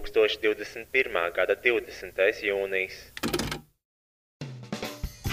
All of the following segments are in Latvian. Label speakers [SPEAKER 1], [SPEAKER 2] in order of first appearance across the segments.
[SPEAKER 1] 2021. gada 20. jūnijas.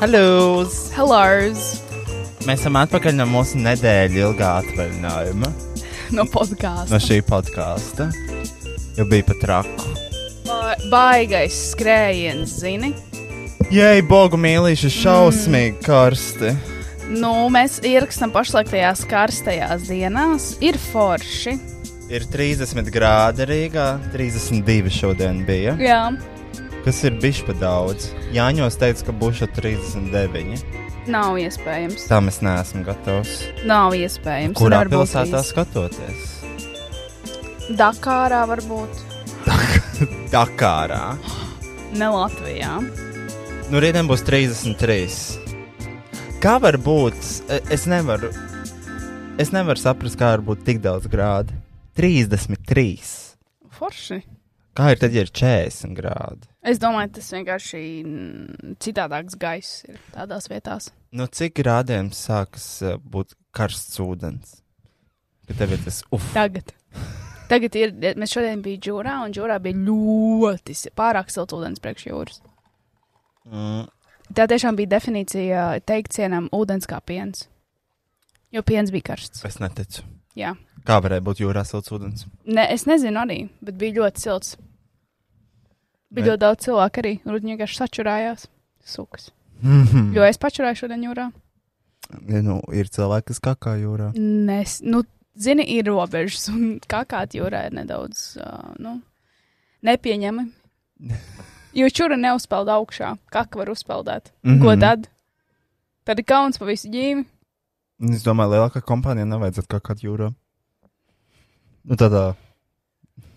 [SPEAKER 2] Hello!
[SPEAKER 3] Hello!
[SPEAKER 2] Mēs esam atpakaļ no mūsu nedēļas ilgā atvaļinājuma,
[SPEAKER 3] No
[SPEAKER 2] no
[SPEAKER 3] podkāsta.
[SPEAKER 2] šī podkāsta. Jo bija pat raka.
[SPEAKER 3] Ba baigais skrējiens, zini?
[SPEAKER 2] Jei, bogu mīlīši, šausmīgi karsti.
[SPEAKER 3] Nu, mēs ierakstām pašlaik tajās karstajās dienās. Ir forši.
[SPEAKER 2] Ir 30 grādi Rīgā, 32 šodien bija.
[SPEAKER 3] Jā.
[SPEAKER 2] Kas ir bijis pa daudz? Jāņos teica, ka būšu 39.
[SPEAKER 3] Nav iespējams.
[SPEAKER 2] Tam es neesmu gatavs.
[SPEAKER 3] Nav iespējams.
[SPEAKER 2] Kurā
[SPEAKER 3] Nevar būt
[SPEAKER 2] pilsētā
[SPEAKER 3] trīs.
[SPEAKER 2] skatoties?
[SPEAKER 3] Dakārā varbūt.
[SPEAKER 2] Dakārā.
[SPEAKER 3] Ne Latvijā.
[SPEAKER 2] Nu, rītdien būs 33. Kā var būt? E- Es nevaru, es nevaru saprast, kā var būt tik daudz grādu. 33.
[SPEAKER 3] Forši.
[SPEAKER 2] Kā ir tad, ja ir 40 grādi?
[SPEAKER 3] Es domāju, tas vienkārši mm, citādāks gaiss ir tādās vietās.
[SPEAKER 2] No Nu, cik grādiem sākas e, būt karsts ūdens? Kad tev ir tas uf,
[SPEAKER 3] Tagad. Tagad ir, mēs šodien bijām jūrā, un jūrā bija ļoti si- pārāk silts ūdens priekš jūras.
[SPEAKER 2] mm,
[SPEAKER 3] Tā tiešām bija definīcija teikt cienam ūdens kā piens. Jo piens bija karsts.
[SPEAKER 2] es neticu.
[SPEAKER 3] Jā.
[SPEAKER 2] Kā varēja būt jūrā silts ūdens?
[SPEAKER 3] Ne, es nezinu arī, bet bija ļoti silts. Bija
[SPEAKER 2] Ne.
[SPEAKER 3] ļoti daudz cilvēku arī. un Viņi vienkārši sačurājās. Sukas.
[SPEAKER 2] Mm.
[SPEAKER 3] Jo es pačurāju šodien jūrā.
[SPEAKER 2] Ja, nu, ir cilvēki, kas kakā jūrā.
[SPEAKER 3] Nes, nu, zini, ir robežas, un kakāt jūrā ir nedaudz uh, nu, nepieņemami. Jo čūra neuzpeld augšā, kaka var uzpeldēt. Mm -hmm.
[SPEAKER 2] Mhm.
[SPEAKER 3] Ko tad? Tad ir kauns par visu ģīmi.
[SPEAKER 2] Es domāju, lielākā kompānija nevajadzētu kā kādā jūrā. Nu, tādā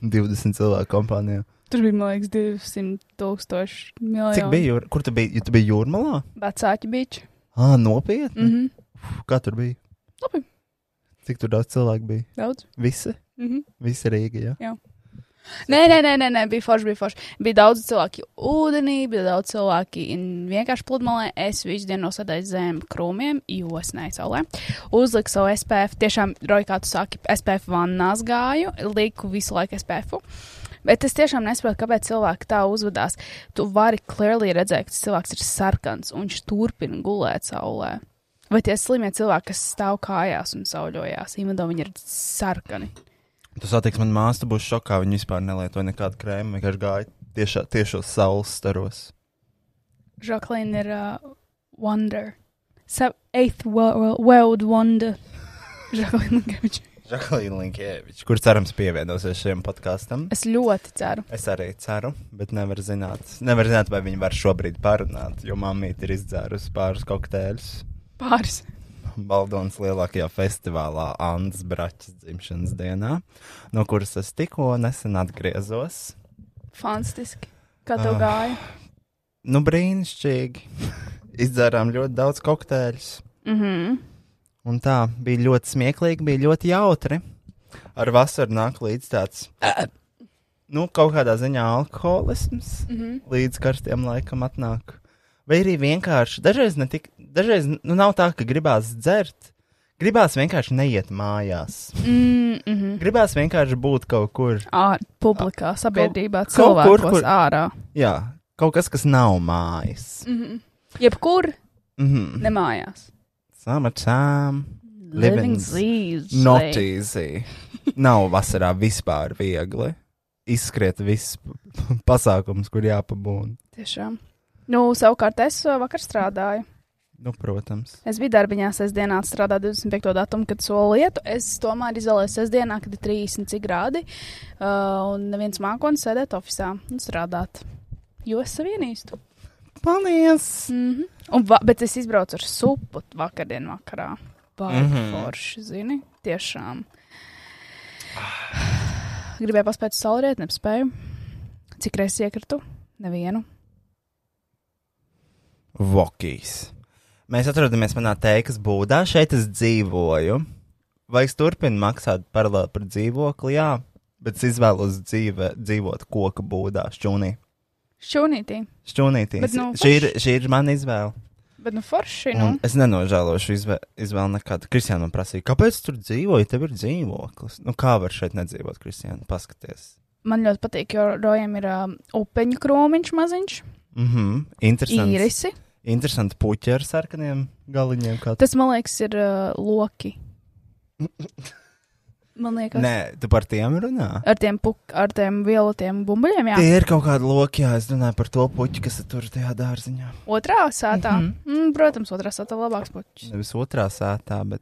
[SPEAKER 2] 20 cilvēku kompānijā.
[SPEAKER 3] Tur bija, man liekas, 200 tūkstoši miljoni.
[SPEAKER 2] Cik bija jūra? Kur tu biji? Ja tu biji jūrmalā?
[SPEAKER 3] Vecāki bija.
[SPEAKER 2] Ah, nopietni.
[SPEAKER 3] Mm -hmm.
[SPEAKER 2] Mm. Kā tur bija?
[SPEAKER 3] Labi.
[SPEAKER 2] Cik tur daudz cilvēku bija?
[SPEAKER 3] Daudz.
[SPEAKER 2] Visi?
[SPEAKER 3] Mm -hmm.
[SPEAKER 2] Visi Rīga, jā.
[SPEAKER 3] Nē, nē, nē, nē, nē, bija forši, bija forši. Bija daudz cilvēku ūdenī, bija daudz cilvēku vienkārši pludmalē. Es visu dienu nosēdēju zem krūmiem, jo es neju saulē. Uzliku savu SPF, tiešām, Roja, kā tu saki, SPF vannās gāju, liku visu laiku SPF. -u. Bet es tiešām nesaprotu, kāpēc cilvēki tā uzvedās. Tu vari klērlī redzēt, ka tas cilvēks ir sarkans un viņš turpina gulēt saulē. Vai tie slimie cilvēki, kas stāv kājās un sauļojās, imado viņi ir sarkani.
[SPEAKER 2] Tu satiksi man māsu, būs šokā. Viņa vispār nelietoja nekādu krēmu, vienkārši gāja tiešā, tiešos saules staros.
[SPEAKER 3] Žaklīna ir uh, wonder. Sev eighth wo- world wonder. Žaklīna Gavča.
[SPEAKER 2] Žaklīna Linkēviča, kur cerams pievienosies šiem podkāstam.
[SPEAKER 3] Es ļoti ceru.
[SPEAKER 2] Es arī ceru, bet nevaru zināt, nevar zināt, vai viņi var šobrīd parunāt, jo mammīte ir izdzērusi pāris kokteļus.
[SPEAKER 3] Pāris.
[SPEAKER 2] Baldonas lielākajā festivālā Annas Bračs dzimšanas dienā, no kuras es tikko nesen atgriezos.
[SPEAKER 3] Fantastiski. Kā tev
[SPEAKER 2] Ah.
[SPEAKER 3] gāja?
[SPEAKER 2] Nu, brīnišķīgi! Izdzērām ļoti daudz kokteļus,
[SPEAKER 3] Mhm.
[SPEAKER 2] un tā bija ļoti smieklīgi, bija ļoti jautri. Ar vasaru nāk līdz tāds, nu, kaut kādā ziņā alkoholisms.
[SPEAKER 3] Mhm.
[SPEAKER 2] līdz karstiem laikam atnāk. Vai arī vienkārši dažreiz, netik, dažreiz nu, nav tā, ka gribās dzert, gribās vienkārši neiet mājās.
[SPEAKER 3] Mm, mhm.
[SPEAKER 2] Gribās vienkārši būt kaut kur.
[SPEAKER 3] Ār, publikā, sabiedrībā,
[SPEAKER 2] kaut
[SPEAKER 3] cilvēkos
[SPEAKER 2] Ah, kur, kur-
[SPEAKER 3] ārā.
[SPEAKER 2] Jā, kaut kas, kas nav mājas.
[SPEAKER 3] Mm -hmm. Jebkur
[SPEAKER 2] Mhm.
[SPEAKER 3] ne mājās.
[SPEAKER 2] Summertime.
[SPEAKER 3] Living
[SPEAKER 2] Livings.
[SPEAKER 3] these.
[SPEAKER 2] Not easy. nav vasarā vispār viegli. Izskriet viss pasākums, kur jāpabūna.
[SPEAKER 3] Tiešām. Nu, savukārt es uh, vakar strādāju.
[SPEAKER 2] Nu, protams.
[SPEAKER 3] Es biju darbiņā sestdienā, strādāju 25. datumu, kad soli lietu. Es tomēr izolēju sestdienā, kad ir 30 cik grādi. Uh, un neviens mākonis sēdēt oficiālā un strādāt. Jo es savienīstu.
[SPEAKER 2] Paldies!
[SPEAKER 3] Mm -hmm. va, bet es izbraucu ar supu vakardien vakarā. Pārforši, mm
[SPEAKER 2] Mhm.
[SPEAKER 3] -hmm. forši, zini, tiešām. Gribēju paspēt uz saulriet, nespēju. Cik reizes iekritu? Nevienu.
[SPEAKER 2] Vokijas. Mēs atrodamies manā teikas būdā, šeit es dzīvoju. Vai es turpinu maksāt paralēli par dzīvokli? Jā, bet es izvēlos dzīve, dzīvot koka būdā, šķūnī.
[SPEAKER 3] Šūnītī.
[SPEAKER 2] Šķūnītī.
[SPEAKER 3] Bet nu,
[SPEAKER 2] šī, ir, šī ir mana izvēle.
[SPEAKER 3] Bet nu forši, nu.
[SPEAKER 2] Un es nenožēlošu izvē, izvēli nekad. Kristiāna man prasīja, kāpēc tu tur dzīvoji? Tev ir dzīvoklis. Nu, kā var šeit nedzīvot, Kristiāna? Paskaties.
[SPEAKER 3] Man ļoti patīk, jo rojam ir um, upeņu krūmiņš maziņš,
[SPEAKER 2] Mhm. Interesants.
[SPEAKER 3] īrisi.
[SPEAKER 2] Interesanti puķi ar sarkaniem galiņiem. Kā...
[SPEAKER 3] Tas, man liekas, ir uh, loki. Man liekas,
[SPEAKER 2] Nē, tu par tiem runā?
[SPEAKER 3] ar tiem, puk- ar tiem violetiem bumbuļiem, jā.
[SPEAKER 2] Tie ir kaut kādi loki, jā, es runāju par to puķi, kas ir tur tajā dārziņā.
[SPEAKER 3] Otrā sētā. Mm -hmm. mm, protams, otrā sētā labāks puķis.
[SPEAKER 2] Nevis otrā sētā, bet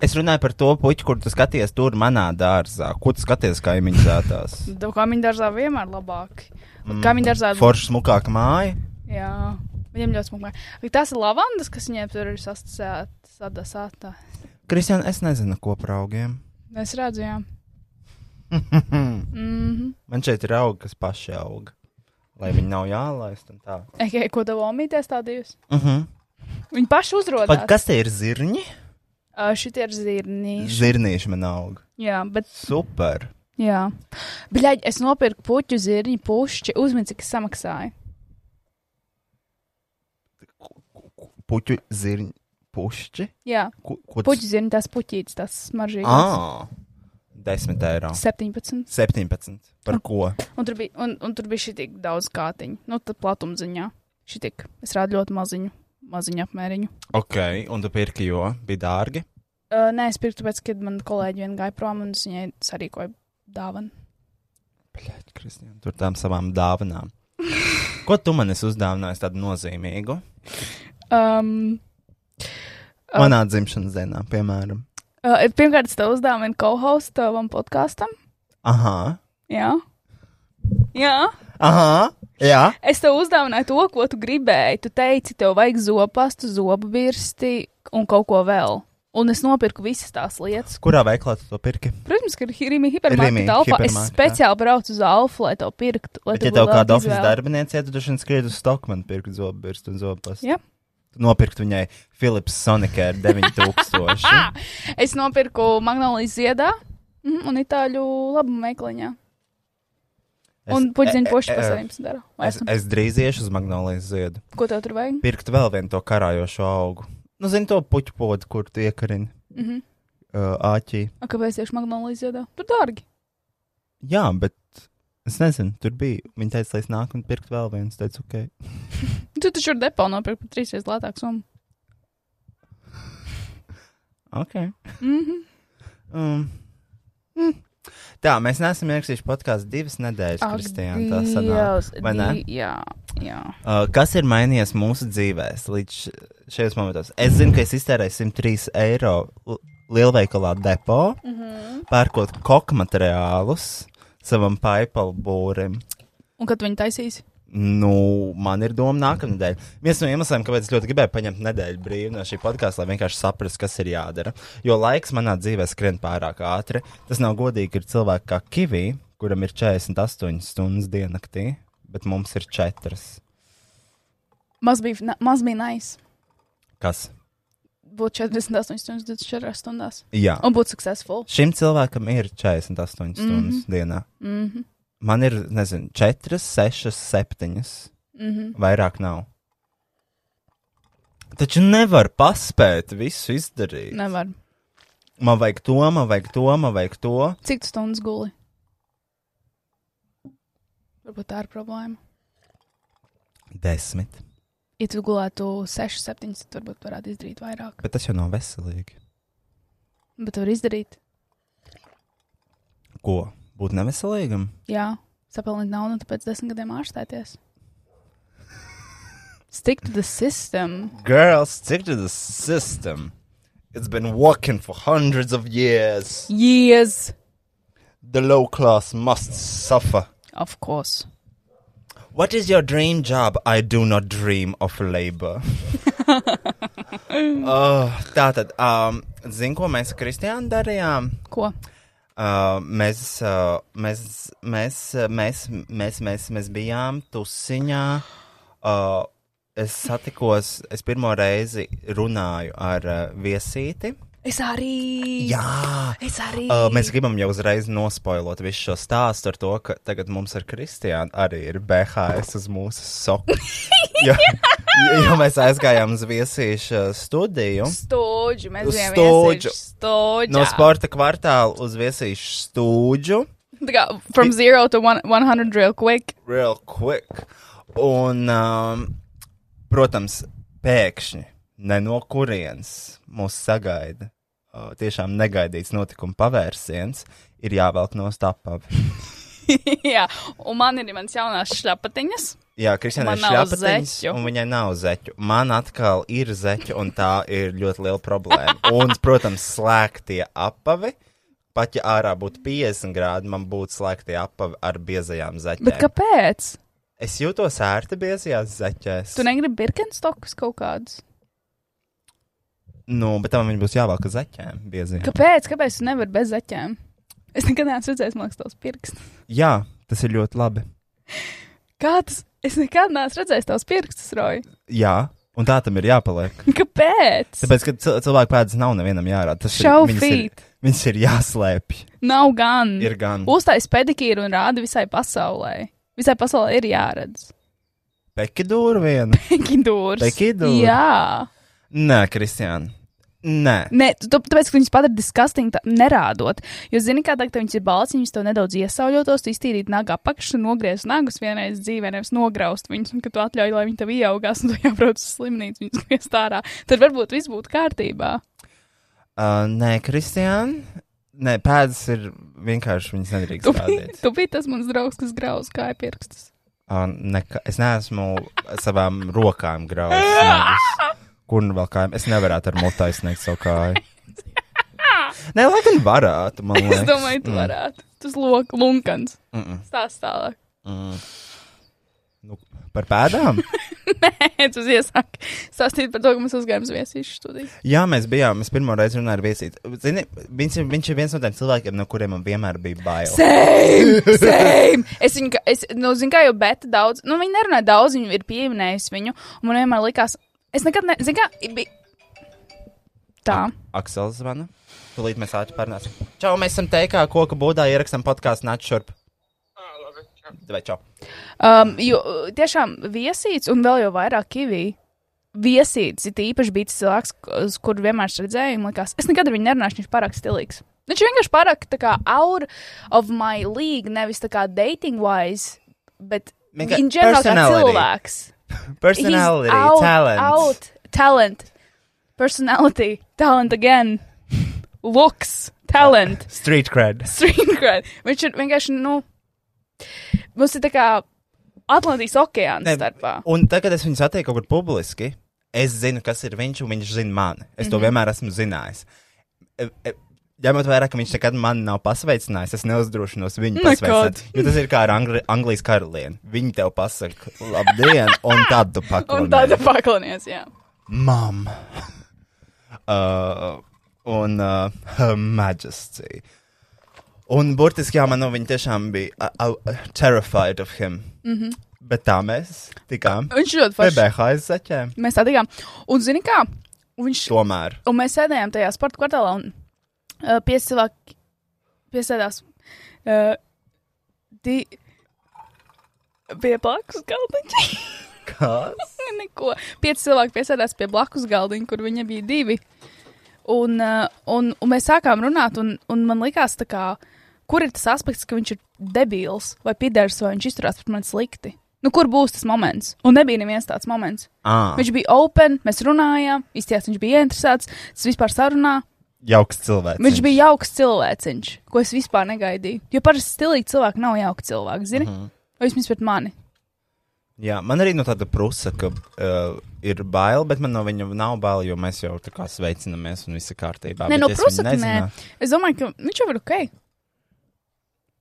[SPEAKER 2] es runāju par to puķi, kur tu skaties tur manā dārzā. Ko tu skaties kaimiņu sētās?
[SPEAKER 3] Da- Kaimiņu dārzā vienmēr ir labāk. Kaimiņu dārzā-
[SPEAKER 2] Mm, Forša smukāka māja.
[SPEAKER 3] Jā, viņam ļoti smagi. Tās ir lavandas, kas viņiem tur ir sastāvā.
[SPEAKER 2] Kristian, es nezinu, ko par augiem.
[SPEAKER 3] Es redzu, jā.
[SPEAKER 2] Man
[SPEAKER 3] Mm -hmm.
[SPEAKER 2] šeit ir augi, kas paši aug. Lai viņi nav jālaist un tā.
[SPEAKER 3] Eke, E, ko tev omītē stādījusi?
[SPEAKER 2] Uh -huh.
[SPEAKER 3] Viņi paši uzrod.
[SPEAKER 2] Pat kas tie ir zirņi?
[SPEAKER 3] Uh, šitie ir zirnīši.
[SPEAKER 2] Mm. Zirnīši man aug.
[SPEAKER 3] Jā, bet.
[SPEAKER 2] Super.
[SPEAKER 3] Jā. Bļaļ, es nopirku puķu zirņu pušķi. Uzmini, cik es samaksāju.
[SPEAKER 2] Puķu zirņi. Pušķi?
[SPEAKER 3] Jā,
[SPEAKER 2] Ko, ko
[SPEAKER 3] puķu zirņu, tās puķītes, tās smaržīgas.
[SPEAKER 2] Ah, 10 eiro.
[SPEAKER 3] 17.
[SPEAKER 2] 17. Par ko?
[SPEAKER 3] Un tur bija, un, un tur bija šī tik daudz kātiņu. Nu, tad platumziņā. Šitik. Es rādu ļoti maziņu, maziņu apmēriņu.
[SPEAKER 2] Ok, un tu pirki, jo bija dārgi.
[SPEAKER 3] Uh, nē, es pirku tāpēc, ka man kolēģi vien gāja prom un es viņai sarīkoju dāvanu.
[SPEAKER 2] Pļaļ, Kristian, tur tām savām dāvanām. Ko tu man esi uzdāvinājis tādu nozīmīgu?
[SPEAKER 3] Um, Um.
[SPEAKER 2] Manā dzimšanas dienā, piemēram.
[SPEAKER 3] uh, pirmkārt, es tev uzdāvinu co-host tavam podkāstam.
[SPEAKER 2] Aha,
[SPEAKER 3] Jā. Jā,
[SPEAKER 2] aha, jā.
[SPEAKER 3] es tev uzdāvināju to, ko tu gribēji. Tu teici, tev vajag zopastu, zobu virsti un kaut ko vēl. Un es nopirku visas tās lietas,
[SPEAKER 2] Kurā veiklā tu to pirki?
[SPEAKER 3] Protams, ka Rīgas hipermarketā
[SPEAKER 2] Rimi
[SPEAKER 3] telpā es
[SPEAKER 2] hipermarketā.
[SPEAKER 3] speciāli braucu uz Alfa, lai to pirktu. Lai
[SPEAKER 2] Bet,
[SPEAKER 3] tev
[SPEAKER 2] ja tev
[SPEAKER 3] būtu
[SPEAKER 2] kāda
[SPEAKER 3] lielāka
[SPEAKER 2] oficiāla
[SPEAKER 3] izvēle.
[SPEAKER 2] darbiniece, ja tu droši vien skriet uz Stokmanu, pirkt zobirstu un zopas.
[SPEAKER 3] Jā.
[SPEAKER 2] Nopirkt viņai Philips Sonicā ar 9000.
[SPEAKER 3] Es nopirku magnoliju ziedā mhm, un itāļu labu meklēņā. Un puķiņu pošu pa 17 dara. Vai
[SPEAKER 2] e- Es, e-
[SPEAKER 3] esmu-
[SPEAKER 2] es drīz iešu uz Magnolijas ziedu.
[SPEAKER 3] Ko tev tur vajag?
[SPEAKER 2] pirkt vēl vienu to karājošo augu. Nu, zini, to puķu podu, kur tie karina
[SPEAKER 3] Mhm.
[SPEAKER 2] uh, āķī.
[SPEAKER 3] A, Kāpēc tieši magnoliju ziedā? Tur dārgi.
[SPEAKER 2] Jā, bet Es nezinu, tur bija. Viņa teica, lai es nāku un pirktu vēl vienu. Es teicu, ok.
[SPEAKER 3] Tu taču ar depo nopirkt par trīs reizes lētāku summu.
[SPEAKER 2] okay.
[SPEAKER 3] Mm -hmm.
[SPEAKER 2] Um. Mm. Tā, mēs neesam ierakstījuši podkāstu divas nedēļas, Kristija. Tā sanāk. vai ne?
[SPEAKER 3] Jā, jā.
[SPEAKER 2] Uh, kas ir mainījies mūsu dzīvēm līdz š- šajos momentos? Es zinu, ka es iztērēju 103 eiro l- lielveikalā depo, mm -hmm. pērkot koku materiālus savam paipalu būrim.
[SPEAKER 3] Un kad viņi taisīs?
[SPEAKER 2] Nu, man ir doma nākamnedēļ. Viens no iemesliem, kāpēc es ļoti gribēju paņemt nedēļu brīvu no šī podkāsta, lai vienkārši saprastu, kas ir jādara. Jo laiks manā dzīvē skrien pārāk ātri. Tas nav godīgi, ka ir cilvēki kā Kivī, kuram ir 48 stundas diennaktī, bet mums ir 4.
[SPEAKER 3] Maz bija, na- maz bija nice.
[SPEAKER 2] Kas?
[SPEAKER 3] Būtu 48 stundas, 24 stundās.
[SPEAKER 2] Jā.
[SPEAKER 3] Un būtu successful.
[SPEAKER 2] Šim cilvēkam ir 48 stundas dienā.
[SPEAKER 3] Mm -hmm.
[SPEAKER 2] Man ir, nezinu, 4, 6, 7.
[SPEAKER 3] Mm -hmm.
[SPEAKER 2] Vairāk nav. Taču nevar paspēt visu izdarīt.
[SPEAKER 3] Nevar.
[SPEAKER 2] Man vajag to, man vajag to, man vajag to.
[SPEAKER 3] Cik tu stundas guli? Varbūt tā ir problēma.
[SPEAKER 2] Desmit.
[SPEAKER 3] Ja tu gulētu 6, 7, tad varbūt varētu izdarīt vairāk.
[SPEAKER 2] Bet tas jau nav veselīgi.
[SPEAKER 3] Bet tu vari izdarīt.
[SPEAKER 2] Ko? Būt neveselīgam?
[SPEAKER 3] Jā, sapelnīt naudu un pēc desmit gadiem ārstēties. Stick to the system.
[SPEAKER 2] Girls, stick to the system. It's been working for hundreds of years.
[SPEAKER 3] Yes,
[SPEAKER 2] The low class must suffer.
[SPEAKER 3] of course.
[SPEAKER 2] What is your dream job? I do not dream of labor. uh, tātad, um, zinu, ko mēs ar Kristiānu darījām?
[SPEAKER 3] Ko?
[SPEAKER 2] Uh, mēs, uh, mēs, mēs, mēs, mēs, mēs, mēs bijām tusiņā. Uh, es satikos, es pirmo reizi runāju ar uh, viesīti.
[SPEAKER 3] Es arī.
[SPEAKER 2] Jā!
[SPEAKER 3] Es arī.
[SPEAKER 2] Uh, mēs gribam jau uzreiz nospoilot visu šo stāstu ar to, ka tagad mums ar Kristiānu arī ir BHS uz mūsu soku. jo, jo mēs aizgājām uz viesīšu uh, studiju.
[SPEAKER 3] Stoģi, mēs
[SPEAKER 2] Uz
[SPEAKER 3] zinām,
[SPEAKER 2] stūģu.
[SPEAKER 3] Stoģi.
[SPEAKER 2] No sporta kvartāla uz viesīšu stūģu.
[SPEAKER 3] Tā kā
[SPEAKER 2] E-
[SPEAKER 3] from zero to one, 100 real quick.
[SPEAKER 2] real quick. Un, um, protams, pēkšņi ne no kurienes mūs sagaida. uh, Tiešām negaidīts notikuma pavērsiens ir jāvelk no stūra.
[SPEAKER 3] Jā, un man ir mans jaunās šļapatiņas.
[SPEAKER 2] Jā, Kristina,
[SPEAKER 3] Man nav
[SPEAKER 2] šļapatiņas,
[SPEAKER 3] zeķu.
[SPEAKER 2] un viņai nav zeķu. Man atkal ir zeķu, un tā ir ļoti liela problēma. Un, protams, slēgtie apavi. Pat ja ārā būtu 50 grādi, man būtu slēgtie apavi ar biezajām zeķēm.
[SPEAKER 3] Bet kāpēc?
[SPEAKER 2] Es jūtos ērti biezajās zeķēs.
[SPEAKER 3] Tu negribi birkenstokus kaut kādus?
[SPEAKER 2] Nu, bet tam viņa būs jāvelk uz zeķēm. Biezajām.
[SPEAKER 3] Kāpēc? Kāpēc tu nevari bez zaķēm? Es nekad neesmu redzējis, man liekas, tavs pirksts.
[SPEAKER 2] Jā, tas ir ļoti labi.
[SPEAKER 3] Kāds? Es nekad neesmu redzējis tavs pirkstus, Roja.
[SPEAKER 2] Jā, un tā tam ir jāpaliek.
[SPEAKER 3] Kāpēc?
[SPEAKER 2] Tāpēc, ka cil- cilvēku pēdas nav nevienam jārāda. Tas ir, viņas ir,
[SPEAKER 3] Šaufīt.
[SPEAKER 2] viņas ir jāslēpj.
[SPEAKER 3] Nav gan.
[SPEAKER 2] Ir gan
[SPEAKER 3] Uztais pedikīru un rāda visai pasaulē. Visai pasaulē ir jāredz.
[SPEAKER 2] pekidūra viena.
[SPEAKER 3] Pekidūrs.
[SPEAKER 2] Pekidūra.
[SPEAKER 3] Jā.
[SPEAKER 2] Nē, Kristiāna. Nē.
[SPEAKER 3] Nē, tu- tu- tāpēc, ka viņas padara disgusting, tā- nerādot. Jo, zini, kā tagad viņas ir balsts, viņas to nedaudz iesauļotos, tu iztīrīt nagā apakšu, nogriezt nagus vienreiz dzīvē, nevis nograust viņus, un kad tu atļauj, lai viņi tev ieaugās, un tu jābrauc uz slimnīcu, viņas griezt ārā, tad varbūt viss būtu kārtībā.
[SPEAKER 2] Uh, nē, Kristiāna. Nē, pēdas ir vienkārši viņas nedrīkst
[SPEAKER 3] Tu, biji-
[SPEAKER 2] rādīt.
[SPEAKER 3] tu biji tas mans draugs, kas grauž kāja pirkstus.
[SPEAKER 2] Uh, neka, es neesmu savām rokām grauzis. Kur nu vēl kājām? Es nevarētu ar mutu aizsniegt savu kāju. Nē, laikam varētu. man
[SPEAKER 3] Es
[SPEAKER 2] liekas.
[SPEAKER 3] domāju, tu
[SPEAKER 2] Mm.
[SPEAKER 3] varētu. Tas loks, lunkans.
[SPEAKER 2] Mm -mm.
[SPEAKER 3] Stāsts tālāk.
[SPEAKER 2] Mm. Nu, par pēdām?
[SPEAKER 3] Nē, tu iesāki stāstīt par to, ka mēs uzgājām uz viesīšu studiju.
[SPEAKER 2] Jā, mēs bijām. Es pirmo reizi runāju ar viesīti. Zini, viņš, ir- viņš ir viens no tiem cilvēkiem, no kuriem man vienmēr bija bail.
[SPEAKER 3] Same, same. Es viņu, ka- es, nu, zinu, kā jau Bēta daudz, nu, viņa nerunāja daudz, viņa ir pieminējusi viņu. un Man vienmēr likās, es nekad ne, zinu, kā, i- bija. Tā.
[SPEAKER 2] Aksels zvana. Tūlīt mēs ātri parunāsim. Čau, mēs esam teikā, koka būdā ierakstam podkāstu nāc šurp. Vai čau?
[SPEAKER 3] Um, jo uh, tiešām viesīts un vēl jau vairāk kivī. Viesīts ir īpaši bijis cilvēks, k- uz kuru vienmēr es redzēju, un likās, es nekad ar viņu nerunāšu, viņš ir pārāk stilīgs. Viņš vienkārši pārāk tā kā out of my league, nevis tā kā dating wise, bet
[SPEAKER 2] Vienkār-
[SPEAKER 3] in general kā
[SPEAKER 2] personality.
[SPEAKER 3] cilvēks. He's
[SPEAKER 2] Personality,
[SPEAKER 3] out,
[SPEAKER 2] talent.
[SPEAKER 3] Out, talent, personality, talent again, looks, talent.
[SPEAKER 2] Street cred.
[SPEAKER 3] Streamcrad. Viņš ir vienkārši, nu, mums ir tā kā Atlantijas okeāna
[SPEAKER 2] Ne,
[SPEAKER 3] starpā.
[SPEAKER 2] Un tad, kad es viņu satieku kaut kur publiski, es zinu, kas ir viņš, un viņš zina mani. Es
[SPEAKER 3] Mhm.
[SPEAKER 2] mm -hmm. to vienmēr esmu zinājis. E- e, Ņemot vērā, ka viņš nekad man nav pasveicinājis, es neuzdrošinos viņu
[SPEAKER 3] Nekad.
[SPEAKER 2] pasveicināt. Jo tas ir kā ar Angli Anglijas karalieni. Viņi tev pasaka, labdien, un tad tu paklūdi.
[SPEAKER 3] Un tāda paklonies, jā.
[SPEAKER 2] Mom. Uh, un uh, Her Majesty. Un burtiski, jā, man no viņa tiešām bija uh, uh, terrified of him. Mm
[SPEAKER 3] Mhm.
[SPEAKER 2] -hmm. Bet tā mēs tikām.
[SPEAKER 3] Viņš ļoti
[SPEAKER 2] Vai
[SPEAKER 3] forši.
[SPEAKER 2] BH aizsaķēm?
[SPEAKER 3] Mēs tā tikām. Un zini kā? Viņš,
[SPEAKER 2] Tomēr.
[SPEAKER 3] un mēs sēdējām tajā sporta kvartālā un uh, pieci cilvēki piesēdās. Uh, di... Pie blakus galdiņa.
[SPEAKER 2] Kas?
[SPEAKER 3] Neko. Pieci cilvēki piesēdās pie blakus galdiņa, kur viņa bija divi. Un, uh, un, un mēs sākām runāt, un, un man likās, tā kā, kur ir tas aspekts, ka viņš ir debils vai piders, vai viņš izturās pret mani slikti. Nu, kur būs tas moments? Un nebija neviens tāds moments.
[SPEAKER 2] Ah, viņš
[SPEAKER 3] Viņš bija open, mēs runājām, īstenībā viņš bija ieinteresēts, tas vispār sarunā.
[SPEAKER 2] jauks cilvēks.
[SPEAKER 3] Viņš bija jauks cilvēciņš, ko es vispār negaidīju. Jo parasti stilīgi cilvēki nav jauki cilvēki, zini? Uh -huh. Vismaz pret mani.
[SPEAKER 2] Jā, man arī no tāda prusa, ka uh, ir bail, bet man no viņa nav bail, jo mēs jau tā kā sveicinamies un viss ir kārtībā.
[SPEAKER 3] Nē,
[SPEAKER 2] bet
[SPEAKER 3] no
[SPEAKER 2] es viņu
[SPEAKER 3] Prusaka nē.
[SPEAKER 2] nezināju.
[SPEAKER 3] Es domāju, ka viņš jau ir ok.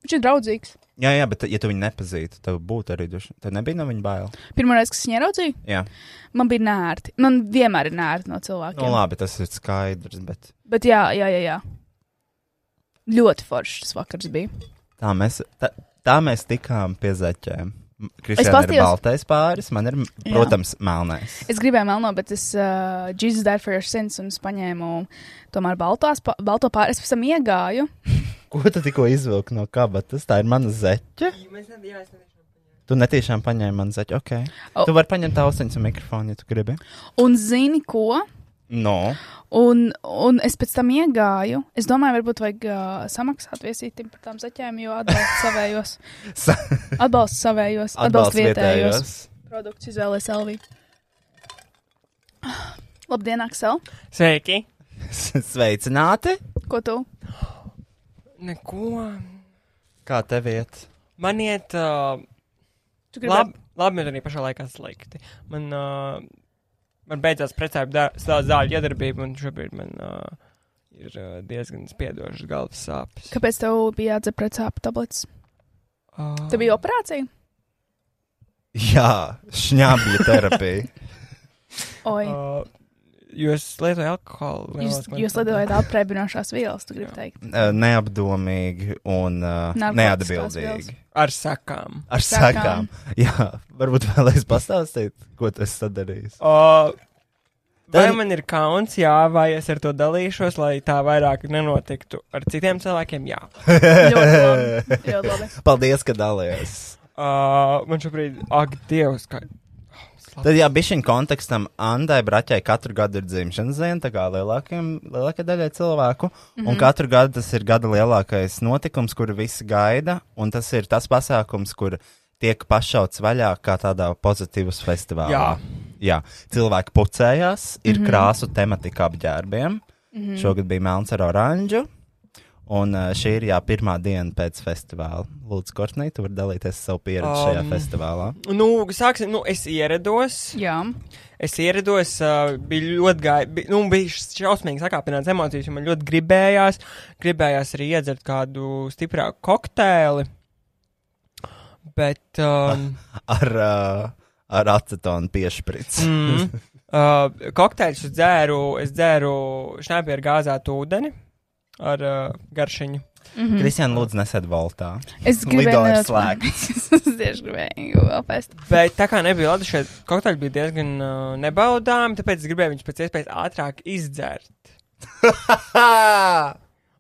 [SPEAKER 3] Viņš ir draudzīgs.
[SPEAKER 2] Jā, jā, bet ja tu viņu nepazītu, tad būtu arī duši. Tad nebija no viņa bail.
[SPEAKER 3] Pirmā reize, kas viņu ieraudzīja,
[SPEAKER 2] Jā,
[SPEAKER 3] man bija nērti. Man vienmēr ir nērti no cilvēkiem.
[SPEAKER 2] nu, labi, tas ir skaidrs, bet
[SPEAKER 3] Bet jā, jā, jā. jā. Ļoti foršs šis vakars bija.
[SPEAKER 2] tā mēs, tā, tā mēs tikām pie zaķēm. Kristiāna ir
[SPEAKER 3] paskatījos-
[SPEAKER 2] baltais pāris, man ir,
[SPEAKER 3] Jā.
[SPEAKER 2] protams, melnais.
[SPEAKER 3] Es gribēju melno, bet es uh, Jesus died for your sins un es paņēmu tomēr baltās, pa, balto pāri. Es pēc tam iegāju.
[SPEAKER 2] Ko tu tikko izvilki no kabatas? Tā ir mana zeķe. Tu netiešām paņēmi manu zeķi. Okay.
[SPEAKER 3] O.
[SPEAKER 2] Oh. Tu vari paņemt austiņas un mikrofonu, ja tu gribi.
[SPEAKER 3] Un zini ko?
[SPEAKER 2] No.
[SPEAKER 3] Un, un es pēc tam iegāju. Es domāju, varbūt vajag uh, samaksāt viesītim par tām zaķēm, jo atbalstu savējos.
[SPEAKER 2] Sa-
[SPEAKER 3] Atbalstu savējos, atbalstu vietējos. produkts izvēlēs Elvī. Labdien, Aksel!
[SPEAKER 4] Sveiki!
[SPEAKER 2] Sveicināti!
[SPEAKER 3] Ko tu?
[SPEAKER 4] Neko.
[SPEAKER 2] Kā tev iet?
[SPEAKER 4] Man iet uh,
[SPEAKER 3] tu gribēji-
[SPEAKER 4] labi, labi, bet arī pašā laikā slikti. Man, uh, man beidzās precēju zāļu iedarbība, un šobrīd man uh, ir uh, diezgan spiedošas galvas sāpes.
[SPEAKER 3] Kāpēc tev bija jādzer pret sāpju tabletes?
[SPEAKER 4] Uh,
[SPEAKER 3] Tev bija operācija?
[SPEAKER 2] Jā, šņābļa terapija.
[SPEAKER 3] Oi,
[SPEAKER 4] Uh, jūs lietojat alkoholu?
[SPEAKER 3] jūs,
[SPEAKER 4] lielās
[SPEAKER 3] jūs
[SPEAKER 4] kvantitā-
[SPEAKER 3] lidojat apreibinošās vielas, tu gribi
[SPEAKER 4] Jā.
[SPEAKER 3] teikt.
[SPEAKER 2] Eh, Neapdomīgi un uh,
[SPEAKER 3] Narkotikas
[SPEAKER 2] neatbildīgi.
[SPEAKER 4] ar sakām.
[SPEAKER 2] Ar sakām. Jā, varbūt vēlēs pastāstīt, ko tu esi sadarījis.
[SPEAKER 4] Uh, vai
[SPEAKER 2] Tad-
[SPEAKER 4] man ir kauns, jā, vai es ar to dalīšos, lai tā vairāk nenotiktu ar citiem cilvēkiem? Jā.
[SPEAKER 3] Ļoti labi. Ļoti labi.
[SPEAKER 2] Paldies, ka dalījies.
[SPEAKER 4] Uh, man šobrīd, ak, Dievs, kā.
[SPEAKER 2] Tad, jā, bišķiņ kontekstam, Andai Braķai katru gadu ir dzimšanas diena, tā kā lielākiem, lielākai daļai cilvēku. Mm
[SPEAKER 4] Mhm.
[SPEAKER 2] -hmm. Un katru gadu tas ir gada lielākais notikums, kuru visi gaida. Un tas ir tas pasākums, kur tiek pašauts vaļā kā tādā pozitīvas festivālā.
[SPEAKER 4] Jā. Mhm.
[SPEAKER 2] jā. Cilvēki pucējās, ir mm -hmm. krāsu tematika apģērbiem. Mm -hmm. Šogad bija melns ar oranžu. Un eh, šī ir jā, pirmā diena pēc festivāla. Lūdzu, Kortnī, tu vari dalīties ar savu pieredzi um, šajā
[SPEAKER 4] Um,
[SPEAKER 2] festivālā.
[SPEAKER 4] Nu, sāksim, nu, es ierados.
[SPEAKER 3] Jā,
[SPEAKER 4] Es ierados, uh, bija ļoti gaisa, bija, nu, bija šausmīgi sakāpināts emocijas, jo man ļoti gribējās, gribējās arī iedzert kādu stiprāku kokteili. Bet, um,
[SPEAKER 2] ar, uh, ar acetonu piešprici.
[SPEAKER 4] mm, uh, kokteļus es dzēru, es dzēru šņāpju ar gāzētu ūdeni, ar uh, garšiņu.
[SPEAKER 2] Kristiāna, mm. lūdzu, nesēd voltā.
[SPEAKER 3] Mhm. es gribēju.
[SPEAKER 2] Lido ir
[SPEAKER 3] nedaudz- es tieši gribēju apēst.
[SPEAKER 4] Bet tā kā nebija labi, šie kokteļi bija diezgan uh, nebaudāmi, tāpēc es gribēju viņus pēc iespējas ātrāk izdzert.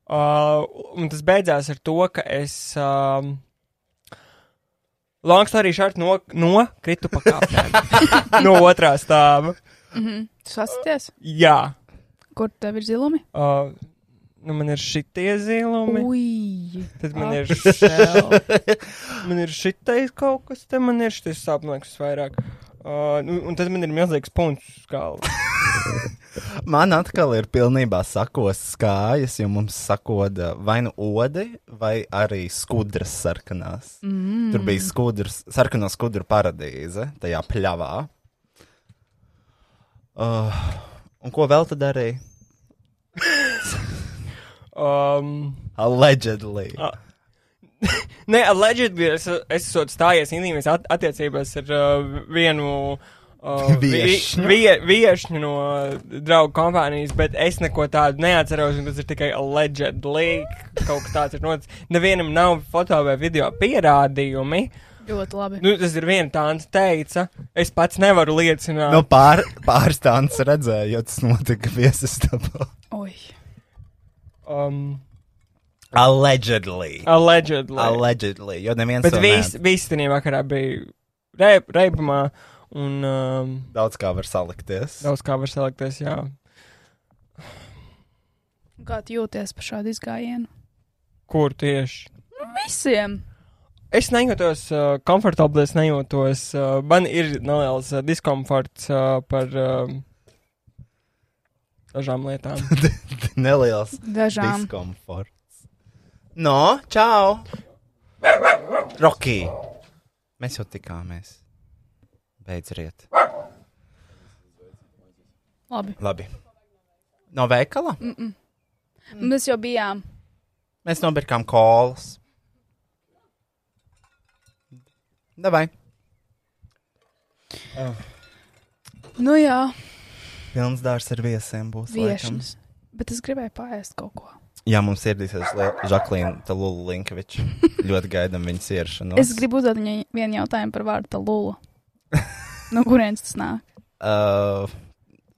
[SPEAKER 4] Uh, un tas beidzās ar to, ka es. Um, Long story short, no, nokritu pa kāpnēm. no otrā stāva.
[SPEAKER 3] Tu Mhm. sasties,
[SPEAKER 4] Jā.
[SPEAKER 3] kur tev ir zilumi?
[SPEAKER 4] Uh, Nu, man ir šitie zilumi,
[SPEAKER 3] Ui!
[SPEAKER 4] tad man ir šādi. Man ir šitais kaut kas, tad man ir šis sāpnīgs vairāk. Uh, nu, un tad man ir milzīgs punkts uz galvas.
[SPEAKER 2] Man atkal ir pilnībā sakos kājas, jo mums sakoda vai nu odi, vai arī skudras sarkanās. Mm. Tur bija skudras, sarkano skudru paradīze tajā pļavā. Uh, un ko vēl tad arī?
[SPEAKER 4] Um,
[SPEAKER 2] Allegedly.
[SPEAKER 4] Ah. Nē, allegedly es, es esmu stājies intīmās at attiecībās ar uh, vienu uh, vi-
[SPEAKER 2] Viešņu.
[SPEAKER 4] vie- viešņu no draugu kompānijas, bet es neko tādu neatceros, un tas ir tikai allegedly. Kaut kas tāds ir noticis. Nevienam nav foto vai video pierādījumi.
[SPEAKER 3] Ļoti labi.
[SPEAKER 4] Nu, tas ir viena tāda teica. Es pats nevaru liecināt.
[SPEAKER 2] Nu, pār, pārstāns redzēja, jo tas notika viesistabā.
[SPEAKER 3] Ui.
[SPEAKER 4] Um,
[SPEAKER 2] Allegedly.
[SPEAKER 4] allegedly.
[SPEAKER 2] Allegedly, jo neviens
[SPEAKER 4] bet
[SPEAKER 2] to
[SPEAKER 4] viss
[SPEAKER 2] ne-
[SPEAKER 4] vis tajā vakarā bija reib, reibumā, un um,
[SPEAKER 2] daudz kā var salikties.
[SPEAKER 4] daudz kā var salikties. Jā.
[SPEAKER 3] Kā tu jūties par šādu izgājienu?
[SPEAKER 4] Kur tieši?
[SPEAKER 3] Visiem!
[SPEAKER 4] Es nejūtos uh, komfortabli, es nejūtos. Uh, man ir neliels uh, diskomforts uh, par uh, dažām lietām.
[SPEAKER 2] Neliels
[SPEAKER 3] Dažām.
[SPEAKER 2] diskomforts. No, čau! Roki! Mēs jau tikāmies. Beidz riet.
[SPEAKER 3] Labi.
[SPEAKER 2] Labi. No veikala?
[SPEAKER 4] Mm.
[SPEAKER 3] Mēs jau bijām.
[SPEAKER 2] Mēs nopirkām kolas. Davai.
[SPEAKER 3] Nu jā,
[SPEAKER 2] Pilns dārs ar viesiem būs. laikam.
[SPEAKER 3] viešņas. Bet es gribēju pāriest kaut ko.
[SPEAKER 2] Jā, mums ieradīsies Liel- Žaklīna Talula Linkoviča. Ļoti gaidām viņas ierašanos.
[SPEAKER 3] Es gribu uzdot viņai vienu jautājumu par vārdu lula. no kurienes tas nāk?
[SPEAKER 2] Uh,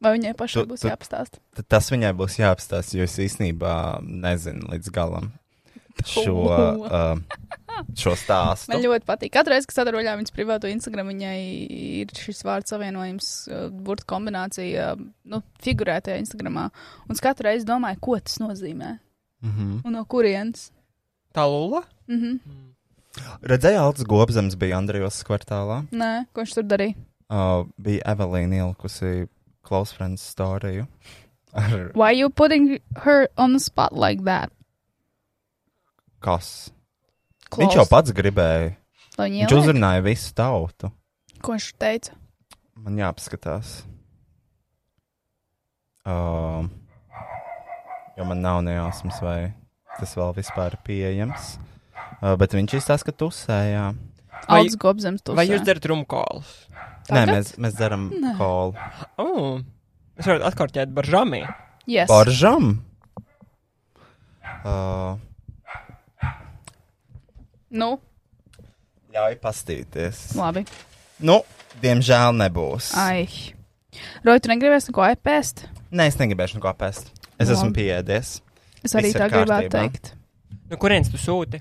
[SPEAKER 3] Vai viņai pašai
[SPEAKER 2] Tu-
[SPEAKER 3] būs
[SPEAKER 2] tu-
[SPEAKER 3] jāapstāsta?
[SPEAKER 2] tad tas viņai būs jāapstāsta, jo es īstenībā nezinu līdz galam šo, uh, šo stāstu.
[SPEAKER 3] Man ļoti patīk. Katru reizi, kad atveru viņas privātu Instagram, viņai ir šis vārds savienojums, uh, burbuļu kombinācija, uh, nu, figurētajā Instagramā. Un es katru reizi domāju, ko tas nozīmē
[SPEAKER 2] Mhm.
[SPEAKER 3] un no kurienes.
[SPEAKER 4] Tā lula?
[SPEAKER 3] Mhm.
[SPEAKER 2] Redzēju, Alts Gobzems bija Andrejos kvartālā.
[SPEAKER 3] Nē, ko viņš tur darīja?
[SPEAKER 2] Uh, bija Evelīna ielikusi Close Friends storiju. Ar
[SPEAKER 3] Why you putting her on the spot like that?
[SPEAKER 2] kas? Klaus. Viņš jau pats gribēja. Viņš
[SPEAKER 3] pats.
[SPEAKER 2] uzrunāja visu tautu.
[SPEAKER 3] Ko viņš teica?
[SPEAKER 2] Man jāapskatās. Uh, jo man nav nejausmas, vai tas vēl vispār ir pieejams. Uh, bet viņš izstāsta, ka tusējā.
[SPEAKER 4] Vai-
[SPEAKER 3] Alts Gobzems to
[SPEAKER 4] Vai jūs darat rumkolas?
[SPEAKER 2] Nē,
[SPEAKER 3] Tagad?
[SPEAKER 2] mēs, mēs darām
[SPEAKER 3] Nē.
[SPEAKER 2] kolu.
[SPEAKER 4] Oh, es varu atkārtot par žamī.
[SPEAKER 3] Yes.
[SPEAKER 2] Baržam? Uh,
[SPEAKER 3] Nu,
[SPEAKER 2] ļauj pastīties.
[SPEAKER 3] labi.
[SPEAKER 2] Nu, diemžēl nebūs.
[SPEAKER 3] Ai. Roja, tu negribēsi neko apēst?
[SPEAKER 2] Nē, es negribēšu neko pēst. Es
[SPEAKER 3] Labi.
[SPEAKER 2] esmu pieēdies.
[SPEAKER 3] Es arī
[SPEAKER 2] Viss ir
[SPEAKER 3] tā gribētu
[SPEAKER 2] kārtībā.
[SPEAKER 3] teikt.
[SPEAKER 4] No Nu, kurienes tu sūti?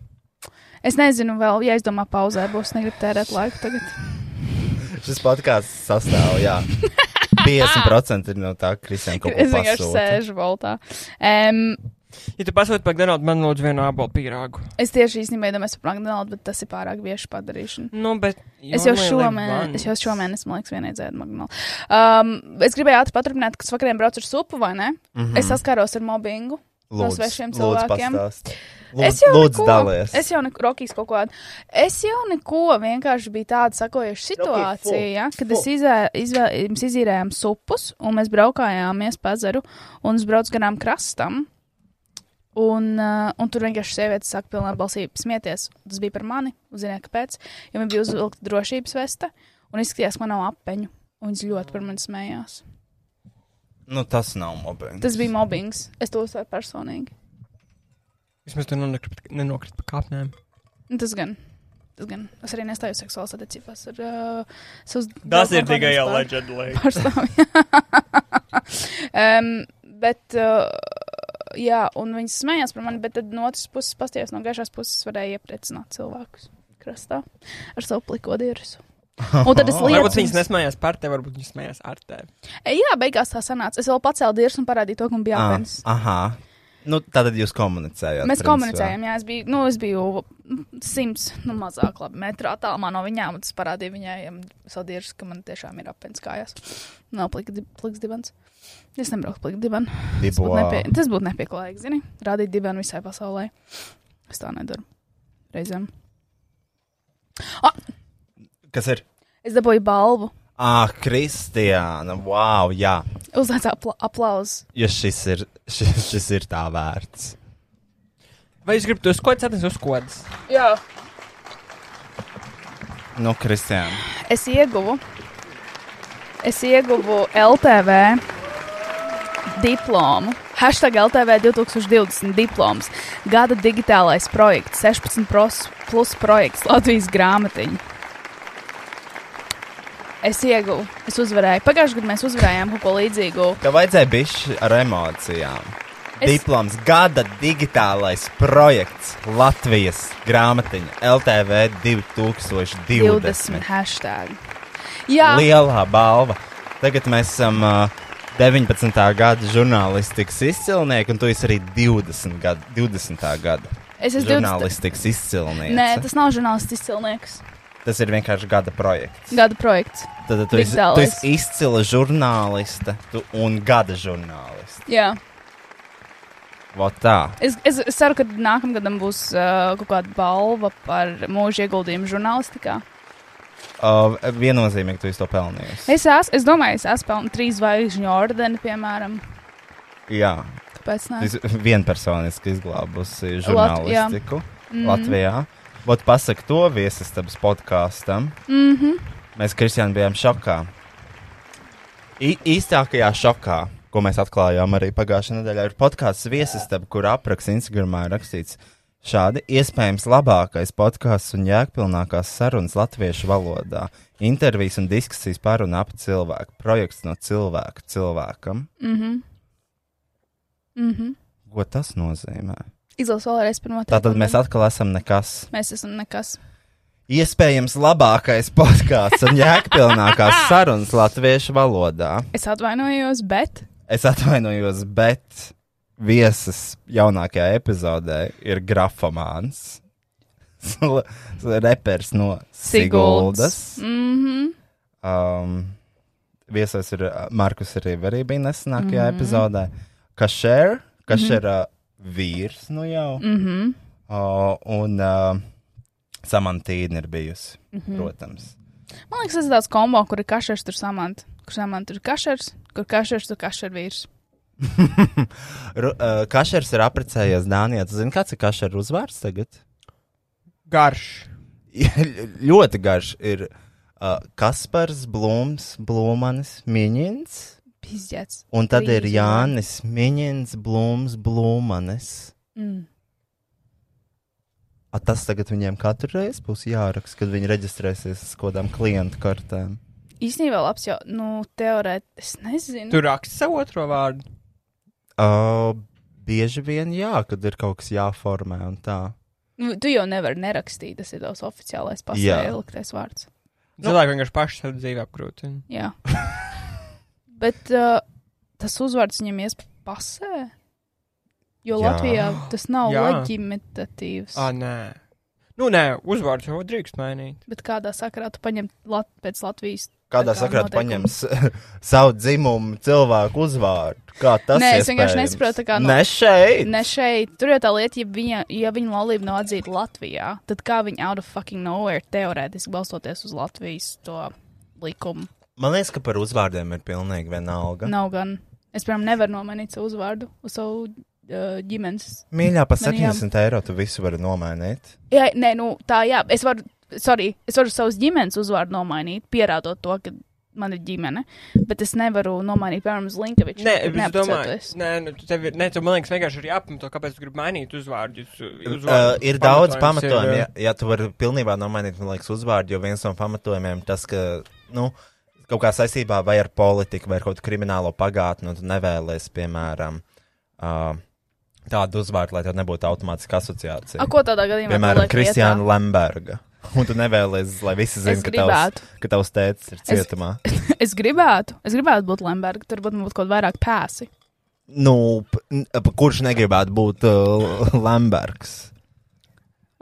[SPEAKER 3] Es nezinu, vēl jāizdomā pauzē, būs negribu tērēt laiku tagad.
[SPEAKER 2] Šis podkāsts sastāv, jā. 50% ir no tā, Kristian, kaut
[SPEAKER 3] Es
[SPEAKER 2] ko
[SPEAKER 3] vienkārši
[SPEAKER 2] pasūta.
[SPEAKER 3] sēžu voltā. Um,
[SPEAKER 4] Ja tu pasūti par Donaldu, man lūdzu vienu abolu pīrāgu.
[SPEAKER 3] es tieši īstenībā iedomājos par McDonald's, bet tas ir pārāk vieši padarīšana.
[SPEAKER 4] Nu, bet
[SPEAKER 3] Es jau šomēnes, es jau šomēnes, man liekas, vienreiz ēdu McDonald's. Um, es gribēju ātri paturpināt, ka es vakariem braucu ar supu, vai ne? Mm
[SPEAKER 2] Mhm.
[SPEAKER 3] -hmm. Es saskāros ar mobbingu. no svešiem
[SPEAKER 2] lūdzu,
[SPEAKER 3] cilvēkiem.
[SPEAKER 2] pastāst.
[SPEAKER 3] Es
[SPEAKER 2] Lūdzu,
[SPEAKER 3] jau
[SPEAKER 2] lūdzu
[SPEAKER 3] neko-
[SPEAKER 2] dalies.
[SPEAKER 3] Es jau neko, Rokijs kaut kādu. Es jau neko, vienkārši bija tāda sakojuša situācija, ja, kad es izē, izvē, mēs izīrējām supus, un mēs braukājāmies pa ezeru, un es braucu garām krastam. Un, uh, un tur vienkārši sieviete saka, pilnā balsī smieties. Tas bija par mani, uzzināja, kāpēc. Jo man bija uzvilkta drošības vesta, un izskatījās, ka man nav apeņu. Un viņas ļoti par mani smējās.
[SPEAKER 2] Nu, tas nav mobbing.
[SPEAKER 3] Tas bija mobbings. Es to uzsveru personīgi.
[SPEAKER 4] Vismaz tu nenokrit- nenokrit pa kāpnēm.
[SPEAKER 3] Nu, Tas gan. Tas gan. Es arī nestāju seksuālās attiecībās ar uh, savus.
[SPEAKER 4] Tas ir
[SPEAKER 3] draugiem,
[SPEAKER 4] tikai
[SPEAKER 3] kādiem pār-
[SPEAKER 4] allegedly.
[SPEAKER 3] pārstāvjiem. um, bet, uh, jā, un viņi smējās par mani, bet tad no otras puses, pasties no gaišās puses, varēja iepriecināt cilvēkus krastā ar savu pliko dirzu. Un tad es
[SPEAKER 4] Varbūt viņas
[SPEAKER 3] lieku.
[SPEAKER 4] nesmējās par tevi, varbūt viņas smējās ar tevi.
[SPEAKER 3] Jā, beigās tā sanāca. Es vēl pacēlu dirzu un parādīju to, ka man bija
[SPEAKER 2] Ah,
[SPEAKER 3] apēns.
[SPEAKER 2] Aha. Nu, tātad jūs komunicējat.
[SPEAKER 3] Mēs komunicējām, jā, es biju, nu, es biju mm, simts, nu, mazāk labi metru attālumā no viņām, un tas parādīja viņai um, sadiežas, ka man tiešām ir apens kājās. Nav plika di- pliks divans. Es nebraucu pliks divanu. Tas būtu nepie,
[SPEAKER 2] Dibā.
[SPEAKER 3] tas būtu nepieklājīgi, zini, rādīt divanu visai pasaulē. Es tā nedaru. Reizēm.
[SPEAKER 2] Kas ir?
[SPEAKER 3] Es dabūju balvu,
[SPEAKER 2] Ah, Kristiāna, wow, jā.
[SPEAKER 3] uzdācā aplausu.
[SPEAKER 2] Jo šis ir, šis, šis ir tā vērts.
[SPEAKER 4] Vai jūs gribat uzkodas, atnes uzkodas?
[SPEAKER 3] Jā.
[SPEAKER 2] Nu, Kristiāna.
[SPEAKER 3] Es ieguvu, es ieguvu LTV diplomu. Hashtag LTV 2020 diploms. Gada digitālais projekts, 16 pros- plus projekts Latvijas grāmatiņa. Es ieguvu, es uzvarēju. Pagājušajā gadā mēs uzvarējām kaut ko līdzīgu.
[SPEAKER 2] Tev vajadzēja bišķi ar emocijām. Es...
[SPEAKER 3] Es-
[SPEAKER 2] Diploms gada digitālais projekts Latvijas grāmatiņa LTV
[SPEAKER 3] 20
[SPEAKER 2] 2020.
[SPEAKER 3] hashtag. Jā,
[SPEAKER 2] Lielā balva. Tagad mēs esam uh, 19. gada žurnālistikas izcilnieki, un tu esi arī 20. gada, 20. gada
[SPEAKER 3] es esmu 20.
[SPEAKER 2] žurnālistikas izcilnieks.
[SPEAKER 3] Nē, tas nav žurnālists cilvēks.
[SPEAKER 2] tas ir vienkārši gada projekts.
[SPEAKER 3] Gada projekts.
[SPEAKER 2] Tad tu esi, tu
[SPEAKER 3] Digitālais.
[SPEAKER 2] esi izcila žurnāliste tu, un gada žurnāliste.
[SPEAKER 3] Jā.
[SPEAKER 2] Vot tā.
[SPEAKER 3] Es, es es ceru, ka nākamgadam būs uh, kaut kāda balva par mūža ieguldījumu žurnālistikā.
[SPEAKER 2] Uh, viennozīmīgi tu esi to pelnījusi.
[SPEAKER 3] Es, es, es domāju, es esmu pelnījis trīs zvaigžņu ordeni, piemēram.
[SPEAKER 2] Jā,
[SPEAKER 3] Kāpēc?
[SPEAKER 2] tu
[SPEAKER 3] nē?
[SPEAKER 2] esi vienpersoniski
[SPEAKER 3] Lat-
[SPEAKER 2] izglābusi
[SPEAKER 3] Ah. jā.
[SPEAKER 2] žurnālistiku
[SPEAKER 3] Mhm.
[SPEAKER 2] Lat Latvijā. Vot pasak to viesastabas podkāstam.
[SPEAKER 3] Mhm.
[SPEAKER 2] Mēs, Kristiāna, bijām šokā. I īstākajā šokā, ko mēs atklājām arī pagājušajā nedēļā, ir podkāsts viesistaba, kur apraksts Instagramā ir rakstīts šādi: iespējams, labākais podkāsts un jēgpilnākās sarunas latviešu valodā. Intervijas un diskusijas par un ap cilvēku. Projekts no cilvēka cilvēkam.
[SPEAKER 3] Mhm. Mhm.
[SPEAKER 2] Ko tas nozīmē?
[SPEAKER 3] Izlasu vēlreiz pirmo teikumu.
[SPEAKER 2] Tātad mēs atkal esam nekas.
[SPEAKER 3] Mēs esam nekas.
[SPEAKER 2] Iespējams, labākais podkāsts un jēgpilnākās sarunas latviešu valodā.
[SPEAKER 3] Es atvainojos, bet
[SPEAKER 2] Es atvainojos, bet viesis jaunākajā epizodē ir grafomāns. Sl- sl- Reperis no Siguldas.
[SPEAKER 3] Mhm.
[SPEAKER 2] Um, viesos ir uh, Markus Riverī bija nesenākajā mm -hmm. epizodē. Kašēr, kas ir mm -hmm. uh, vīrs nu jau.
[SPEAKER 3] Mhm.
[SPEAKER 2] Uh, un uh, Samantīna ir bijusi, mm -hmm. protams.
[SPEAKER 3] Man liekas, tas ir tāds kombo, kur ir kašers, tur samants. Kur samants ir kašers, kur kašers, tur kašers vīrs.
[SPEAKER 2] Ru- uh, Kašers ir apprecējies Dānijā. Tu zini, kāds ir Kašera uzvārds tagad?
[SPEAKER 4] Garš.
[SPEAKER 2] ļoti garš ir uh, Kaspars, Blūms, Blūmanis, Miņins.
[SPEAKER 3] Pizdzēts.
[SPEAKER 2] Un tad ir
[SPEAKER 3] Trīs, jā.
[SPEAKER 2] Jānis, Miņins, Blūms, Blūmanis.
[SPEAKER 3] Mm.
[SPEAKER 2] A, tas tagad viņiem katru reizi būs jāraksta, kad viņi reģistrēsies uz kaut kādām klientu kartēm.
[SPEAKER 3] Īsnībā labs jau, nu, teorētiski, es nezinu.
[SPEAKER 4] Mm. Tur raksta savu otro vārdu.
[SPEAKER 2] Uh, bieži vien jā, kad ir kaut kas jāformē un tā.
[SPEAKER 3] Nu, Tu jau nevari nerakstīt, tas ir tavs oficiālais
[SPEAKER 2] Jā.
[SPEAKER 3] pasaulē ieliktais vārds.
[SPEAKER 4] Nu. Cilvēki vienkārši paši sev dzīvi apgrūtina.
[SPEAKER 3] Jā. Bet uh, tas uzvārds viņam ies pasē. Jo Jā.
[SPEAKER 2] Jā.
[SPEAKER 3] Latvijā tas nav
[SPEAKER 4] Jā.
[SPEAKER 3] leģimitatīvs.
[SPEAKER 4] Ah, nē. Nu, nē, uzvārds jau drīkst mainīt.
[SPEAKER 3] Bet kādā sakarā tu paņem lat pēc Latvijas?
[SPEAKER 2] Kādā
[SPEAKER 3] Tā kā
[SPEAKER 2] sakrā tu
[SPEAKER 3] noteikumi.
[SPEAKER 2] paņems savu dzimumu cilvēku uzvārdu? Kā tas
[SPEAKER 3] Nē, es vienkārši
[SPEAKER 2] iespējams?
[SPEAKER 3] nesaprotu, tā kā no-
[SPEAKER 2] Ne šeit!
[SPEAKER 3] Ne šeit. Tur jau tā lieta, ja viņa, ja viņa laulība nav atzīta Latvijā, tad kā viņa out of fucking nowhere teorētiski balstoties uz Latvijas to likumu?
[SPEAKER 2] Man liekas, ka par uzvārdiem ir pilnīgi vienalga.
[SPEAKER 3] Nav gan. Es, piemēram, nevaru nomainīt savu uzvārdu uz savu uh, ģimenes.
[SPEAKER 2] Mīļā, par
[SPEAKER 3] Man jā-
[SPEAKER 2] 70 eiro tu visu vari nomainīt.
[SPEAKER 3] Jā, nē, nu, tā jā, es varu, sorry, es varu savus ģimenes uzvārdu nomainīt, pierādot to, ka man ir ģimene, bet es nevaru nomainīt, piemēram, uz Linkoviču.
[SPEAKER 4] Nē, es domāju, nē, nu, tu tev ir, nē, tu man liekas, vienkārši ir jāpamato, kāpēc tu gribi mainīt uzvārdu.
[SPEAKER 2] Uh, ir daudz pamatojumu, ja, ja tu vari pilnībā nomainīt, man liekas, uzvārdu, jo viens no pamatojumiem tas, ka, nu, kaut kā saistībā vai ar politiku, vai ar kaut kādu kriminālo pagātni, un tu nevēlies, piemēram, uh, tādu uzvārdu, lai tev nebūtu automātiski asociācija.
[SPEAKER 3] A, ko tādā gadījumā?
[SPEAKER 2] piemēram,
[SPEAKER 3] paliek
[SPEAKER 2] Kristiāna
[SPEAKER 3] vietā?
[SPEAKER 2] Lemberga. Un tu nevēlies, lai visi
[SPEAKER 3] Es
[SPEAKER 2] zinātu, ka, tavs-
[SPEAKER 3] gribētu.
[SPEAKER 2] ka tavs tēvs ir
[SPEAKER 3] Es-
[SPEAKER 2] cietumā.
[SPEAKER 3] Es gribētu, es gribētu būt Lemberga, tur būtu man būtu kaut vairāk pēsi.
[SPEAKER 2] Nu, p- n- p- kurš negribētu būt uh, Lamberts?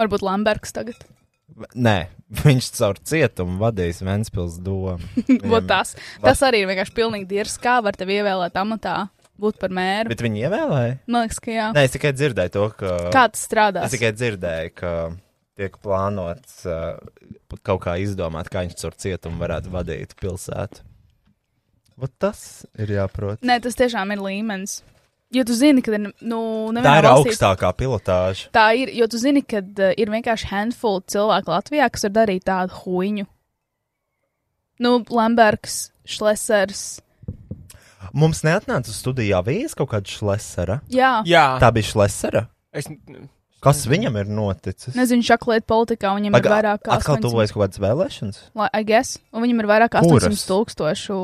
[SPEAKER 3] Varbūt Lamberts tagad.
[SPEAKER 2] Nē, viņš caur cietumu vadīs Vēncpils domu.
[SPEAKER 3] Vot tas. tas arī ir vienkārši pilnīgi dirs, kā var tevi ievēlēt amatā, būt par mēru. Bet...
[SPEAKER 2] Bet viņi ievēlēja?
[SPEAKER 3] Man liekas, ka jā.
[SPEAKER 2] Nē, es tikai dzirdēju to, ka.
[SPEAKER 3] Kā tas strādās?
[SPEAKER 2] Es tikai dzirdēju, ka tiek plānots uh, kaut kā izdomāt, kā viņš caur cietumu varētu vadīt pilsētu. Vat tas ir jāprot.
[SPEAKER 3] Nē, tas tiešām ir līmenis. Jo tu zini, ka ir, nu,
[SPEAKER 2] Tā
[SPEAKER 3] nevienā
[SPEAKER 2] ir
[SPEAKER 3] valstī-
[SPEAKER 2] augstākā pilotāža.
[SPEAKER 3] Tā ir, jo tu zini, ka uh, ir vienkārši handful cilvēku Latvijā, kas var darīt tādu huīņu. Nu, Lamberts, Šlesers.
[SPEAKER 2] Mums neatnāca studijā vīzis kaut kāda šlesera.
[SPEAKER 3] Jā,
[SPEAKER 4] Jā,
[SPEAKER 2] Tā bija šlesera.
[SPEAKER 4] es,
[SPEAKER 2] Kas viņam ir noticis?
[SPEAKER 3] nezinu, šaklēt politikā, un viņam
[SPEAKER 2] Paga-
[SPEAKER 3] Paga, ir vairāk kā
[SPEAKER 2] Atkal
[SPEAKER 3] 800
[SPEAKER 2] tuvojas kaut kādas vēlēšanas.
[SPEAKER 3] Lai- I guess, un viņam ir vairāk kā 800
[SPEAKER 2] Kuras?
[SPEAKER 3] tūkstošu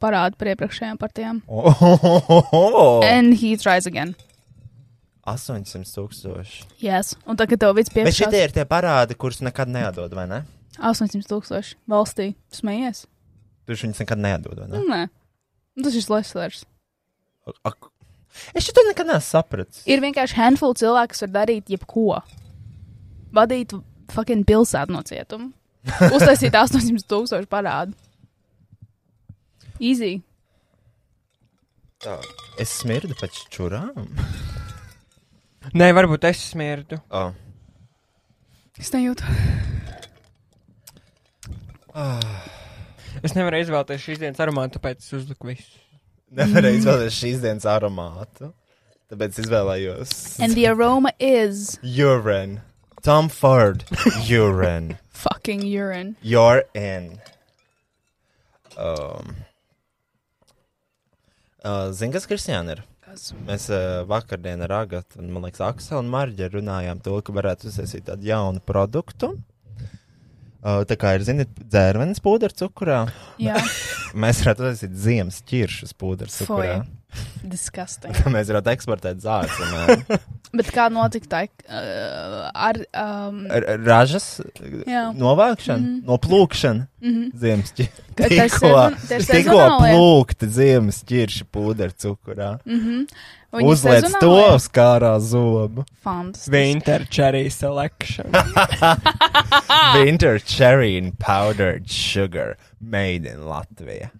[SPEAKER 3] parādu par iepriekšējām partijām.
[SPEAKER 2] Ohohoho!
[SPEAKER 3] Oh. And he tries again.
[SPEAKER 2] 800 tūkstoši.
[SPEAKER 3] Yes. Un tad, kad tev viss
[SPEAKER 2] Bet šitie
[SPEAKER 3] piešķirs
[SPEAKER 2] ir tie parādi, kurus nekad neatdod, vai ne?
[SPEAKER 3] 800 tūkstoši valstī, tu smējies?
[SPEAKER 2] Tur viņš nekad neatdod, vai ne?
[SPEAKER 3] Nu, Nē. Nu, Tas ir slēdzis.
[SPEAKER 2] Ak. Es šo nekad neesmu sapratis.
[SPEAKER 3] Ir vienkārši handful cilvēku, kas var darīt jebko. Vadīt fucking pilsētu no cietuma. Uztaisīt 800 tūkstošu parādu. Easy.
[SPEAKER 2] Tā. Es smirdu pēc čurām.
[SPEAKER 4] nē, varbūt es smirdu.
[SPEAKER 2] Oh.
[SPEAKER 3] Es nejūtu.
[SPEAKER 4] Es nevaru izvēlēties šīs dienas aromātu, tāpēc es uzliku visu.
[SPEAKER 2] Nevarēju izvēlēties šīs dienas aromātu. Tāpēc izvēlējos
[SPEAKER 3] And the aroma is
[SPEAKER 2] urine. Tom Ford. Urine.
[SPEAKER 3] fucking urine.
[SPEAKER 2] You're in. Um. Uh, Zini, kas Kristiāna ir?
[SPEAKER 3] Kas?
[SPEAKER 2] Mēs uh, vakardienā ar Agatu, un, man liekas, Akselu un Marģa runājām to, ka varētu uzsākt tādu jaunu produktu. Uh, tā kā ir, zini, dzērvenes pūdera cukurā.
[SPEAKER 3] Jā,
[SPEAKER 2] Mēs varētu uzsākt ziemas ķiršas pūdera cukurā.
[SPEAKER 3] Fui. disgusting.
[SPEAKER 2] Mēs varētu eksportēt zāles.
[SPEAKER 3] Bet kā notika tā? Uh, ar, um,
[SPEAKER 2] Ražas
[SPEAKER 3] Jā. Mhm.
[SPEAKER 2] Jā. novākšana, mm -hmm. noplūkšana mm -hmm. ziemas ķiršas.
[SPEAKER 3] Ka tā sezon- tā ir
[SPEAKER 2] tikko
[SPEAKER 3] sezonālie?
[SPEAKER 2] plūkta ziemas ķirša pūdera cukurā. Mm -hmm.
[SPEAKER 3] mhm. viņi
[SPEAKER 2] Uzliec
[SPEAKER 3] sezonālie?
[SPEAKER 2] to uz kārā zobu.
[SPEAKER 3] Fantastiski.
[SPEAKER 4] Winter cherry selection.
[SPEAKER 2] Winter cherry and powdered sugar made in Latvia.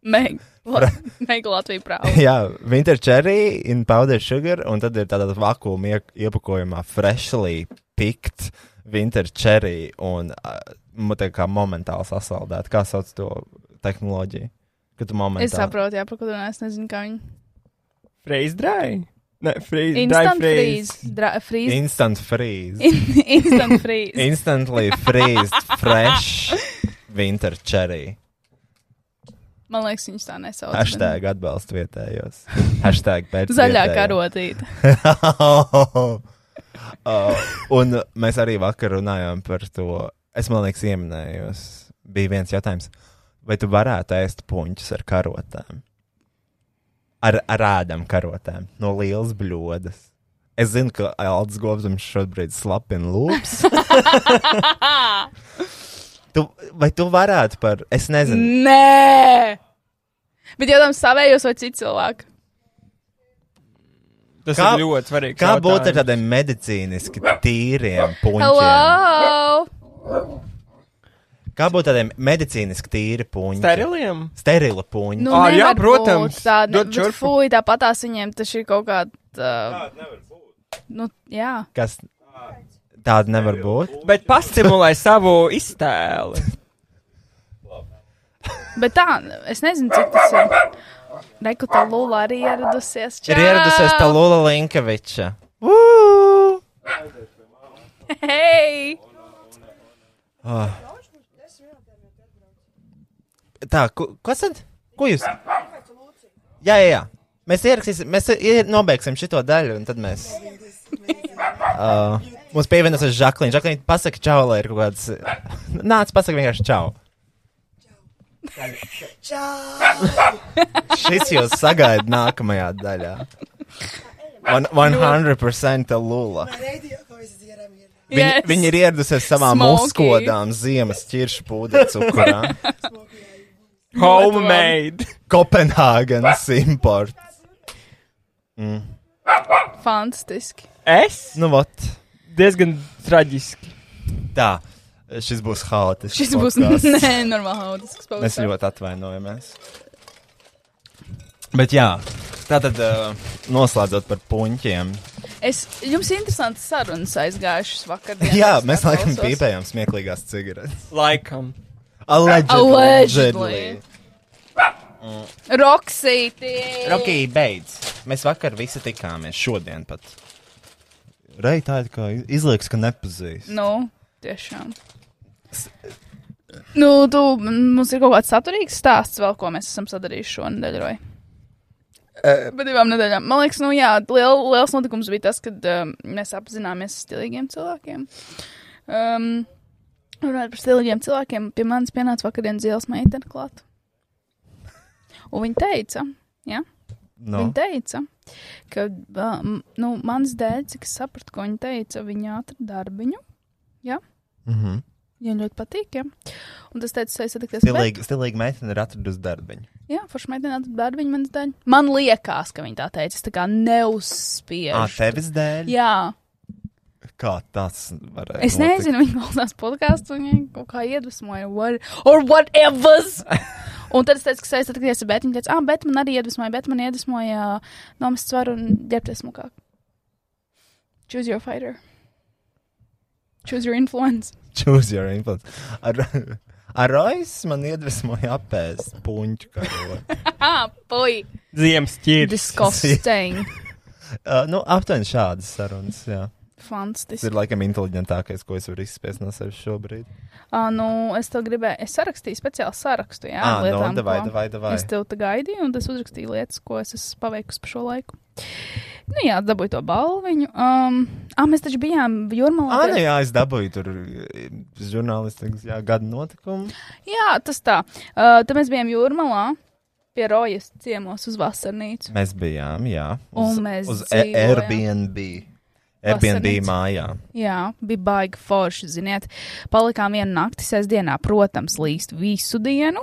[SPEAKER 3] Meklējot Latviju prāvu.
[SPEAKER 2] Jā, winter cherry in powdered sugar, un tad ir tādā vakuuma ie- iepakojumā freshly picked winter cherry un uh, mu- tā kā momentāli sasaldēt. Kā sauc to tehnoloģiju? Kad tu momentāli.
[SPEAKER 3] Es saprotu, jā, par ko tu runā. Es nezinu, kā viņi.
[SPEAKER 4] Freeze dry. Nē, freeze dry.
[SPEAKER 3] Instant
[SPEAKER 4] Freeze.
[SPEAKER 3] freeze. Dra- freeze.
[SPEAKER 2] Instant freeze.
[SPEAKER 3] In instant freeze.
[SPEAKER 2] Instantly freezed fresh winter cherry.
[SPEAKER 3] Man liekas, viņš tā nesauc. bet- nu,
[SPEAKER 2] Hashtag atbalst vietējos. Hashtag pēc
[SPEAKER 3] Zaļā
[SPEAKER 2] vietējo.
[SPEAKER 3] karotīte.
[SPEAKER 2] uh, un mēs arī vakar runājām par to. Es domāju, ka ieminējos. Bija viens jautājums, vai tu varētu ēst puņķus ar karotēm? Ar, ar ēdam karotēm no lielas bļodas. Es zinu, ka Aldis Govs šobrīd slapina lūpas. tu, vai tu varētu par, es nezinu,
[SPEAKER 3] Nē! Bet jautājums savējos vai citu cilvēku?
[SPEAKER 4] Tas
[SPEAKER 2] Kā-
[SPEAKER 4] ir ļoti svarīgi.
[SPEAKER 2] kā būtu ar tādiem medicīniski tīriem puņķiem?
[SPEAKER 3] Hello!
[SPEAKER 2] Kā būtu tādiem medicīniski tīri puņķi?
[SPEAKER 4] steriliem?
[SPEAKER 2] Sterila puņa.
[SPEAKER 3] Nu,
[SPEAKER 2] Nu,
[SPEAKER 4] Ā, jā,
[SPEAKER 3] nevar
[SPEAKER 4] protams.
[SPEAKER 3] būt Tā, ne,
[SPEAKER 4] Dod
[SPEAKER 3] bet,
[SPEAKER 4] čurpu.
[SPEAKER 3] fui, tāpatās viņiem tas ir kaut kāda. Uh, nu, jā.
[SPEAKER 2] kas tāda nevar būt?
[SPEAKER 4] Bet pastimulē savu iztēli.
[SPEAKER 3] Bet tā, es nezinu, cik tas ir. Reku tā lula arī ieradusies. Čau!
[SPEAKER 2] Ir ieradusies tā Lula Linkoviča.
[SPEAKER 3] Hei!
[SPEAKER 2] Tā, ku, kas tad? Ko jūs? Jā, jā, jā. Mēs ierakstīsim, mēs ie- nobeigsim šo daļu, un tad mēs. Uh, mums pievienosies Žaklīna. Žaklīna, pasaka, čau, lai ir kaut kāds. Nāc, pasaka vienkārši čau. Šis jūs sagaida nākamajā daļā. One- 100% lula. Viņa, yes.
[SPEAKER 3] Yes.
[SPEAKER 2] viņa ir ieradusies savām
[SPEAKER 3] Smoky.
[SPEAKER 2] uzkodām ziemas ķiršu pūdeļu cukurā.
[SPEAKER 4] Homemade.
[SPEAKER 2] Kopenhāgenes imports. Mm.
[SPEAKER 3] Fantastiski.
[SPEAKER 4] Es
[SPEAKER 2] Nu, vat.
[SPEAKER 4] diezgan traģiski.
[SPEAKER 2] Tā. Šis būs haotisks.
[SPEAKER 3] Šis būs
[SPEAKER 2] podcasts.
[SPEAKER 3] nenormāli autisks
[SPEAKER 2] Mēs
[SPEAKER 3] podcasts.
[SPEAKER 2] ļoti atvainojamies. Bet jā, tā tad uh, noslēdzot par puņķiem.
[SPEAKER 3] Es, jums interesants sarunas aizgājušas vakar.
[SPEAKER 2] Jā, mēs laikam pīpējām smieklīgās cigaretes.
[SPEAKER 4] Laikam.
[SPEAKER 2] Allegedly.
[SPEAKER 3] Allegedly. Roksīti.
[SPEAKER 2] Rocky, beidz. Mēs vakar visi tikāmies, šodien pat. Reitā ir kā izlieks, ka nepazīst.
[SPEAKER 3] Nu, tiešām. Nu, tu, mums ir kaut kāds saturīgs stāsts vēl, ko mēs esam sadarījuši šonadēļ, vai?
[SPEAKER 2] Eh.
[SPEAKER 3] Par divām nedēļām. Man liekas, nu jā, liel, liels notikums bija tas, kad um, mēs apzināmies stilīgiem cilvēkiem. Um, runājot par stilīgiem cilvēkiem, pie manis pienāca vakardienas zils meitene klāt. Un viņa teica, jā,
[SPEAKER 2] Nu,
[SPEAKER 3] Viņa teica, ka um, nu, mans dēļ, cik es sapratu, ko viņa teica, viņa atrada darbiņu.
[SPEAKER 2] mhm.
[SPEAKER 3] Viņai ļoti patīk. Ja? Un tas teica, es satikties ar
[SPEAKER 2] Stilīgi, stilīgi meitene ir atradusi darbiņu.
[SPEAKER 3] Jā, forši meitene atrada darbiņu manas dēļ. Man liekas, ka viņa tā teica. Es tā kā neuzspiežu.
[SPEAKER 2] Ā, tevis dēļ?
[SPEAKER 3] Jā,
[SPEAKER 2] Kā tas varēja?
[SPEAKER 3] es
[SPEAKER 2] notikt?
[SPEAKER 3] nezinu, viņa klausās podkāstu, un viņa kaut kā iedvesmoja, what, or whatever. Un tad es teicu, ka es satikties ar Bētu. Viņa teica, ah, bet man arī iedvesmoja, bet man iedvesmoja nomest svaru un ģērbties smukāk. Choose your fighter. Choose your influence.
[SPEAKER 2] Choose your influence. Ar, ar Rojas man iedvesmoja apēst puņķu karoli.
[SPEAKER 3] Ah, boy!
[SPEAKER 4] Ziemas ķīris.
[SPEAKER 3] Disgusting.
[SPEAKER 2] Uh, nu, aptuveni šādas sarunas, jā. Tas
[SPEAKER 3] Fantastiski.
[SPEAKER 2] ir laikam inteliģentākais, ko es varu izspiest no sevis šobrīd.
[SPEAKER 3] Ah, nu, es tev gribēju, es sarakstīju speciāli sarakstu, jā,
[SPEAKER 2] Ā, nu,
[SPEAKER 3] lietām,
[SPEAKER 2] davai,
[SPEAKER 3] ko
[SPEAKER 2] davai, davai.
[SPEAKER 3] es tev te gaidīju, un es uzrakstīju lietas, ko es esmu paveikusi pa šo laiku. Nu jā, dabūju to balviņu. Um, ah, mēs taču bijām jūrmalā.
[SPEAKER 2] Ā, nu jā, es dabūju tur e, žurnālistikas, jā, gada notikumu.
[SPEAKER 3] jā, tas tā. Uh, tad mēs bijām jūrmalā pie rojas ciemos uz vasarnīcu.
[SPEAKER 2] Mēs bijām, jā.
[SPEAKER 3] Un mēs
[SPEAKER 2] uz e
[SPEAKER 3] dzīvojam.
[SPEAKER 2] Airbnb. Airbnb
[SPEAKER 3] Vasarnīca.
[SPEAKER 2] mājā.
[SPEAKER 3] Jā, bija baigi forši, ziniet. Palikām vienu nakti sestdienā, protams, līst visu dienu.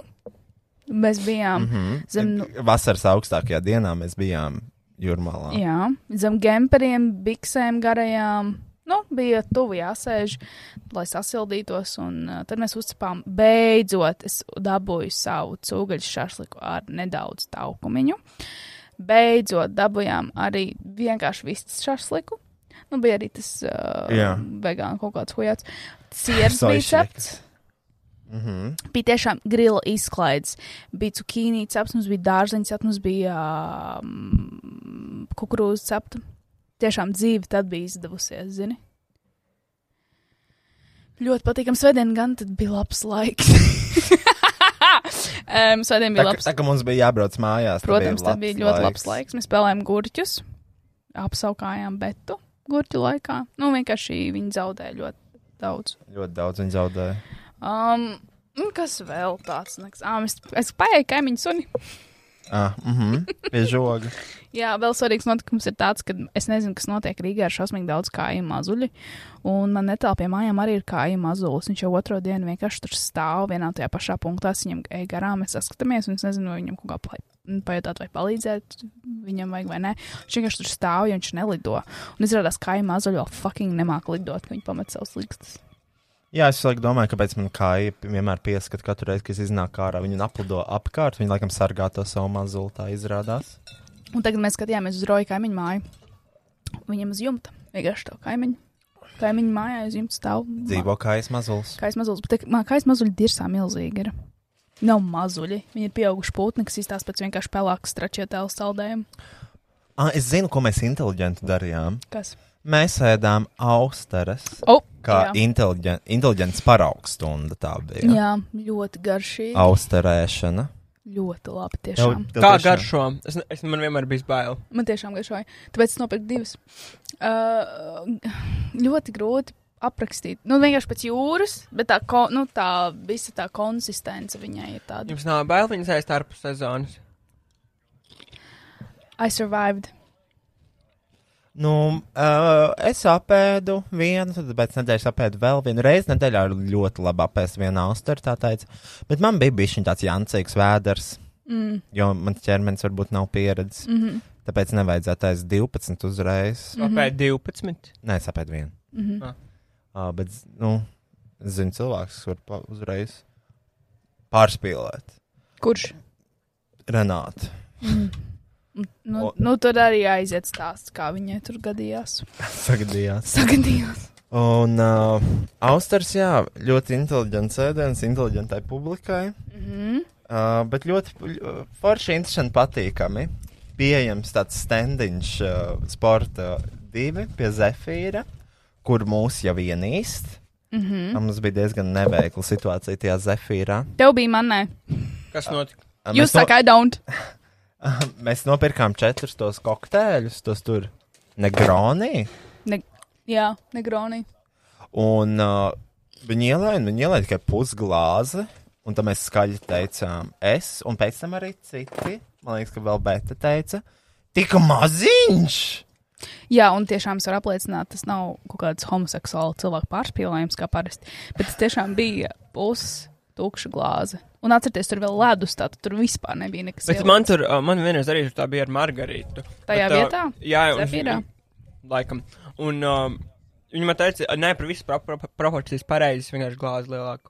[SPEAKER 3] Mēs bijām mm -hmm. zem. Nu,
[SPEAKER 2] Mhm. Vasaras augstākajā dienā mēs bijām jūrmalā.
[SPEAKER 3] Jā, zem gemperiem, biksēm garajām. Nu, bija tuvu jāsēž, lai sasildītos. Un, uh, tad mēs uzcēpām, beidzot, es dabūju savu cūgaļu šāšliku ar nedaudz taukumiņu. Beidzot, dabūjām arī vienkārši vistas šāšliku. Nu, bija arī tas uh,
[SPEAKER 2] Jā.
[SPEAKER 3] vegāns kaut kāds hujāts. Ciems bija
[SPEAKER 2] Soišniks.
[SPEAKER 3] cepts
[SPEAKER 2] Mhm.
[SPEAKER 3] bija tiešām grila izklaides. Bija cukīnīts, ap mums bija dārzeņš, ap mums bija um, kukurūza cepta. Tiešām dzīve tad bija izdevusies, zini. Ļoti patīkami. Svētdien gan tad bija labs laiks. um, svētdien
[SPEAKER 2] Tā,
[SPEAKER 3] bija
[SPEAKER 2] ka-
[SPEAKER 3] labs
[SPEAKER 2] tā kā mums bija jābrauc mājās, tad
[SPEAKER 3] Protams,
[SPEAKER 2] bija
[SPEAKER 3] tas bija ļoti labs laiks. Mēs spēlējām gurķus, apsaukājām betu gurķu laikā. Nu, vienkārši viņi zaudēja ļoti daudz.
[SPEAKER 2] Ļoti daudz viņa zaudēja.
[SPEAKER 3] Um, un kas vēl tāds? neks- Ā, mēs- Es paietu kaimiņu suni.
[SPEAKER 2] Ah, mhm. Pie žoga.
[SPEAKER 3] Jā, vēl svarīgs notikums ir tāds, ka es nezinu, kas notiek Rīgā ar šausmīgi daudz kāju mazuļu. Un man netālu pie mājām arī ir kāju mazulis. Viņš jau otro dienu vienkārši tur stāv vienā tajā pašā punktā. Es viņam eju garām, mēs saskatāmies, un es nezinu, vai viņam kaut kā plai. Pajautāt, vai palīdzēt viņam, vajag vai nē. Viņš vienkārši tur stāv, jo viņš nelido. Un izrādās, ka kaimiņš mazuļi vēl fucking nemāķi lidot, ka viņi pamet savus līgstus.
[SPEAKER 2] Jā, es laikam domāju, kāpēc man kāja vienmēr pieskat katru reizi, kad es iznāku ārā. Viņu aplido apkārt, viņa laikam sargā to savu mazuli, tā izrādās.
[SPEAKER 3] Un tagad mēs skatījāmies uz roju kaimiņu māju. Viņam uz jumta vienkārši tā kaimiņu. Kaimiņu mājā uz jumta stāv
[SPEAKER 2] Dzīvo kājas mazulis.
[SPEAKER 3] Kājas mazulis, bet tā- man kājas mazuļi dirzā milzīgi ir. Nav mazuļi. Viņi ir pieauguši putni, kas izstās pēc vienkārši pelēkas traķietēlu saldējumu.
[SPEAKER 2] Ah, es zinu, ko mēs inteliģenti darījām.
[SPEAKER 3] Kas?
[SPEAKER 2] Mēs ēdām austeres,
[SPEAKER 3] O,
[SPEAKER 2] kā
[SPEAKER 3] jā.
[SPEAKER 2] inteliģen- inteliģents paraugs stunda tā bija.
[SPEAKER 3] jā, ļoti garšīgi. Au.
[SPEAKER 2] Austerēšana.
[SPEAKER 3] Ļoti labi,
[SPEAKER 2] Tev-
[SPEAKER 3] tiešām.
[SPEAKER 2] tev
[SPEAKER 4] Kā
[SPEAKER 2] tiešām-
[SPEAKER 4] garšo? Es, ne- es man vienmēr bija bail.
[SPEAKER 3] Man tiešām garšoja. Tāpēc es nopirku divas. Uh, ļoti grūti aprakstīt. Nu, vienkārši pēc jūras, bet tā, ko, nu, tā visa tā konsistence viņai ir tāda.
[SPEAKER 4] Jums nav bail viņas aizt ārpus sezonas.
[SPEAKER 3] I survived.
[SPEAKER 2] Nu, uh, es apēdu vienu, tad pēc nedēļas apēdu vēl vienu reizi. Nedēļā ir ļoti labi apēst vienu austeru, tā teica. Bet man bija bijis tāds jancīgs vēders,
[SPEAKER 3] Mm,
[SPEAKER 2] jo mans ķermenis varbūt nav pieredzējis.
[SPEAKER 3] mm -hmm.
[SPEAKER 2] Tāpēc nevajadzētu taisīt 12 uzreiz.
[SPEAKER 4] Mm -hmm. Pēc 12.
[SPEAKER 2] Nē, sapēt vienu.
[SPEAKER 3] Mhm.
[SPEAKER 2] Uh, bet, nu, es zinu, cilvēks, kurš var pa- uzreiz pārspīlēt.
[SPEAKER 3] Kurš?
[SPEAKER 2] Renāti.
[SPEAKER 3] Nu,
[SPEAKER 2] O-
[SPEAKER 3] nu, tur arī aiziet stāsts, kā viņai tur gadījās.
[SPEAKER 2] Sagadījās.
[SPEAKER 3] Sagadījās.
[SPEAKER 2] Un uh, Austers, jā, ļoti inteliģents ēdiens, inteliģentai publikai.
[SPEAKER 3] Mhm.
[SPEAKER 2] Uh, bet ļoti ļ- forši, interesanti, patīkami. Pieejams tāds standiņš, uh, sporta divi pie Zefīra, kur mūs jau vienīst. Mm -hmm. Mums bija diezgan neveikla situācija tajā Zefīrā.
[SPEAKER 3] Tev bija manē.
[SPEAKER 4] Kas notika?
[SPEAKER 2] Uh,
[SPEAKER 3] Jūs
[SPEAKER 2] no-
[SPEAKER 3] sakāt, I don't.
[SPEAKER 2] mēs nopirkām četrus tos kokteļus, tos tur negronī.
[SPEAKER 3] Ne, jā, negronī.
[SPEAKER 2] Un uh, viņi ielēja, un viņi ielēja tikai pusglāzi. Un tad mēs skaļi teicām, es, un pēc tam arī citi. Man liekas, ka vēl Bēta teica, tik maziņš!
[SPEAKER 3] Jā, un tiešām es varu apliecināt, tas nav kaut kāds homoseksuāls cilvēku pārspīlējums, kā parasti. Bet tas tiešām bija puses tukša glāze. Un atcerieties, tur vēl ledus, tā tad tur vispār nebija nekas.
[SPEAKER 4] Bet
[SPEAKER 3] ielikt.
[SPEAKER 4] man tur, ā, man vienreiz arī tur tā bija ar Margarītu.
[SPEAKER 3] Tajā
[SPEAKER 4] Bet, ā,
[SPEAKER 3] vietā?
[SPEAKER 4] Jā, un-
[SPEAKER 3] Zefīrā?
[SPEAKER 4] Laikam. Un um, viņa man teica, nē, par visu pro, pro, proporcijas pareizes, vienkārši glāzi lielāku.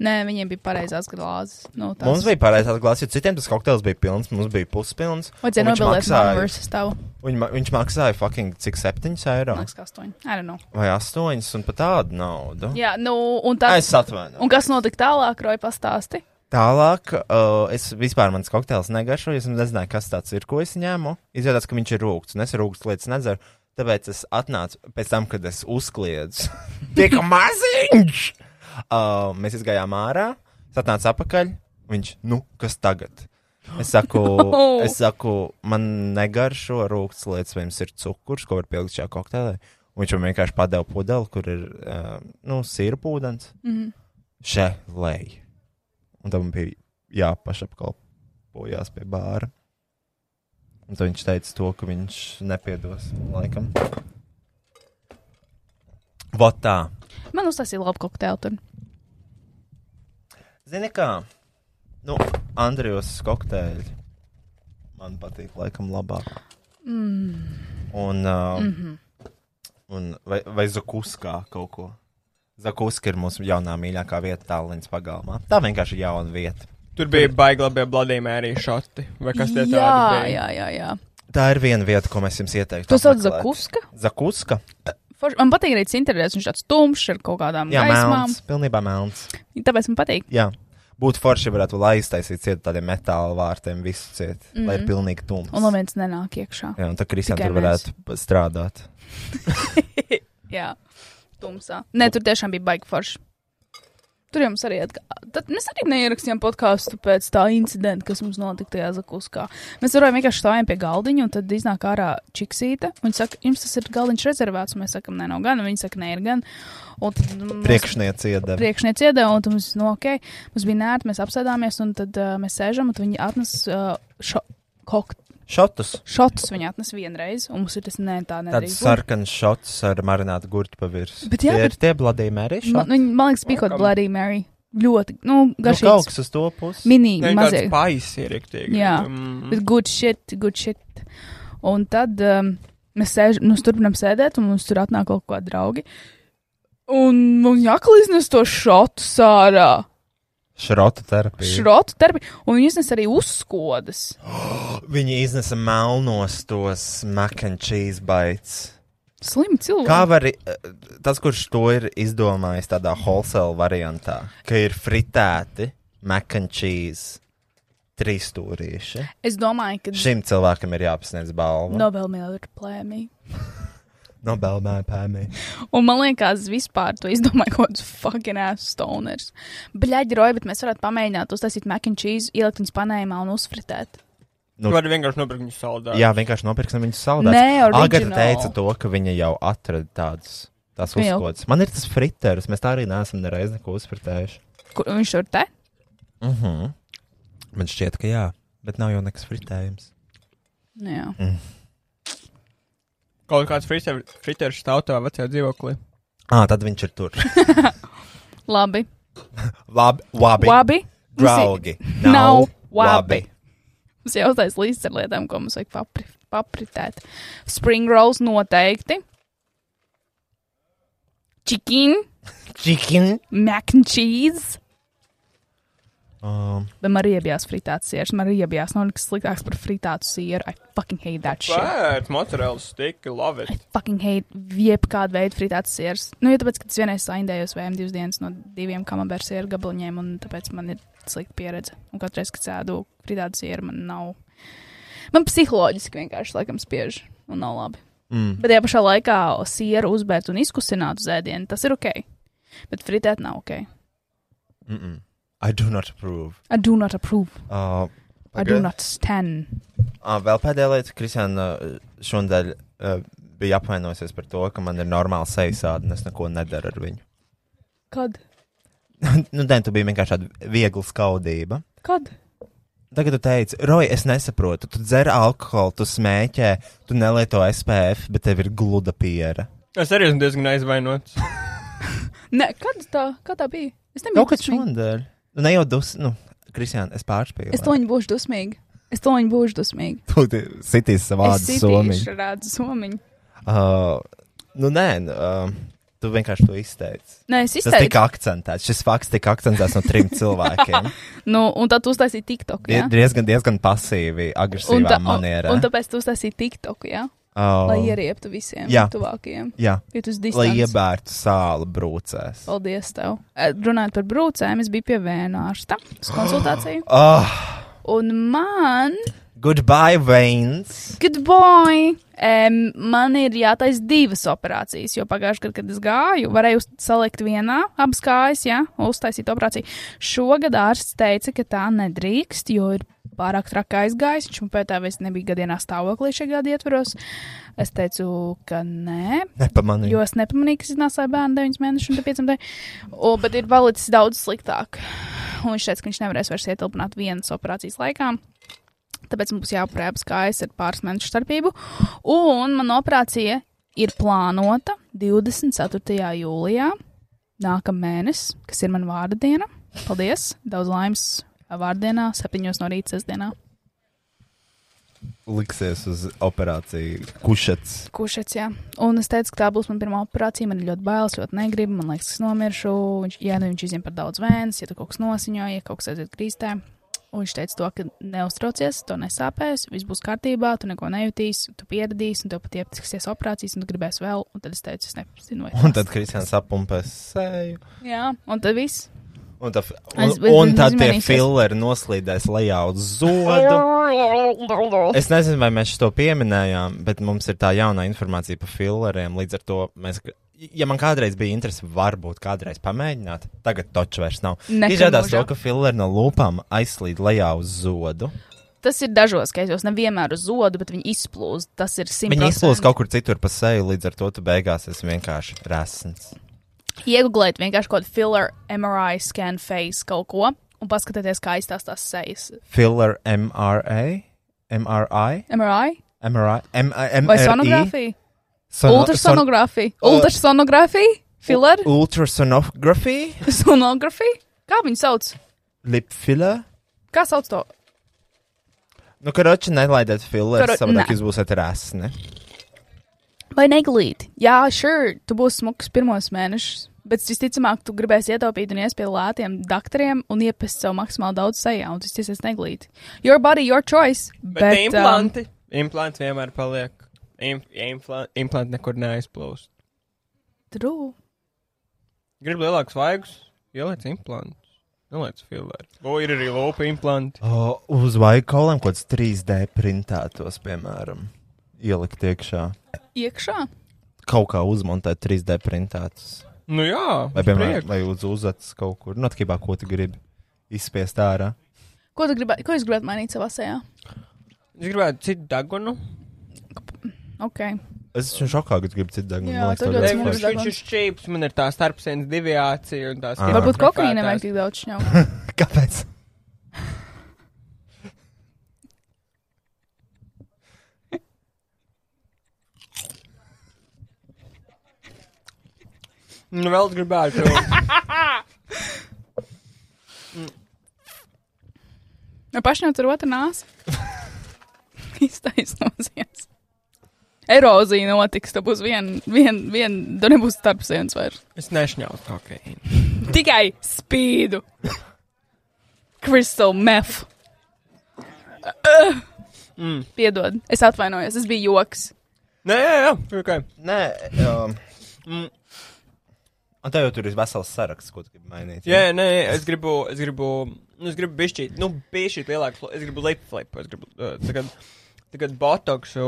[SPEAKER 3] Nē, viņiem bija pareizās glāzes. Nu, tās-
[SPEAKER 2] Mums bija pareizās glāzes, jo citiem tas kokteils bija pilns, mums bija puspilns.
[SPEAKER 3] Vajadzēja
[SPEAKER 2] un viņš
[SPEAKER 3] nobilēt
[SPEAKER 2] maksāja-
[SPEAKER 3] manu versus tavu.
[SPEAKER 2] Viņ, ma- viņš maksāja fucking cik 7 eiro
[SPEAKER 3] Nāks kā astoņi. I don't know.
[SPEAKER 2] vai 8 un pat tādu naudu.
[SPEAKER 3] Jā, nu, un
[SPEAKER 2] Tā
[SPEAKER 3] tad.
[SPEAKER 2] es atvainojos.
[SPEAKER 3] Un kas notika tālāk, Roja, pastāsti?
[SPEAKER 2] Tālāk, uh, es vispār mans kokteils negašoju, es nezināju, kas tas ir, ko es ņēmu. Izrādās, ka viņš ir rūkts, un es rūkstu lietas nedzeru. Tāpēc es atnācu pēc tam, kad es uzkliedzu. Tik maziņš! Uh, mēs izgājām ārā, es atnācu apakaļ. Viņš, nu, kas tagad? Es saku, es saku man negaršo rūkts lietas, vai jums ir cukurs, ko var pielikt šajā kokteilē. Un Viņš man vienkārši padeva pudeli, kur ir uh, nu, sirpūdens. Mm
[SPEAKER 3] Mhm.
[SPEAKER 2] -hmm. Še, lej. Un tam bija jāpašapkalpojas pie bāra. Un tad viņš teica to, ka viņš nepiedos laikam. Vot tā.
[SPEAKER 3] Man uztaisīja labu kokteili tur.
[SPEAKER 2] Zini kā? Nu, Andrejos kokteļi man patīk laikam labāk. Mm. Un, uh, mm -hmm. un vai, vai Zakuskā kaut ko? Zakuska ir mūsu jaunā mīļākā vieta Tallinas pagalmā. Tā vienkārši ir jauna vieta.
[SPEAKER 4] Tur bija baigla bija Bladīmē arī šoti. Vai kas tie tādi
[SPEAKER 3] jā,
[SPEAKER 4] bija?
[SPEAKER 3] jā, jā, jā.
[SPEAKER 2] Tā ir viena vieta, ko mēs jums ieteiktu.
[SPEAKER 3] Tu sauc
[SPEAKER 2] apmeklēt.
[SPEAKER 3] Zakuska?
[SPEAKER 2] Zakuska?
[SPEAKER 3] Forši. Man patīk arī intervijas, viņš tāds tumšs ar kaut kādām
[SPEAKER 2] Jā,
[SPEAKER 3] gaismām.
[SPEAKER 2] melns. Pilnībā melns.
[SPEAKER 3] Tāpēc man patīk.
[SPEAKER 2] Jā. Būtu forši, ja varētu lai iztaisīt cietu tādiem metāla vārtiem, visu ciet, mm -hmm. lai ir pilnīgi tums.
[SPEAKER 3] Mhm. Un neviens nenāk iekšā.
[SPEAKER 2] Jā, un tad Kristiāna
[SPEAKER 3] Tikai
[SPEAKER 2] tur varētu pa- strādāt.
[SPEAKER 3] Jā, tumsā. Nē, tur tiešām bija baigi forši. Tur jums arī atgā... Tad mēs arī neierakstījām podkāstu pēc tā incidenta, kas mums notika tajā zakuskā. Mēs varējām vienkārši stāvēt pie galdiņa, un tad iznāk ārā čiksīta. Viņa saka, jums tas ir galdiņš rezervēts, un mēs sakam, nē, nav gan, un viņa saka, nē, ir gan. Un tad mums-
[SPEAKER 2] Priekšniece iedeva. Priek...
[SPEAKER 3] priekšniece iedeva, un tad mums, nu, ok, mums bija nērti, mēs apsēdāmies, un tad uh, mēs sēžam, un tad viņi atnes uh, šo, kokt,
[SPEAKER 2] Šotus.
[SPEAKER 3] šotus, viņi atnes vienreiz, un mums ir tas nē, tā
[SPEAKER 2] Tāds
[SPEAKER 3] nedrīkst. būt.
[SPEAKER 2] sarkans šots ar marinātu gurķu pa virsmu.
[SPEAKER 3] Bet jā, bet- Nu,
[SPEAKER 2] tie ir tie bladījumi arī.
[SPEAKER 3] Man,
[SPEAKER 2] šoti?
[SPEAKER 3] viņa, man liekas, bija kaut kāda
[SPEAKER 4] Laikam.
[SPEAKER 3] Bloody Mary. Ļoti, nu,
[SPEAKER 2] Nu, kaut
[SPEAKER 3] garšīgs.
[SPEAKER 2] kas uz to pusi.
[SPEAKER 3] Minīgi,
[SPEAKER 4] Viņam
[SPEAKER 3] mazie.
[SPEAKER 4] tāds paisa ir rīktīgi.
[SPEAKER 3] Jā.
[SPEAKER 4] Mm.
[SPEAKER 3] Bet good shit, good shit. Un tad um, mēs sēž, nu, turpinām sēdēt, un mums tur atnāk kaut kādi draugi. Un viņi atkal iznes to šotu sārā.
[SPEAKER 2] Šrota terapija.
[SPEAKER 3] Šrotu terapiju. Un viņi iznes arī uzskodas.
[SPEAKER 2] Viņi iznesa melnos tos mac and cheese bites.
[SPEAKER 3] Slimi cilvēki.
[SPEAKER 2] Kā var i- tas, kurš to ir izdomājis tādā wholesale variantā, ka ir fritēti mac and cheese trīs stūrīši?
[SPEAKER 3] Es domāju, ka
[SPEAKER 2] Šim cilvēkam ir jāpasniedz balva.
[SPEAKER 3] Nobelmēra ir plēmija.
[SPEAKER 2] Nobelmēra pēmija.
[SPEAKER 3] Un man liekas, vispār to izdomāja kaut kāds fucking ass stoners. Bļaģi, roj, bet mēs varētu pamēģināt uztaisīt mac and cheese, ielikt viņas panējumā un uzfritēt.
[SPEAKER 2] Nu-
[SPEAKER 4] Tu vari vienkārši nopirkt viņu saldētu.
[SPEAKER 2] Jā, vienkārši nopirksim viņu saldējumu.
[SPEAKER 3] Nē,
[SPEAKER 2] Nu, Agata
[SPEAKER 3] original.
[SPEAKER 2] teica to, ka viņa jau atrada tādas. Tas
[SPEAKER 3] Jā.
[SPEAKER 2] uzskots. Man ir tas fritērs. Mēs tā arī neesam nereiz neko uzfritējuši.
[SPEAKER 3] Kur viņš tur te?
[SPEAKER 2] Uh -huh. Man šķiet, ka jā, bet nav jau nekas fritējums.
[SPEAKER 3] Nu Jā.
[SPEAKER 2] Mm.
[SPEAKER 4] Kaut kāds fritērs stāv tavā vecajā dzīvoklī.
[SPEAKER 2] Ah, tad viņš ir tur.
[SPEAKER 3] Labi.
[SPEAKER 2] Labi, labi.
[SPEAKER 3] Labi.
[SPEAKER 2] draugi.
[SPEAKER 3] Nav labi. Mums jāuztais līdzi ar lietām, ko mums vajag papri, papritēt. Spring rolls noteikti. Chicken,
[SPEAKER 2] Chicken.
[SPEAKER 3] mac and cheese.
[SPEAKER 1] Um,
[SPEAKER 3] Bet man arī bijās fritāts sieras. Man arī bijās nav nekas sliktāks par fritātu sieru. I fucking hate that shit.
[SPEAKER 4] Svērt, mozzarellas stiki, love
[SPEAKER 3] I
[SPEAKER 4] it.
[SPEAKER 3] fucking hate jebkādu veidu fritātas sieras. Nu, jo tāpēc, ka es vienreiz saindējos vējiem divas dienas no diviem kamabēra sieru gabaliņiem, un tāpēc man ir slikta pieredze. Un katru reizi, kad sēdu fritātu sieru, man nav. Man psiholoģiski vienkārši laikam spiež un nav labi.
[SPEAKER 1] mm.
[SPEAKER 3] Bet tajā pašā laikā sieru uzbērt un izkusināt uz ēdienu, tas ir ok. Bet fritēt nav ok.
[SPEAKER 1] Mm -mm. I do not approve.
[SPEAKER 3] I do not approve.
[SPEAKER 2] Uh,
[SPEAKER 3] I do not stand.
[SPEAKER 2] Ah, vēl pēdējā lieta, Kristiāna, uh, šonadēļ uh, bija apvainojusies par to, ka man ir normāla sejas sāde un es neko nedaru ar viņu.
[SPEAKER 3] Kad?
[SPEAKER 2] nu, nē, tu biji vienkārši tāda viegla skaudība.
[SPEAKER 3] Kad?
[SPEAKER 2] Tagad tu teici, Roja, es nesaprotu, tu dzer alkoholu, tu smēķē, tu nelieto SPF, bet tev ir gluda piera.
[SPEAKER 4] Es arī esmu diezgan aizvainots.
[SPEAKER 3] Nē, kad tā, kad tā bija? Es nebiju.
[SPEAKER 2] Kaut kā
[SPEAKER 3] dusmīga.
[SPEAKER 2] šonadēļ. Nu, ne jau dus, nu, Kristiāna, es pārspēju.
[SPEAKER 3] Es toņu būšu dusmīga. Es toņu būšu dusmīga.
[SPEAKER 2] Tu sitīs savā
[SPEAKER 3] es
[SPEAKER 2] somā.
[SPEAKER 3] sitīšu rādu somiņu.
[SPEAKER 2] Uh, nu, nē, nu, uh, tu vienkārši to izteici.
[SPEAKER 3] Nē, es
[SPEAKER 2] Tas
[SPEAKER 3] izteicu.
[SPEAKER 2] tika akcentēts. Šis fakts tika akcentēts no trim cilvēkiem.
[SPEAKER 3] Nu, un tad tu uztaisīji TikTok.
[SPEAKER 2] Die,
[SPEAKER 3] Ja?
[SPEAKER 2] diezgan, diezgan pasīvi, agresīvā
[SPEAKER 3] tā-
[SPEAKER 2] manierā.
[SPEAKER 3] un tāpēc tu uztaisīji TikTok, ja?
[SPEAKER 2] Oh,
[SPEAKER 3] lai ieriebtu visiem
[SPEAKER 2] Jā.
[SPEAKER 3] tuvākajiem.
[SPEAKER 2] jā,
[SPEAKER 3] Ja tu uz
[SPEAKER 2] lai
[SPEAKER 3] distanci.
[SPEAKER 2] iebērtu sāli brūcēs.
[SPEAKER 3] Paldies tev. Eh, Runājot par brūcēm, es biju pie vēnārsta uz konsultāciju.
[SPEAKER 2] Oh,
[SPEAKER 3] Un man,
[SPEAKER 2] goodbye, Veins!
[SPEAKER 3] good boy, um, man ir jātais divas operācijas, jo pagājušajā gadā, kad es gāju, varēju uz- salikt vienā abas kājas, ja, uztaisīt operāciju. Šogad ārsts teica, ka tā nedrīkst, jo ir pārāk traka aizgājis. Viņš man pētā, vai es nebiju gadienā stāvoklī šī gada ietvaros. Es teicu, ka nē,
[SPEAKER 2] Nepamanīju.
[SPEAKER 3] Jo es nepamanīju, ka es iznācu bērnu 9 mēnešu un 5 dienu. Bet ir palicis daudz sliktāk. Un viņš teica, ka viņš nevarēs vairs ietilpināt vienas operācijas laikā. Tāpēc mums jāapurē abas kājas ar pāris mēnešu starpību. Un mana operācija ir plānota 24. jūlijā, nākamā mēnesis, kas ir mana vārda diena. Paldies! Daudz laimes vārdienā, 7 no rīta sestdienā.
[SPEAKER 2] Liksies uz operāciju kušets.
[SPEAKER 3] Kušets, jā. Un es teicu, ka tā būs mana pirmā operācija. Man ir ļoti bailes, ļoti negribu. Man liekas, es nomiršu. Viņš, jā, nu viņš izņem par daudz vēns, ja tur kaut kas nosiņo, ja kaut kas aiziet krīstē. Un viņš teica, to, ka neuztraucies, to nesāpēs, viss būs kārtībā, tu neko nejutīsi, tu pieradīsi, un tev pat iepatiksies operācijas, un tu gribēsi vēl. Un tad es teicu, es nepastinu.
[SPEAKER 2] Un tad Kristians apumpēs seju.
[SPEAKER 3] Jā, un tad viss.
[SPEAKER 2] Un, tā, f- un,
[SPEAKER 3] Es- es-
[SPEAKER 2] un
[SPEAKER 3] es
[SPEAKER 2] tad tie
[SPEAKER 3] izmainīšos.
[SPEAKER 2] filleri noslīdēs lejā uz zodu. Es nezinu, vai mēs to pieminējām, bet mums ir tā jaunā informācija par filleriem. Līdz ar to mēs. Ja man kādreiz bija interese, varbūt kādreiz pamēģināt, tagad toču vairs nav.
[SPEAKER 3] Nekad
[SPEAKER 2] Izrādās to,
[SPEAKER 3] mūžā.
[SPEAKER 2] ka filleri no lūpām aizslīd lejā uz zodu.
[SPEAKER 3] Tas ir dažos keisos, nevienmēr uz zodu, bet viņi izplūst. Tas ir simts.
[SPEAKER 2] Viņa izplūst kaut kur citur pa seju, līdz ar to tu beigās esi vienkārši resns.
[SPEAKER 3] Iegūlēt vienkārši kaut kādu filler, MRI, scan face kaut ko un paskatieties, kā izstāstās sejas.
[SPEAKER 2] Filler MRA, MRI,
[SPEAKER 3] MRI?
[SPEAKER 2] MRI, MRI,
[SPEAKER 3] Vai sonogrāfija? Ultrasonogrāfija. Ultrasonogrāfija? Filler?
[SPEAKER 2] Ultrasonografija,
[SPEAKER 3] Sonogrāfija? Kā viņi sauc?
[SPEAKER 2] lip filler.
[SPEAKER 3] Kā sauc to?
[SPEAKER 2] Nu, karoči, nelaidiet filler,
[SPEAKER 3] Karo-
[SPEAKER 2] savādāk
[SPEAKER 3] nē.
[SPEAKER 2] jūs būsiet resni.
[SPEAKER 3] Vai neglīti? Jā, sure, tu būsi smuks pirmos mēnešus, bet visticamāk, tu gribēsi ietaupīt un ies pie lētiem doktoriem un iepest sev maksimāli daudz sejā, un tas tiesies neglīti. Your body, your choice.
[SPEAKER 4] Bet, bet implanti. Um, implanti vienmēr paliek. Im, impla, implanti nekur neaizplūst.
[SPEAKER 3] True.
[SPEAKER 4] Gribu lielākus vaigus, ieliec implantus. Neliec filēt. O, ir arī lūpa implanti.
[SPEAKER 2] O, uz vaikoliem kaut kāds 3D printētos, piemēram, ielikt iekšā.
[SPEAKER 3] Iekšā?
[SPEAKER 2] Kaut kā uzmontēt 3D printētus.
[SPEAKER 4] Nu jā,
[SPEAKER 2] Vai,
[SPEAKER 4] uz
[SPEAKER 2] piemēram,
[SPEAKER 4] prieku.
[SPEAKER 2] vai uz uzacis kaut kur, nu, atkarībā, ko tu gribi izspiest ārā.
[SPEAKER 3] Ko tu gribētu, ko jūs gribētu mainīt savā sejā?
[SPEAKER 4] Es gribētu citu dagunu.
[SPEAKER 3] Ok.
[SPEAKER 2] Es esmu šokā, kad gribu citu degunu.
[SPEAKER 3] Jā,
[SPEAKER 2] man liekas,
[SPEAKER 3] tu
[SPEAKER 2] tev
[SPEAKER 3] ļoti
[SPEAKER 4] Nē,
[SPEAKER 2] ļoti
[SPEAKER 3] smags
[SPEAKER 4] Viņš
[SPEAKER 2] forši.
[SPEAKER 3] dagunu.
[SPEAKER 4] viņš ir šķīps, man ir tā starpsienas deviācija un tās.
[SPEAKER 2] Ah.
[SPEAKER 3] Varbūt kokaīna
[SPEAKER 4] hipertrofētās.
[SPEAKER 3] vajag tik daudz šņau.
[SPEAKER 2] Kāpēc?
[SPEAKER 4] Nu, vēl es gribētu.
[SPEAKER 3] Ar pašņaut ar otru nāsi. iztaisnosies. Erozija notiks, tad būs viena, vien, vien, tur nebūs starpsienas vairs.
[SPEAKER 4] Es nešņautu kokaīnu.
[SPEAKER 3] Tikai spīdu. Crystal meth.
[SPEAKER 4] Mm.
[SPEAKER 3] Piedod, es atvainojos, tas bija joks.
[SPEAKER 4] Nē, jā, jā, tikai.
[SPEAKER 2] Nē, um,
[SPEAKER 4] Mm.
[SPEAKER 2] un tev jau tur ir vesels saraksts, ko tu gribi mainīt.
[SPEAKER 4] Jā, nē, jā, es gribu, es gribu, nu, es gribu bišķīt, nu, bišķīt lielāku, fl- es gribu lip flipu, es gribu, uh, tagad, tagad botoksu.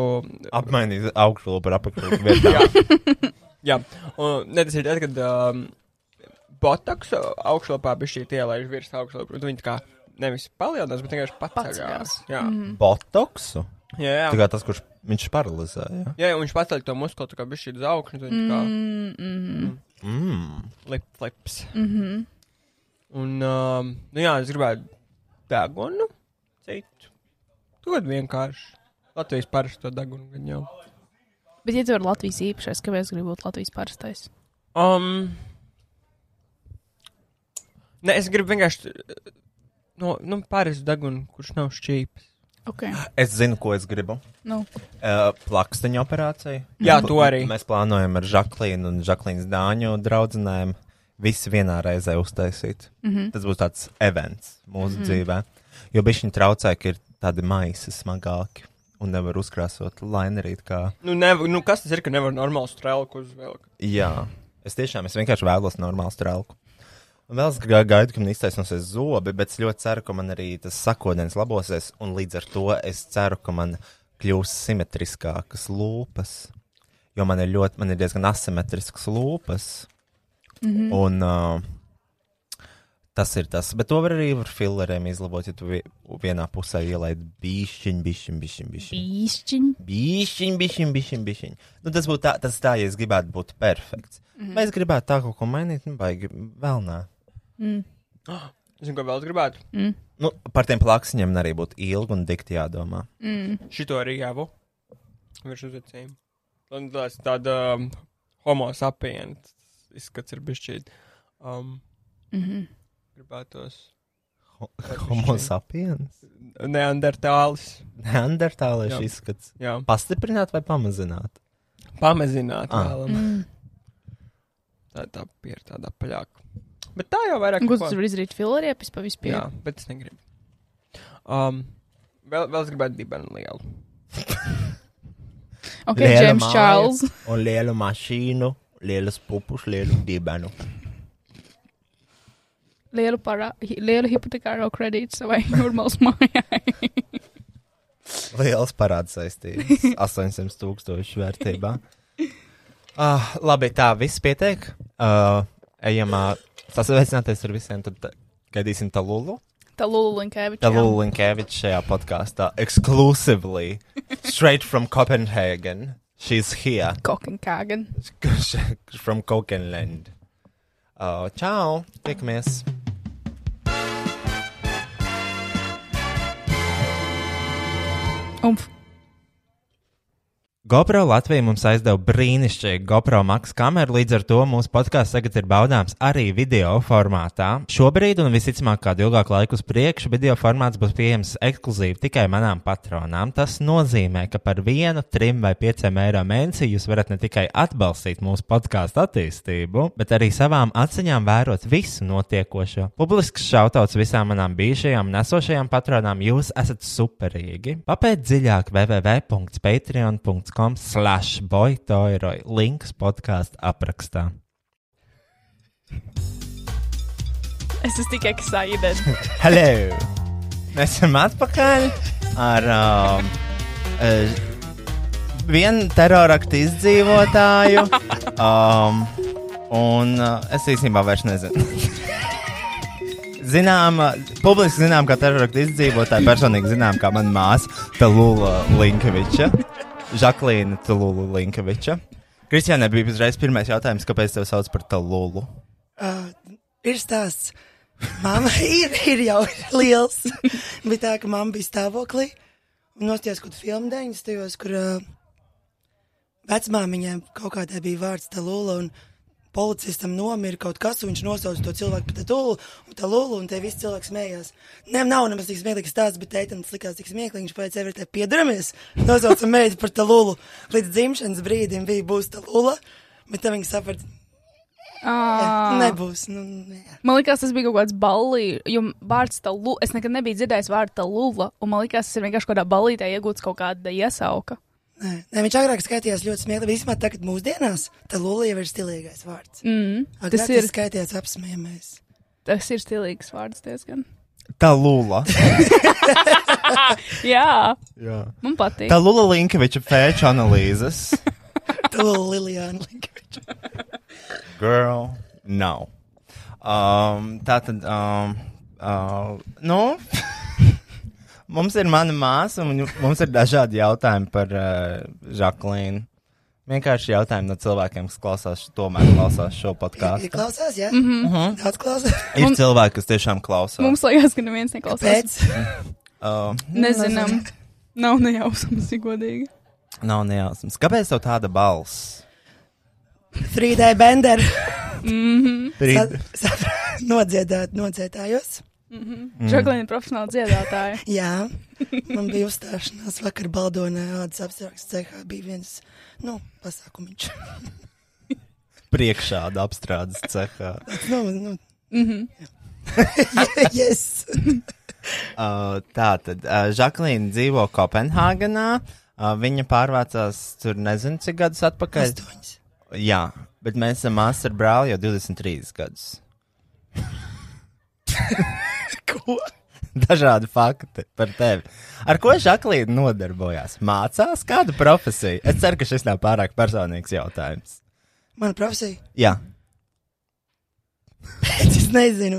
[SPEAKER 2] Apmainīt augšulo par apakšu.
[SPEAKER 4] Jā, jā. Un, ne, tas ir tad, kad um, botoksu augšlapā bišķīt ielaiž virs augšlapā, un viņi tā kā nevis palielinās, bet vienkārši pacēlās.
[SPEAKER 3] Paceļās.
[SPEAKER 4] Jā,
[SPEAKER 2] Mhm. Botoksu?
[SPEAKER 4] jā, jā.
[SPEAKER 2] Tā kā tas, kurš viņš paralizēja.
[SPEAKER 4] Jā, un viņš paceļ to muskuli, tā kā bišķīt uz augšu, un tad viņi tā kā
[SPEAKER 3] Mm, mm.
[SPEAKER 2] Mm.
[SPEAKER 4] lip flips.
[SPEAKER 3] Mm -hmm.
[SPEAKER 4] Un, um, nu jā, es gribētu degunu citu. To gadu vienkārši. Latvijas parasto degunu gan jau.
[SPEAKER 3] Bet, ja tu vari Latvijas īpašais, kāpēc es gribu būt Latvijas parastais?
[SPEAKER 4] Um, nē, es gribu vienkārši eh, no, nu, pāris degunu, kurš nav šķīps.
[SPEAKER 3] Ok,
[SPEAKER 2] Es zinu, ko es gribu.
[SPEAKER 3] nu,
[SPEAKER 2] Uh, Plaksteņa operācija.
[SPEAKER 4] Jā, to arī.
[SPEAKER 2] Mēs plānojam ar Žaklīnu un Žaklīnas dāņu draudzenēm visu vienā reizē uztaisīt. Mm
[SPEAKER 3] mhm.
[SPEAKER 2] -hmm. Tas būs tāds events mūsu mm -hmm. dzīvē. Jo bišķiņi traucē, ka ir tādi maisi smagāki un nevar uzkrāsot lainerīt kā.
[SPEAKER 4] Nu, nev, nu, kas tas ir, ka nevar normālu strēlku uzvilkt?
[SPEAKER 2] Jā, es tiešām es vienkārši vēlos normālu strālu. Un vēl es gā- gaidu, ka man iztaisnosies zobi, bet es ļoti ceru, ka man arī tas sakodienis labosies, un līdz ar to es ceru, ka man kļūs simetriskākas lūpas. Jo man ir ļoti, man ir diezgan asimetrisks lūpas. Mm -hmm. Un uh, tas ir tas. Bet to var arī ar filleriem izlabot, ja tu vi- vienā pusē ielaid bišķiņu, bišķiņu, bišķiņu. bišķiņu.
[SPEAKER 3] īšķiņ.
[SPEAKER 2] Bišķiņ, bišķiņ, bišķiņ. bišķiņ. Nu, tas būtu tā, tas tā, ja es gribētu būt perfekts. Mm -hmm. Vai es gribētu tā kaut ko mainīt? Nu, vai vēl nē.
[SPEAKER 3] Mm,
[SPEAKER 4] Es zinu, ko vēl es gribētu.
[SPEAKER 2] Nu, par tiem plakšņiem arī būtu ilgi un dikti jādomā.
[SPEAKER 3] mm,
[SPEAKER 4] Šito arī jāvu. Viņš uzvecīja. Un tas tāda um, homo sapiens izskats ir bišķīt. Um,
[SPEAKER 3] Mm -hmm.
[SPEAKER 4] gribētos.
[SPEAKER 2] Ho-
[SPEAKER 4] Par
[SPEAKER 2] Homo
[SPEAKER 4] bišķiņ.
[SPEAKER 2] sapiens.
[SPEAKER 4] Neandertālis.
[SPEAKER 2] Neandertāliešu
[SPEAKER 4] Jā.
[SPEAKER 2] izskats.
[SPEAKER 4] Jā,
[SPEAKER 2] Pastiprināt vai pamazināt?
[SPEAKER 4] pamazināt.
[SPEAKER 2] Ah.
[SPEAKER 4] vēlam.
[SPEAKER 3] Mm.
[SPEAKER 4] Tā tā ir tāda paļāka. Bet tā jau vairāk
[SPEAKER 3] Gudrs var izdarīt filariepas pa vispār.
[SPEAKER 4] Jā, bet es negribu. Um, vēl, vēl es gribētu dibenu lielu.
[SPEAKER 3] Ok,
[SPEAKER 2] Liela
[SPEAKER 3] James
[SPEAKER 2] māja.
[SPEAKER 3] Charles.
[SPEAKER 2] Un lielu mašīnu, lielus pupus, lielu dibenu.
[SPEAKER 3] Lielu, para, hi- lielu hipotekāro kredītu savai normāls mājai.
[SPEAKER 2] Liels parāds saistības. 800 tūkstoši vērtībā. Uh, labi, tā viss pietiek. Uh, ejam uh, sasveicināties ar visiem. Tad uh, gaidīsim Talulu.
[SPEAKER 3] Tā Lulu Linkeviča.
[SPEAKER 2] Talulu Linkeviča šajā podkāstā. Exclusively. Straight from Copenhagen. She's here.
[SPEAKER 3] Kokenkāgan.
[SPEAKER 2] from Copenland. Uh, čau! Tikamies!
[SPEAKER 3] Umf.
[SPEAKER 1] GoPro Latvija mums aizdeva brīnišķīgu GoPro Max kameru, līdz ar to mūsu podkāsts tagad ir baudāms arī video formātā. Šobrīd, un visticamāk, kādu ilgāku laiku uz priekšu, video formāts būs pieejams ekskluzīvi tikai manām patronām. Tas nozīmē, ka par vienu, trim vai pieciem eiro mēnesī jūs varat ne tikai atbalstīt mūsu podkāstu attīstību, bet arī savām acīm vērot visu notiekošo. Publisks šautauts visām manām bijušajām un esošajām patronām, jūs esat superīgi. Papēt dziļāk www.patreon.com slash boytoiroi links podkāstu aprakstā.
[SPEAKER 3] Es esmu tik excited.
[SPEAKER 2] Hello! Mēs esam atpakaļ ar um, uh, vienu teroraktu izdzīvotāju. Um, un uh, es īstenībā vairs nezinu. Zinām, uh, publiski zinām, kā teroraktu izdzīvotāji. Personīgi zinām, kā mana māsa Talula Linkeviča, Žaklīna Talula Linkeviča. Kristiāne bija uzreiz pirmais jautājums, kāpēc tevi sauc par Talulu?
[SPEAKER 5] Uh, ir stāsts. Māma ir, ir jau liels. Bija tā, ka mamma bija stāvoklī. Nostājās kaut kādā filmu 90. gados, kur uh, vecmāmiņai kaut kādā bija vārds Talula. un Policistam nomira kaut kas, un viņš nosauca to cilvēku par tūlu, un tā lulu, un te viss cilvēks smējās. Nē, nav nemaz tik smieklīgs stāsts, bet teitam tas likās tik smieklīgi, viņš pēc sevi te piedaramies, nosauca meitu par tā lulu. Līdz dzimšanas brīdim bija būs tā lula, bet tad viņi saprata,
[SPEAKER 3] Ā.
[SPEAKER 5] nebūs, nu, nē.
[SPEAKER 3] Man liekas, tas bija kaut kāds ballīte, jo vārds tā lula. Es nekad nebiju dzirdējis vārdu tā lula, un man liekas, tas ir vienkārši kaut kādā ballītē iegūts kaut kāda iesauka.
[SPEAKER 5] Nē, nē, viņš agrāk skaitījās ļoti smieklīgi. Vispār tagad mūsdienās tā lula jau ir stilīgais vārds.
[SPEAKER 3] Mm,
[SPEAKER 5] Agrāk
[SPEAKER 3] tas, ir,
[SPEAKER 5] skaitījās apsmējamais.
[SPEAKER 3] tas ir stilīgs vārds diezgan.
[SPEAKER 2] Tā lula.
[SPEAKER 3] Jā,
[SPEAKER 2] Jā.
[SPEAKER 3] man patīk.
[SPEAKER 2] Tā lula Linkoviča pēča analīzes.
[SPEAKER 5] Tā lula Liljana Linkoviča.
[SPEAKER 2] Girl, no. Um, tā tad, um, uh, nu, mums ir mana māsa, un viņu- mums ir dažādi jautājumi par uh, Žaklīnu. Vienkārši jautājumi no cilvēkiem, kas klausās, tomēr klausās šo
[SPEAKER 5] Ir
[SPEAKER 2] podkāstu.
[SPEAKER 5] klausās, jā? Mm
[SPEAKER 3] Mhm.
[SPEAKER 5] -hmm. Daudz klausās.
[SPEAKER 2] Ir cilvēki, kas tiešām klausās.
[SPEAKER 3] Mums liekas, ka neviens neklausās.
[SPEAKER 5] Pēc.
[SPEAKER 2] uh,
[SPEAKER 3] Nezinām. Nav nejausmas, ja godīgi.
[SPEAKER 2] nav nejausmas. Kāpēc tev tāda balss?
[SPEAKER 5] 3D bender.
[SPEAKER 3] Mhm.
[SPEAKER 2] Trīs-
[SPEAKER 5] Nodziedāt, nodziedājos.
[SPEAKER 3] Žaklīna Mhm. ir profesionāla dziedātāja.
[SPEAKER 5] Jā, man bija uzstāšanās vakar Baldonē, ādas apstrāks cehā bija viens, nu, pasākumiņš.
[SPEAKER 2] Priekšā apstrādes cehā.
[SPEAKER 5] nu, nu. Mhm. yes.
[SPEAKER 2] Uh, tā tad uh, Žaklīna dzīvo Kopenhāgenā. Uh, viņa pārvācās tur nezinu, cik gadus atpakaļ.
[SPEAKER 5] Astoņas.
[SPEAKER 2] Jā, bet mēs esam māsas ar brāli jau 23 gadus. ko? Dažādi fakti par tevi. Ar ko Žaklīna nodarbojās? Mācās kādu profesiju? Es ceru, ka šis nav pārāk personīgs jautājums.
[SPEAKER 5] Mana profesija.
[SPEAKER 2] Jā,
[SPEAKER 5] Es nezinu.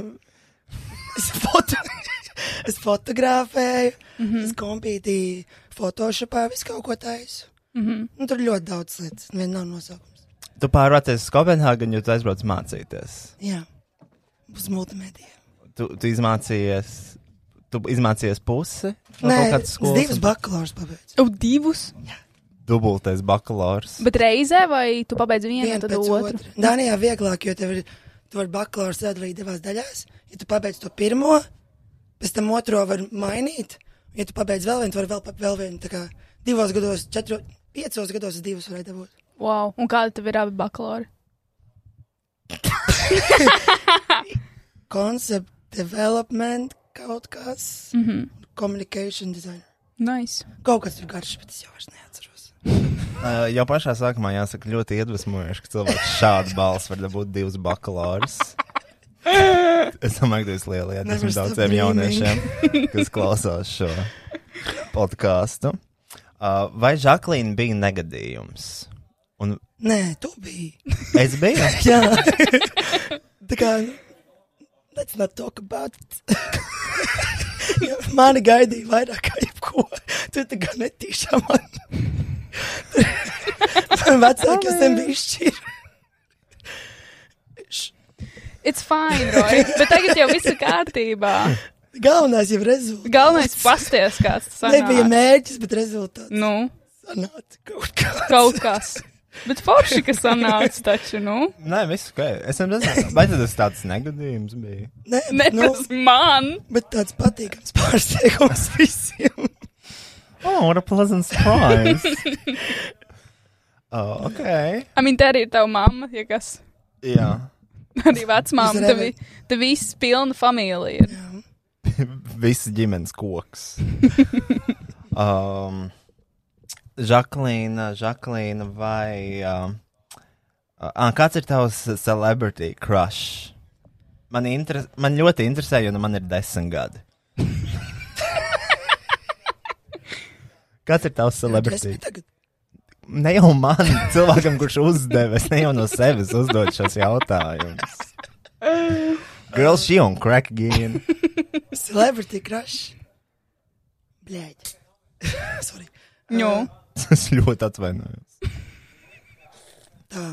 [SPEAKER 5] Es, foto... es fotografēju, mm -hmm. es kompītīju Photoshopā, visu kaut ko taisu. Mm -hmm. Tur ļoti daudz lietas, viena nav nosaukums.
[SPEAKER 2] tu pārvācies uz Kopenhāgenu, jo tu aizbrauc mācīties.
[SPEAKER 5] Jā, būs multimedija.
[SPEAKER 2] Tu, tu izmācījies, tu izmācījies pusi no kaut kādas
[SPEAKER 5] es
[SPEAKER 2] skolas.
[SPEAKER 5] divas bakalaurs pabeidzu.
[SPEAKER 3] Jau divus,
[SPEAKER 2] dubultais bakalaurs.
[SPEAKER 3] bet reizē, vai tu pabeidz vienu,
[SPEAKER 5] Viena
[SPEAKER 3] tad
[SPEAKER 5] pēc
[SPEAKER 3] otru?
[SPEAKER 5] otru. Dānijā vieglāk, jo tev ir, tu vari bakalaurs sadalīt divās daļās. Ja tu pabeidz to pirmo, pēc tam otro var mainīt. Ja tu pabeidz vēl vienu, tu vari vēl, pa- vēl vienu, tā kā divos gados, četro, piecos gados es divus varēju dabūt.
[SPEAKER 3] Wow. Un kāda tev ir abi bakalauri?
[SPEAKER 5] concept development kaut kas, mm -hmm. communication design.
[SPEAKER 3] Nice.
[SPEAKER 5] Kaut kas tur garš, bet es jau vairs neatceros.
[SPEAKER 2] Uh, jau pašā sākumā jāsaka, ļoti iedvesmojoši, ka cilvēks šādu balsu var dabūt divus bakalaurus. Es domāju, ka tas ir liela
[SPEAKER 5] Never
[SPEAKER 2] iedvesma
[SPEAKER 5] stop
[SPEAKER 2] daudziem
[SPEAKER 5] dreaming.
[SPEAKER 2] jauniešiem, kas klausās šo podkāstu. Uh, vai Žaklīna bija negadījums? Un
[SPEAKER 5] Nē, tu biji.
[SPEAKER 2] es biju.
[SPEAKER 5] Jā, tā kā. nu, Let's not talk about it. Ja Mani gaidīja vairāk kā jebko. Tu tā kā netīšām man. Vecāki jau sen bija šķirti.
[SPEAKER 3] It's fine, Roy. bet tagad jau viss ir kārtībā.
[SPEAKER 5] Galvenais jau rezultāts.
[SPEAKER 3] Galvenais pasties, kāds tas ir.
[SPEAKER 5] Nebija mērķis, bet rezultāts.
[SPEAKER 3] Nu,
[SPEAKER 5] Sanāca kaut kas.
[SPEAKER 3] kaut kas. Bet forši, kas sanāca taču, nu.
[SPEAKER 2] Nē, viss ok. Es nezinu, vai tas tāds negadījums bija.
[SPEAKER 5] Nē,
[SPEAKER 3] Ne
[SPEAKER 5] nu,
[SPEAKER 3] tas man.
[SPEAKER 5] bet tāds patīkams pārsteigums visiem.
[SPEAKER 2] Oh, what a pleasant surprise! oh, ok.
[SPEAKER 3] I mean, te arī ir tava mamma, ja kas.
[SPEAKER 2] Jā.
[SPEAKER 3] Arī vecmāma.
[SPEAKER 5] Es
[SPEAKER 3] Te,
[SPEAKER 5] arī-
[SPEAKER 3] vi- te viss pilna familija ir.
[SPEAKER 2] Viss ģimenes koks. um, Žaklīna, Žaklīna vai. Um, uh, kāds ir tavs celebrity crush? Man, interes, man ļoti interesē, jo nu man ir desmit gadi. Kāds ir tavs celebrity?
[SPEAKER 5] Desmit tagad.
[SPEAKER 2] Ne jau man, cilvēkam, kurš uzdeva, es ne jau no sevis uzdodu šos jautājumus. Girl, she on crack again.
[SPEAKER 5] Celebrity crush. Blēģi. Sorry.
[SPEAKER 3] Nu,
[SPEAKER 2] es ļoti atvainojos.
[SPEAKER 5] Tā.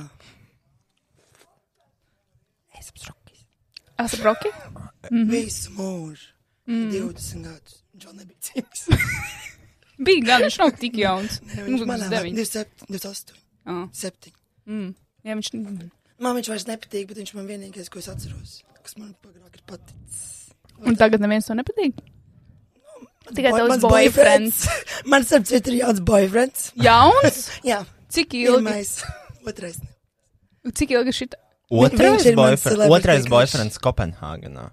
[SPEAKER 5] Es apsrakis.
[SPEAKER 3] esmu Roki. Mhm.
[SPEAKER 5] Visu mūžu. 20 gadus. Viņš vēl nebija cīņas.
[SPEAKER 3] Bija gan, viņš nav tik jauns.
[SPEAKER 5] Viņš manā
[SPEAKER 3] deviņi.
[SPEAKER 5] 27, 28,
[SPEAKER 3] Ā.
[SPEAKER 5] 7.
[SPEAKER 3] Mm. Jā, viņš
[SPEAKER 5] Man viņš vairs nepatīk, bet viņš man vienīgais, ko es atceros, kas man agrāk ir paticis.
[SPEAKER 3] Un tagad neviens to nepatīk. Tikai
[SPEAKER 5] Bo-
[SPEAKER 3] tavs
[SPEAKER 5] mans
[SPEAKER 3] boyfriends.
[SPEAKER 5] boyfriends. man starp citu ir jauns boyfriends.
[SPEAKER 3] Jauns?
[SPEAKER 5] Jā,
[SPEAKER 3] Cik ilgi?
[SPEAKER 5] pirmais, otrais. ne.
[SPEAKER 3] Cik ilgi šitā?
[SPEAKER 2] Otrais,
[SPEAKER 5] Viņš ir mans
[SPEAKER 2] boyfriend,
[SPEAKER 5] celebrity
[SPEAKER 2] otrais
[SPEAKER 5] crush.
[SPEAKER 2] boyfriends Kopenhāgenā.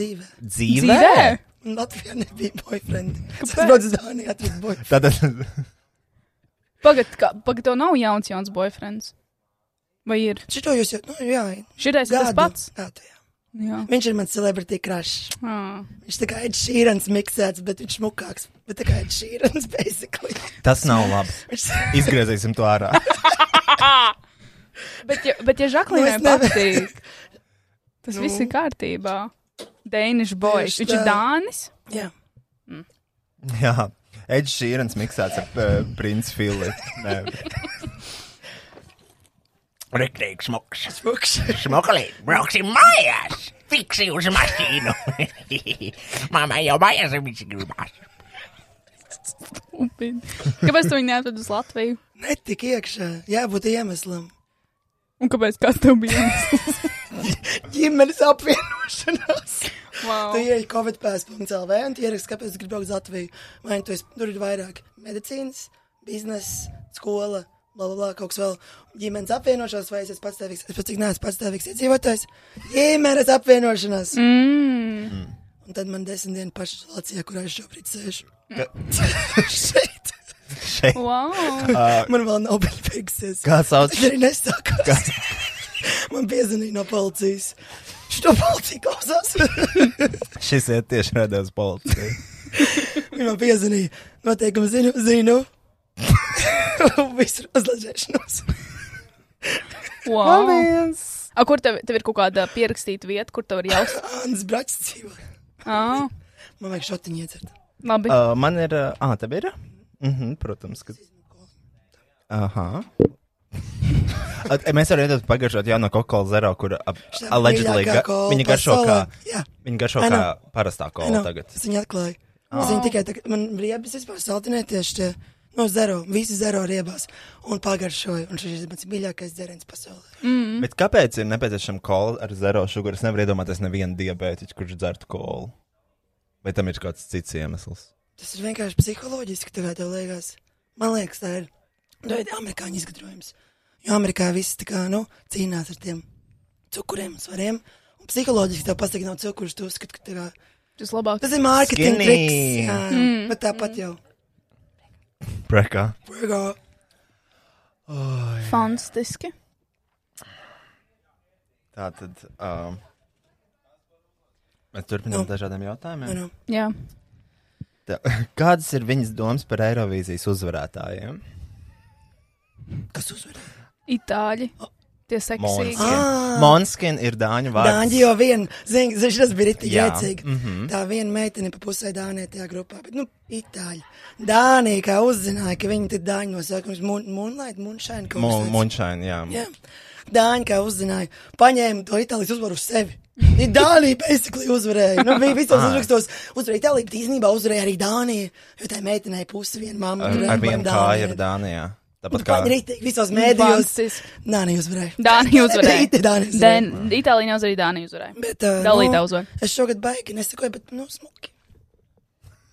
[SPEAKER 5] Dzīve.
[SPEAKER 2] Dzīvē?
[SPEAKER 3] Dzīvē?
[SPEAKER 5] Un Latvijā nebija boyfriend. Es
[SPEAKER 3] Kāpēc?
[SPEAKER 5] braucu uz Dāniju, atradu boyfriend.
[SPEAKER 2] Tad
[SPEAKER 3] Pagad, kā, pagad, tev nav jauns, jauns boyfriends. Vai ir?
[SPEAKER 5] Šito jūs jau, nu, jā,
[SPEAKER 3] Šitais ir tas
[SPEAKER 5] gadu.
[SPEAKER 3] pats.
[SPEAKER 5] Jā, tā jā.
[SPEAKER 3] Jā.
[SPEAKER 5] Viņš ir mans celebrity crush.
[SPEAKER 3] Ah.
[SPEAKER 5] Viņš tā kā ir šīrans miksēts, bet viņš mukāks. Bet tā kā ir šīrans, basically.
[SPEAKER 2] tas nav labi.
[SPEAKER 5] Viņš...
[SPEAKER 2] Izgriezīsim to ārā.
[SPEAKER 3] Bet, ja, bet ja
[SPEAKER 5] Nu,
[SPEAKER 3] Žaklīnai
[SPEAKER 5] es
[SPEAKER 3] nu,
[SPEAKER 5] nevaru.
[SPEAKER 3] patīk, tas nu. viss ir kārtībā. Dēnišs boys.
[SPEAKER 5] Tieši
[SPEAKER 3] Viņš ir
[SPEAKER 5] tā.
[SPEAKER 3] Dānis.
[SPEAKER 5] Jā.
[SPEAKER 2] Jā. Edžs Šīrens miksēts ar uh, Prince Filipu.
[SPEAKER 6] Riktīgi smuks.
[SPEAKER 5] Šmukšs.
[SPEAKER 6] Smuklīt, brauksim mājās! Fiksi uz mašīnu! Māmai jau mājās ir visi gribās.
[SPEAKER 3] Upin. Kāpēc tu viņu neatved uz Latviju?
[SPEAKER 5] Netik iekšā. Jābūt iemeslam.
[SPEAKER 3] Un kāpēc kāds tev bija?
[SPEAKER 5] Ģimenes apvienošanās.
[SPEAKER 3] Wow.
[SPEAKER 5] Tu ieej covidpass.lv un tu ieraksti, kāpēc es gribu braukt uz Latviju. Vai nu tu esi, tur ir vairāk medicīnas, biznesa, skola, bla, bla, bla, kaut kas vēl. Ģimenes apvienošanās, vai es esmu patstāvīgs, es pats cik neesmu patstāvīgs iedzīvotājs. Ģimenes apvienošanās. Mm. Un tad man desmit dienu pašizolācijā, kurā es šobrīd sēžu. Šeit.
[SPEAKER 3] Wow.
[SPEAKER 5] Man vēl nav bijis beigusies.
[SPEAKER 2] Kā sauc?
[SPEAKER 5] Viņš arī nesākās. Man piezvanīja no policijas. Šo policiju klausās.
[SPEAKER 2] Šis ir tieši redzējis policiju.
[SPEAKER 5] Viņa man piezvanīja. Noteikumi zinu, zinu. Viss ir uzlaižēšanos.
[SPEAKER 3] wow. A, kur tev, tev ir kaut kāda pierakstīta vieta, kur tev ir jāuzsver?
[SPEAKER 5] Annas braķis dzīvo.
[SPEAKER 3] Ah,
[SPEAKER 5] Man vajag šotiņu iedzert.
[SPEAKER 3] labi.
[SPEAKER 2] Uh, man ir. Uh, ah, tev ir? Mhm, protams, ka. Aha. At, mēs varam iedot pagājušā gada jauno kokola zero, kur ap-
[SPEAKER 5] Šitā
[SPEAKER 2] allegedly
[SPEAKER 5] mīļākā
[SPEAKER 2] ga,
[SPEAKER 5] kola
[SPEAKER 2] viņa garšo kā,
[SPEAKER 5] pasaulē. Jā,
[SPEAKER 2] viņa garšo
[SPEAKER 5] I
[SPEAKER 2] kā
[SPEAKER 5] know.
[SPEAKER 2] parastā
[SPEAKER 5] I know.
[SPEAKER 2] kola tagad. Ah.
[SPEAKER 5] Es viņu atklāju. Oh. Es viņu tikai tagad, man riebas vispār saltinēties šie. No zero, visi zero riebās. Un pagaršoju. Un šis ir mans mīļākais dzēriens pasaulē.
[SPEAKER 2] Bet kāpēc ir nepieciešama kola ar zero šūnu? Es nevaru iedomāties nevienu diabētiķu, kurš dzertu kolu. Vai tam ir kāds cits iemesls?
[SPEAKER 5] Tas ir vienkārši psiholoģiski, tev tev liekas. Man liekas, tā ir. Tā ir amerikāņu izgudrojums. Jo Amerikā viss tā kā, nu, cīnās ar tiem cukuriem un svariem. Un psiholoģiski tev pasaka, nav cukurs, tu uzskati, ka tev.
[SPEAKER 3] Tas labāk.
[SPEAKER 5] Tas ir mārketinga
[SPEAKER 2] Skinny.
[SPEAKER 5] triks. Jā, mm. bet tāpat jau.
[SPEAKER 2] Prekā.
[SPEAKER 5] Burgā.
[SPEAKER 3] Fantastiski.
[SPEAKER 2] Tā tad. Um, mēs turpinām
[SPEAKER 5] Nu.
[SPEAKER 2] no. dažādiem jautājumiem.
[SPEAKER 5] Nu, nu.
[SPEAKER 3] Jā.
[SPEAKER 2] Tā, kādas ir viņas domas par Eirovīzijas uzvarētājiem?
[SPEAKER 5] Kas uzvarēja?
[SPEAKER 3] Itāļi. Tie seksīgi.
[SPEAKER 2] Monskin. Monskin ir Dāņu vārds.
[SPEAKER 5] Dāņi Ah. jau vien, zini, zini, tas bija
[SPEAKER 2] Jā.
[SPEAKER 5] tik
[SPEAKER 2] Mhm.
[SPEAKER 5] jēdzīgi. Mm -hmm. Tā viena meitene pa pusē Dānijā tajā grupā, bet, nu, Itāļi. Dānija kā uzzināja, ka viņi ir Dāņu nosaukums, Mun- Moonlight, Munšaina kaut kas. tāds.
[SPEAKER 2] Munčāni, jā.
[SPEAKER 5] Jā. Dāņi kā uzzināja, paņēma to Itālijas uzvaru uz sevi. Ja Dānija basically uzvarēja. Nu, bija visos
[SPEAKER 2] Ah.
[SPEAKER 5] uzrakstos, uzvarēja Itālija, bet īstenībā uzvarēja arī Dānija, jo tai meitenei pusi viena mamma.
[SPEAKER 2] Ar,
[SPEAKER 5] tur
[SPEAKER 2] ar
[SPEAKER 5] arī
[SPEAKER 2] vienu
[SPEAKER 5] par
[SPEAKER 2] kāju
[SPEAKER 5] Dāniju.
[SPEAKER 2] ir Dānijā. Tāpat kā.
[SPEAKER 5] Pat rītīgi visos mēdījos.
[SPEAKER 3] Fantastiski.
[SPEAKER 5] Dānija uzvarēja.
[SPEAKER 3] Dānija uzvarēja.
[SPEAKER 5] Dānija uzvarēja.
[SPEAKER 3] Dan- Itālija neuzvarēja, Dānija uzvarēja.
[SPEAKER 5] Bet, uh,
[SPEAKER 3] Dalītā uzvara.
[SPEAKER 5] Es šogad baigi nesakoju, bet, nu, smuki.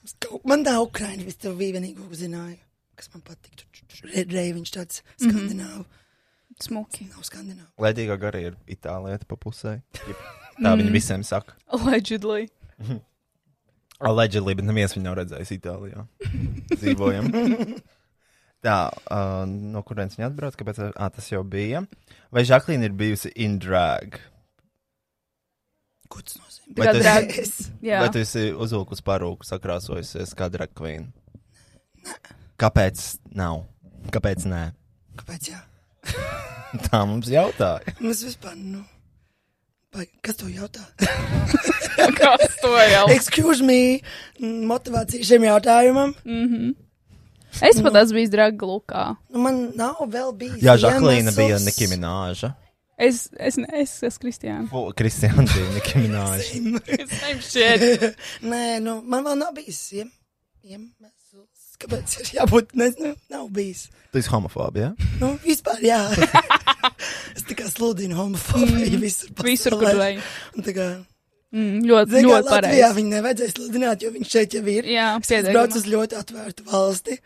[SPEAKER 5] Es kaut- Man tā Ukraina vis tev bija vienīgo uzzināja, kas man patika. Reiviņš tāds skandināvu.
[SPEAKER 3] Smuki.
[SPEAKER 5] Nav skandināvu.
[SPEAKER 2] Ledīgā garā ir itālieta pa pusē. Tā viņi
[SPEAKER 5] Mm.
[SPEAKER 2] visiem saka.
[SPEAKER 3] Allegedly.
[SPEAKER 2] Allegedly, bet neviens viņu nav redzējis Itālijā. Dzīvojam. Tā, uh, no kurienes viņa atbrauc? Kāpēc? Ah, tas jau bija. Vai Žaklīna ir bijusi in drag?
[SPEAKER 5] Ko tas nozīmē?
[SPEAKER 2] Vai
[SPEAKER 3] Kā
[SPEAKER 2] tas-
[SPEAKER 3] drag.
[SPEAKER 5] Es-
[SPEAKER 3] Jā.
[SPEAKER 2] Vai tu esi uzvilkus parūku, sakrāsojusies kā drag queen? Kāpēc nav? Kāpēc nē?
[SPEAKER 5] Kāpēc jā?
[SPEAKER 2] Tā mums jautāja.
[SPEAKER 5] Mums vispār, nu. Vai, kas to jautā?
[SPEAKER 3] Kas to jau?
[SPEAKER 5] Excuse me, mm, motivācija šim jautājumam.
[SPEAKER 3] Mhm. Es pat esmu bijis Draga Lukā.
[SPEAKER 5] Nu, man nav vēl bijis.
[SPEAKER 2] Jā, Žaklīna bija
[SPEAKER 5] iemesls-
[SPEAKER 2] Nikimināža.
[SPEAKER 3] Es, es, ne- es esmu Kristiāna.
[SPEAKER 2] Kristiāna bija Nikimināža.
[SPEAKER 3] Es neesmu šeit.
[SPEAKER 5] Nē, nu, man vēl nav bijis. Iem, iemesls, kāpēc ir jābūt, nezinu, nu, nav bijis.
[SPEAKER 2] Tu esi homofobija?
[SPEAKER 5] Nu, vispār, jā. Es tā kā sludinu homofobiju visur.
[SPEAKER 3] Mm. Visur, kur
[SPEAKER 5] pasaulē.
[SPEAKER 3] vajag.
[SPEAKER 5] Un tā kā,
[SPEAKER 3] Mm, ļoti,
[SPEAKER 5] zini, kā
[SPEAKER 3] ļoti
[SPEAKER 5] Latvijā
[SPEAKER 3] pareizi.
[SPEAKER 5] viņu nevajadzēja sludināt, jo viņš šeit jau ir.
[SPEAKER 3] Jā,
[SPEAKER 5] Es
[SPEAKER 3] piedēļ.
[SPEAKER 5] braucu uz ļoti atvērtu valsti.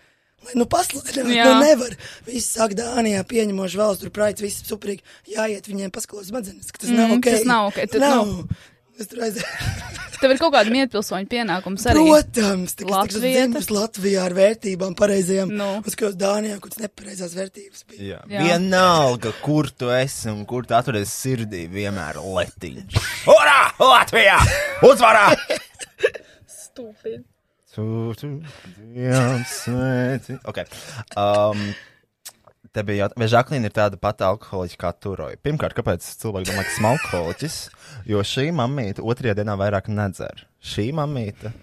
[SPEAKER 5] Lai nu pasludinātu,
[SPEAKER 3] Jā.
[SPEAKER 5] nu nevar. Visi saka, Dānijā pieņemošu valsts, tur prāts, viss superīgi. Jāiet viņiem paskalos smadzenes, ka tas nav
[SPEAKER 3] Mm,
[SPEAKER 5] ok.
[SPEAKER 3] tas nav ok, tad nu.
[SPEAKER 5] nav. Es tur aizēju.
[SPEAKER 3] Tev ir kaut kāda mietpilsoņa pienākums arī.
[SPEAKER 5] Protams, tas ir
[SPEAKER 3] Latvieta.
[SPEAKER 5] dzimums Latvijā ar vērtībām pareizajām.
[SPEAKER 3] Nu.
[SPEAKER 5] Es skatos Dānijā, kur tas nepareizās vērtības bija.
[SPEAKER 2] Jā.
[SPEAKER 3] Jā.
[SPEAKER 2] Vienalga, kur tu esi un kur tu atrodies sirdī, vienmēr letiņš.
[SPEAKER 6] Urā! Latvijā! Uzvarā!
[SPEAKER 3] Stupid.
[SPEAKER 2] Tu, tu, Dievs, svētī. okay. um, te bija jautājums, vai Žaklīna ir tāda pati alkoholiķa kā Turoja? Pirmkārt, kāpēc cilvēki domā, ka esmu alkoholiķis? Jo šī mamīte otrajā dienā vairāk nedzer. Šī mamīte.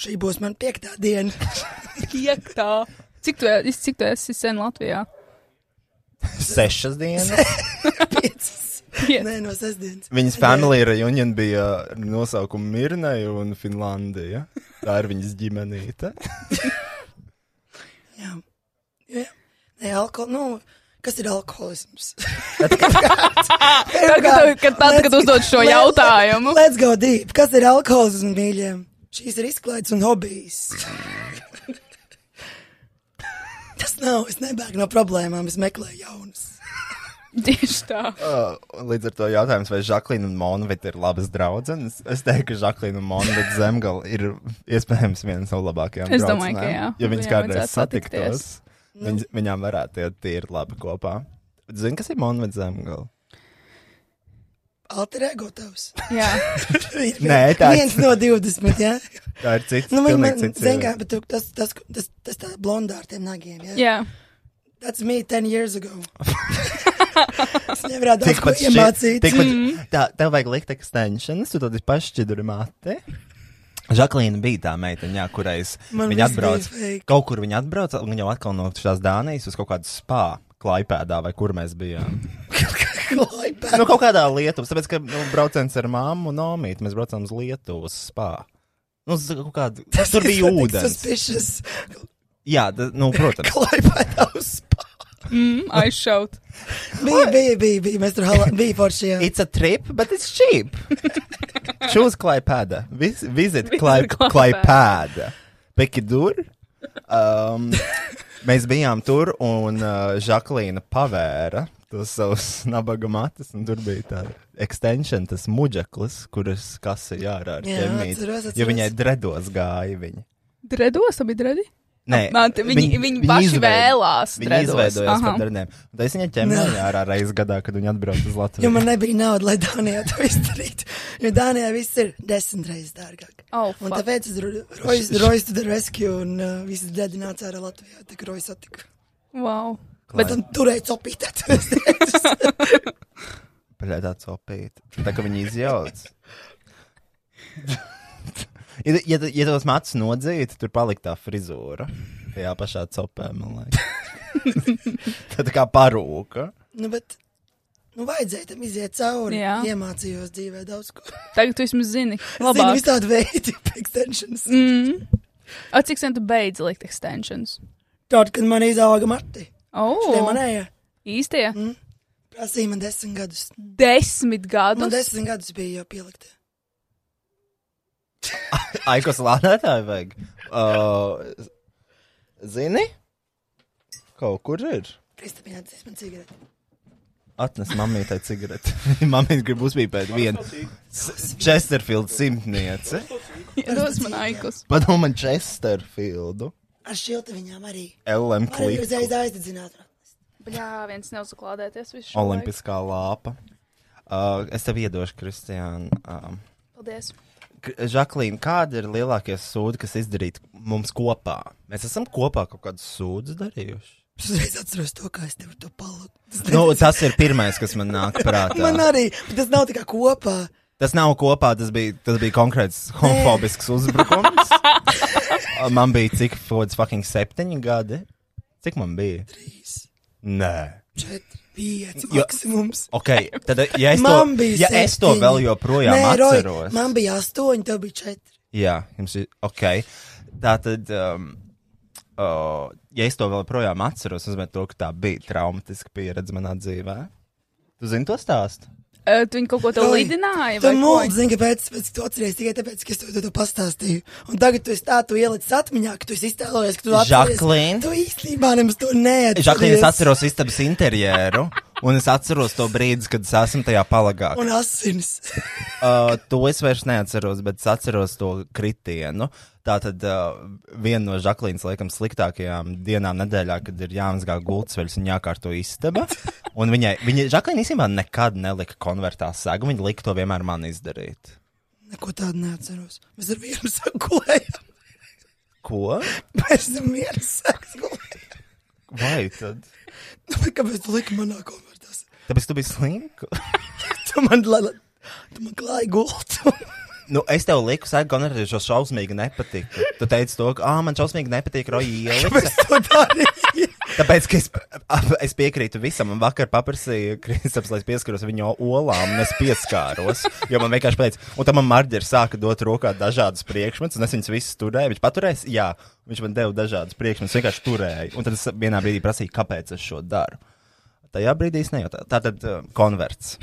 [SPEAKER 5] Šī būs man piektā diena.
[SPEAKER 3] Piektā. Cik tu, e- cik tu esi sen Latvijā?
[SPEAKER 2] Sešas dienas.
[SPEAKER 5] Piecas.
[SPEAKER 3] Piec.
[SPEAKER 5] Nē, no sestdienas.
[SPEAKER 2] Viņas family reunion bija ar nosaukumu Mirnai un Finlandija. Tā ir viņas ģimenīte.
[SPEAKER 5] Jā. Jā. Nē, alkohol, nu, kas ir alkoholisms?
[SPEAKER 3] Tad, kad, kad, tad, kad
[SPEAKER 5] Let's-
[SPEAKER 3] uzdod šo
[SPEAKER 5] let's-
[SPEAKER 3] jautājumu.
[SPEAKER 5] Let's go deep. Kas ir alkoholisms, mīļie? Šīs ir izklaides un hobijas. Tas nav, es nebēgu no problēmām, es meklēju jaunas.
[SPEAKER 3] Tieši tā.
[SPEAKER 2] Uh, Līdz ar to jautājums, vai Žaklīna un Monvita ir labas draudzenes? Es teiktu, ka Žaklīna un Monvita zemgala ir iespējams viens no labākajiem.
[SPEAKER 3] Es domāju, ka
[SPEAKER 2] draudzenēm.
[SPEAKER 3] jā.
[SPEAKER 2] Ja viņas
[SPEAKER 3] Viņām
[SPEAKER 2] kādreiz
[SPEAKER 3] vajadzētu
[SPEAKER 2] satiktos, viņ, viņām varētu iet tīri labi kopā. Zini, kas ir Monvita zemgala?
[SPEAKER 5] Alter ego tavs.
[SPEAKER 3] Jā.
[SPEAKER 5] Ir
[SPEAKER 2] Nē, tā-
[SPEAKER 5] viens no 20, jā.
[SPEAKER 2] Tā ir cits.
[SPEAKER 5] Nu, viņa
[SPEAKER 2] pilnīgi
[SPEAKER 5] man
[SPEAKER 2] cits
[SPEAKER 5] zināmā
[SPEAKER 2] sieviete.
[SPEAKER 5] mērā, bet tas, tas, tas, tas tā blondā ar tiem nagiem. Jā,
[SPEAKER 3] Jā.
[SPEAKER 5] tas bija 10 years ago. es nevaru daudz ko
[SPEAKER 2] Tikpat šķi-
[SPEAKER 5] iemācīt.
[SPEAKER 2] tikpat- Tā, tev vajag likt ekstenšanas, tu tad esi pašķidri māte. Žaklīna bija tā meitene, jā, kurais
[SPEAKER 5] Man
[SPEAKER 2] viņa
[SPEAKER 5] viss
[SPEAKER 2] atbrauc.
[SPEAKER 5] bija fake.
[SPEAKER 2] Kaut kur viņa atbrauc, un viņa jau atkal no šīs Dānijas uz kaut kādu spā, klaipēdā vai kur mēs bijām.
[SPEAKER 5] Klaipēda.
[SPEAKER 2] nu, kaut kādā Lietuvas, tāpēc, ka nu, brauciens ar māmu un omīti, mēs braucām uz Lietuvas spā. Nu, uz kaut kādu, tur bija ūdens.
[SPEAKER 5] Suspicious.
[SPEAKER 2] Jā, tas, nu, protams.
[SPEAKER 5] Klaipēda uz spa.
[SPEAKER 3] Mm, aizšaut.
[SPEAKER 5] Bija, bija, bija, bija. Mēs tur halā, bija forši.
[SPEAKER 2] It's a trip, but it's cheap. Choose Klaipēda. Vis, visit Klai-
[SPEAKER 3] Klaipēda.
[SPEAKER 2] Klaipēda. Peki dur. Um, mēs bijām tur un uh, Žaklīna pavēra tos savus nabaga matus, un tur bija tāda extension, tas muģeklis, kuras kas ir jārā ar
[SPEAKER 5] Jā, atceros,
[SPEAKER 2] ķemīti.
[SPEAKER 5] atceros.
[SPEAKER 2] Jo viņai dredos gāja viņa.
[SPEAKER 3] Dredos abi dredi?
[SPEAKER 2] Nē,
[SPEAKER 3] Man te- viņi- viņi paši vēlās
[SPEAKER 2] Viņi
[SPEAKER 3] dredos.
[SPEAKER 2] izveidojās
[SPEAKER 3] Aha.
[SPEAKER 2] par dredēm. Tā es viņai ķemēju ārā reiz gadā, kad viņi atbrauc uz Latviju.
[SPEAKER 5] Jo man nebija naudas, lai Dānijā to izdarītu. Jo Dānijā viss ir desmit reizes dārgāk.
[SPEAKER 3] Oh,
[SPEAKER 5] un
[SPEAKER 3] fuck.
[SPEAKER 5] tāpēc es roju to the rescue un uh, visas dēļ nāca ārā Latvijā. Tā kā roju satiku.
[SPEAKER 3] Wow.
[SPEAKER 5] Bet un turēja copītēt.
[SPEAKER 2] Pagaidām, apēta. Tā kā viņi izjauc. Ja, ja, ja tos matus nodzītu, tur palika tā frizūra. Tajā pašā cepē, man liekas. tā, tā kā parūka.
[SPEAKER 5] Nu, bet, nu, vajadzēja tam iziet cauri. Jā.
[SPEAKER 3] Jā.
[SPEAKER 5] Iemācījos dzīvē daudz ko.
[SPEAKER 3] Tagad tu vismaz zini.
[SPEAKER 5] Labāk.
[SPEAKER 3] Labāk.
[SPEAKER 5] Visādi veidi extensions. Mm.
[SPEAKER 3] Mm. A, cik sen tu beidz likt extensions?
[SPEAKER 5] Tad, kad man izauga mati, tie
[SPEAKER 3] Oh,
[SPEAKER 5] manēja,
[SPEAKER 3] īstie.
[SPEAKER 5] prasīja man desmit gadus.
[SPEAKER 3] Desmit
[SPEAKER 5] Man
[SPEAKER 3] gadus.
[SPEAKER 5] desmit gadus bija jau pielikt.
[SPEAKER 2] Aikos lādētāji vajag. Uh, zini? Kaut kur ir.
[SPEAKER 5] Kristapiņā tas man cigareti.
[SPEAKER 2] Atnes mammītai cigareti. Mammīte grib uzpīpēt vienu. S- Chesterfield simtniece.
[SPEAKER 3] Dos man aikus.
[SPEAKER 2] Padomā Chesterfieldu.
[SPEAKER 5] Ar šiltaviņām arī.
[SPEAKER 2] LM
[SPEAKER 5] Arī
[SPEAKER 2] kliku.
[SPEAKER 5] uzreiz aizdedzināt.
[SPEAKER 3] Jā, viens neuzaklādēties visu šo. laiku.
[SPEAKER 2] Olimpiskā lāpa. Uh, es tev iedošu, Kristiāna. Uh,
[SPEAKER 3] Paldies.
[SPEAKER 2] Žaklīna, kādi ir lielākie sūdi, kas izdarīti mums kopā? Mēs esam kopā kaut kādus sūdus darījuši.
[SPEAKER 5] Es uzreiz atceros to, kā es tev to paliku. Tas
[SPEAKER 2] Nu, tas ir pirmais, kas man nāk prātā.
[SPEAKER 5] Man arī, bet tas nav tā kā kopā.
[SPEAKER 2] Tas nav kopā, tas bija, tas bija konkrēts homofobisks uzbrukums. Uh, man bija cik fods fucking septiņi gadi. Cik man bija?
[SPEAKER 5] Trīs,
[SPEAKER 2] Nē.
[SPEAKER 5] četri, pieci
[SPEAKER 2] Jo-
[SPEAKER 5] maksimums.
[SPEAKER 2] Okay, tad, ja es
[SPEAKER 5] Man
[SPEAKER 2] to,
[SPEAKER 5] bija
[SPEAKER 2] ja es to
[SPEAKER 5] septiņi.
[SPEAKER 2] vēl joprojām
[SPEAKER 5] Nē, Roy,
[SPEAKER 2] atceros,
[SPEAKER 5] Man bija astoņi, tev bija četri.
[SPEAKER 2] Jā, jums ir ok. Tā tad um, uh, ja es to vēl projām atceros, uzmet to, ka tā bija traumatiska pieredze manā dzīvē. Tu zini to stāstu?
[SPEAKER 3] Uh, tu viņu kaut ko tādu lidināji?
[SPEAKER 5] Tu
[SPEAKER 3] vai ko?
[SPEAKER 5] mūldi, zini, kāpēc pēc to atceries tikai tāpēc, ka es to, to, to pastāstīju. Un tagad tu esi tā, tu ielicis atmiņā, ka tu esi iztēlojies, ka tu atceries.
[SPEAKER 2] Žaklīn?
[SPEAKER 5] Tu īstenībā nemaz to neatceries.
[SPEAKER 2] Žaklīna, es atceros istabas interjeru, un es atceros to brīdi, kad es esmu tajā palagā.
[SPEAKER 5] Un asins.
[SPEAKER 2] Uh, to es vairs neatceros, bet es atceros to kritienu. Tā tad uh, viena no Žaklīnas, laikam, sliktākajām dienām nedēļā, kad ir jāmazgā gultsveļas un jākārto istaba. Un viņai, viņa, Žaklīna īstenībā nekad nelika konvertā segu, viņa lika to vienmēr man izdarīt.
[SPEAKER 5] Neko tādu neatceros. Mēs ar vienu sakulējam.
[SPEAKER 2] Ko?
[SPEAKER 5] Mēs ar vienu sakulējam.
[SPEAKER 2] Vai tad?
[SPEAKER 5] Nu, bet kāpēc tu liki manā konvertās?
[SPEAKER 2] Tāpēc tu biji slinka.
[SPEAKER 5] Tu man, la, la, tu man klāji gultu.
[SPEAKER 2] Nu, es tev lieku, saka, gan arī šo šausmīgi nepatika. Tu teici to, ka, ah, man šausmīgi nepatīk rojas.
[SPEAKER 5] Tu darīji.
[SPEAKER 2] Tāpēc, ka es, es piekrītu visam, man vakar paprasīja Kristaps, lai es pieskaros viņa olām, un es pieskāros. Jo man vienkārši pateica, un tam man marģeri sāka dot rokā dažādas priekšmetus, un es viņus visus turēju. Viņš paturēs, jā, viņš man deva dažādas priekšmetus, vienkārši turēju. Un tad es vienā brīdī prasīju, kāpēc es šo daru. Tajā brīdī es nejautāju. Tā tad uh, konverts.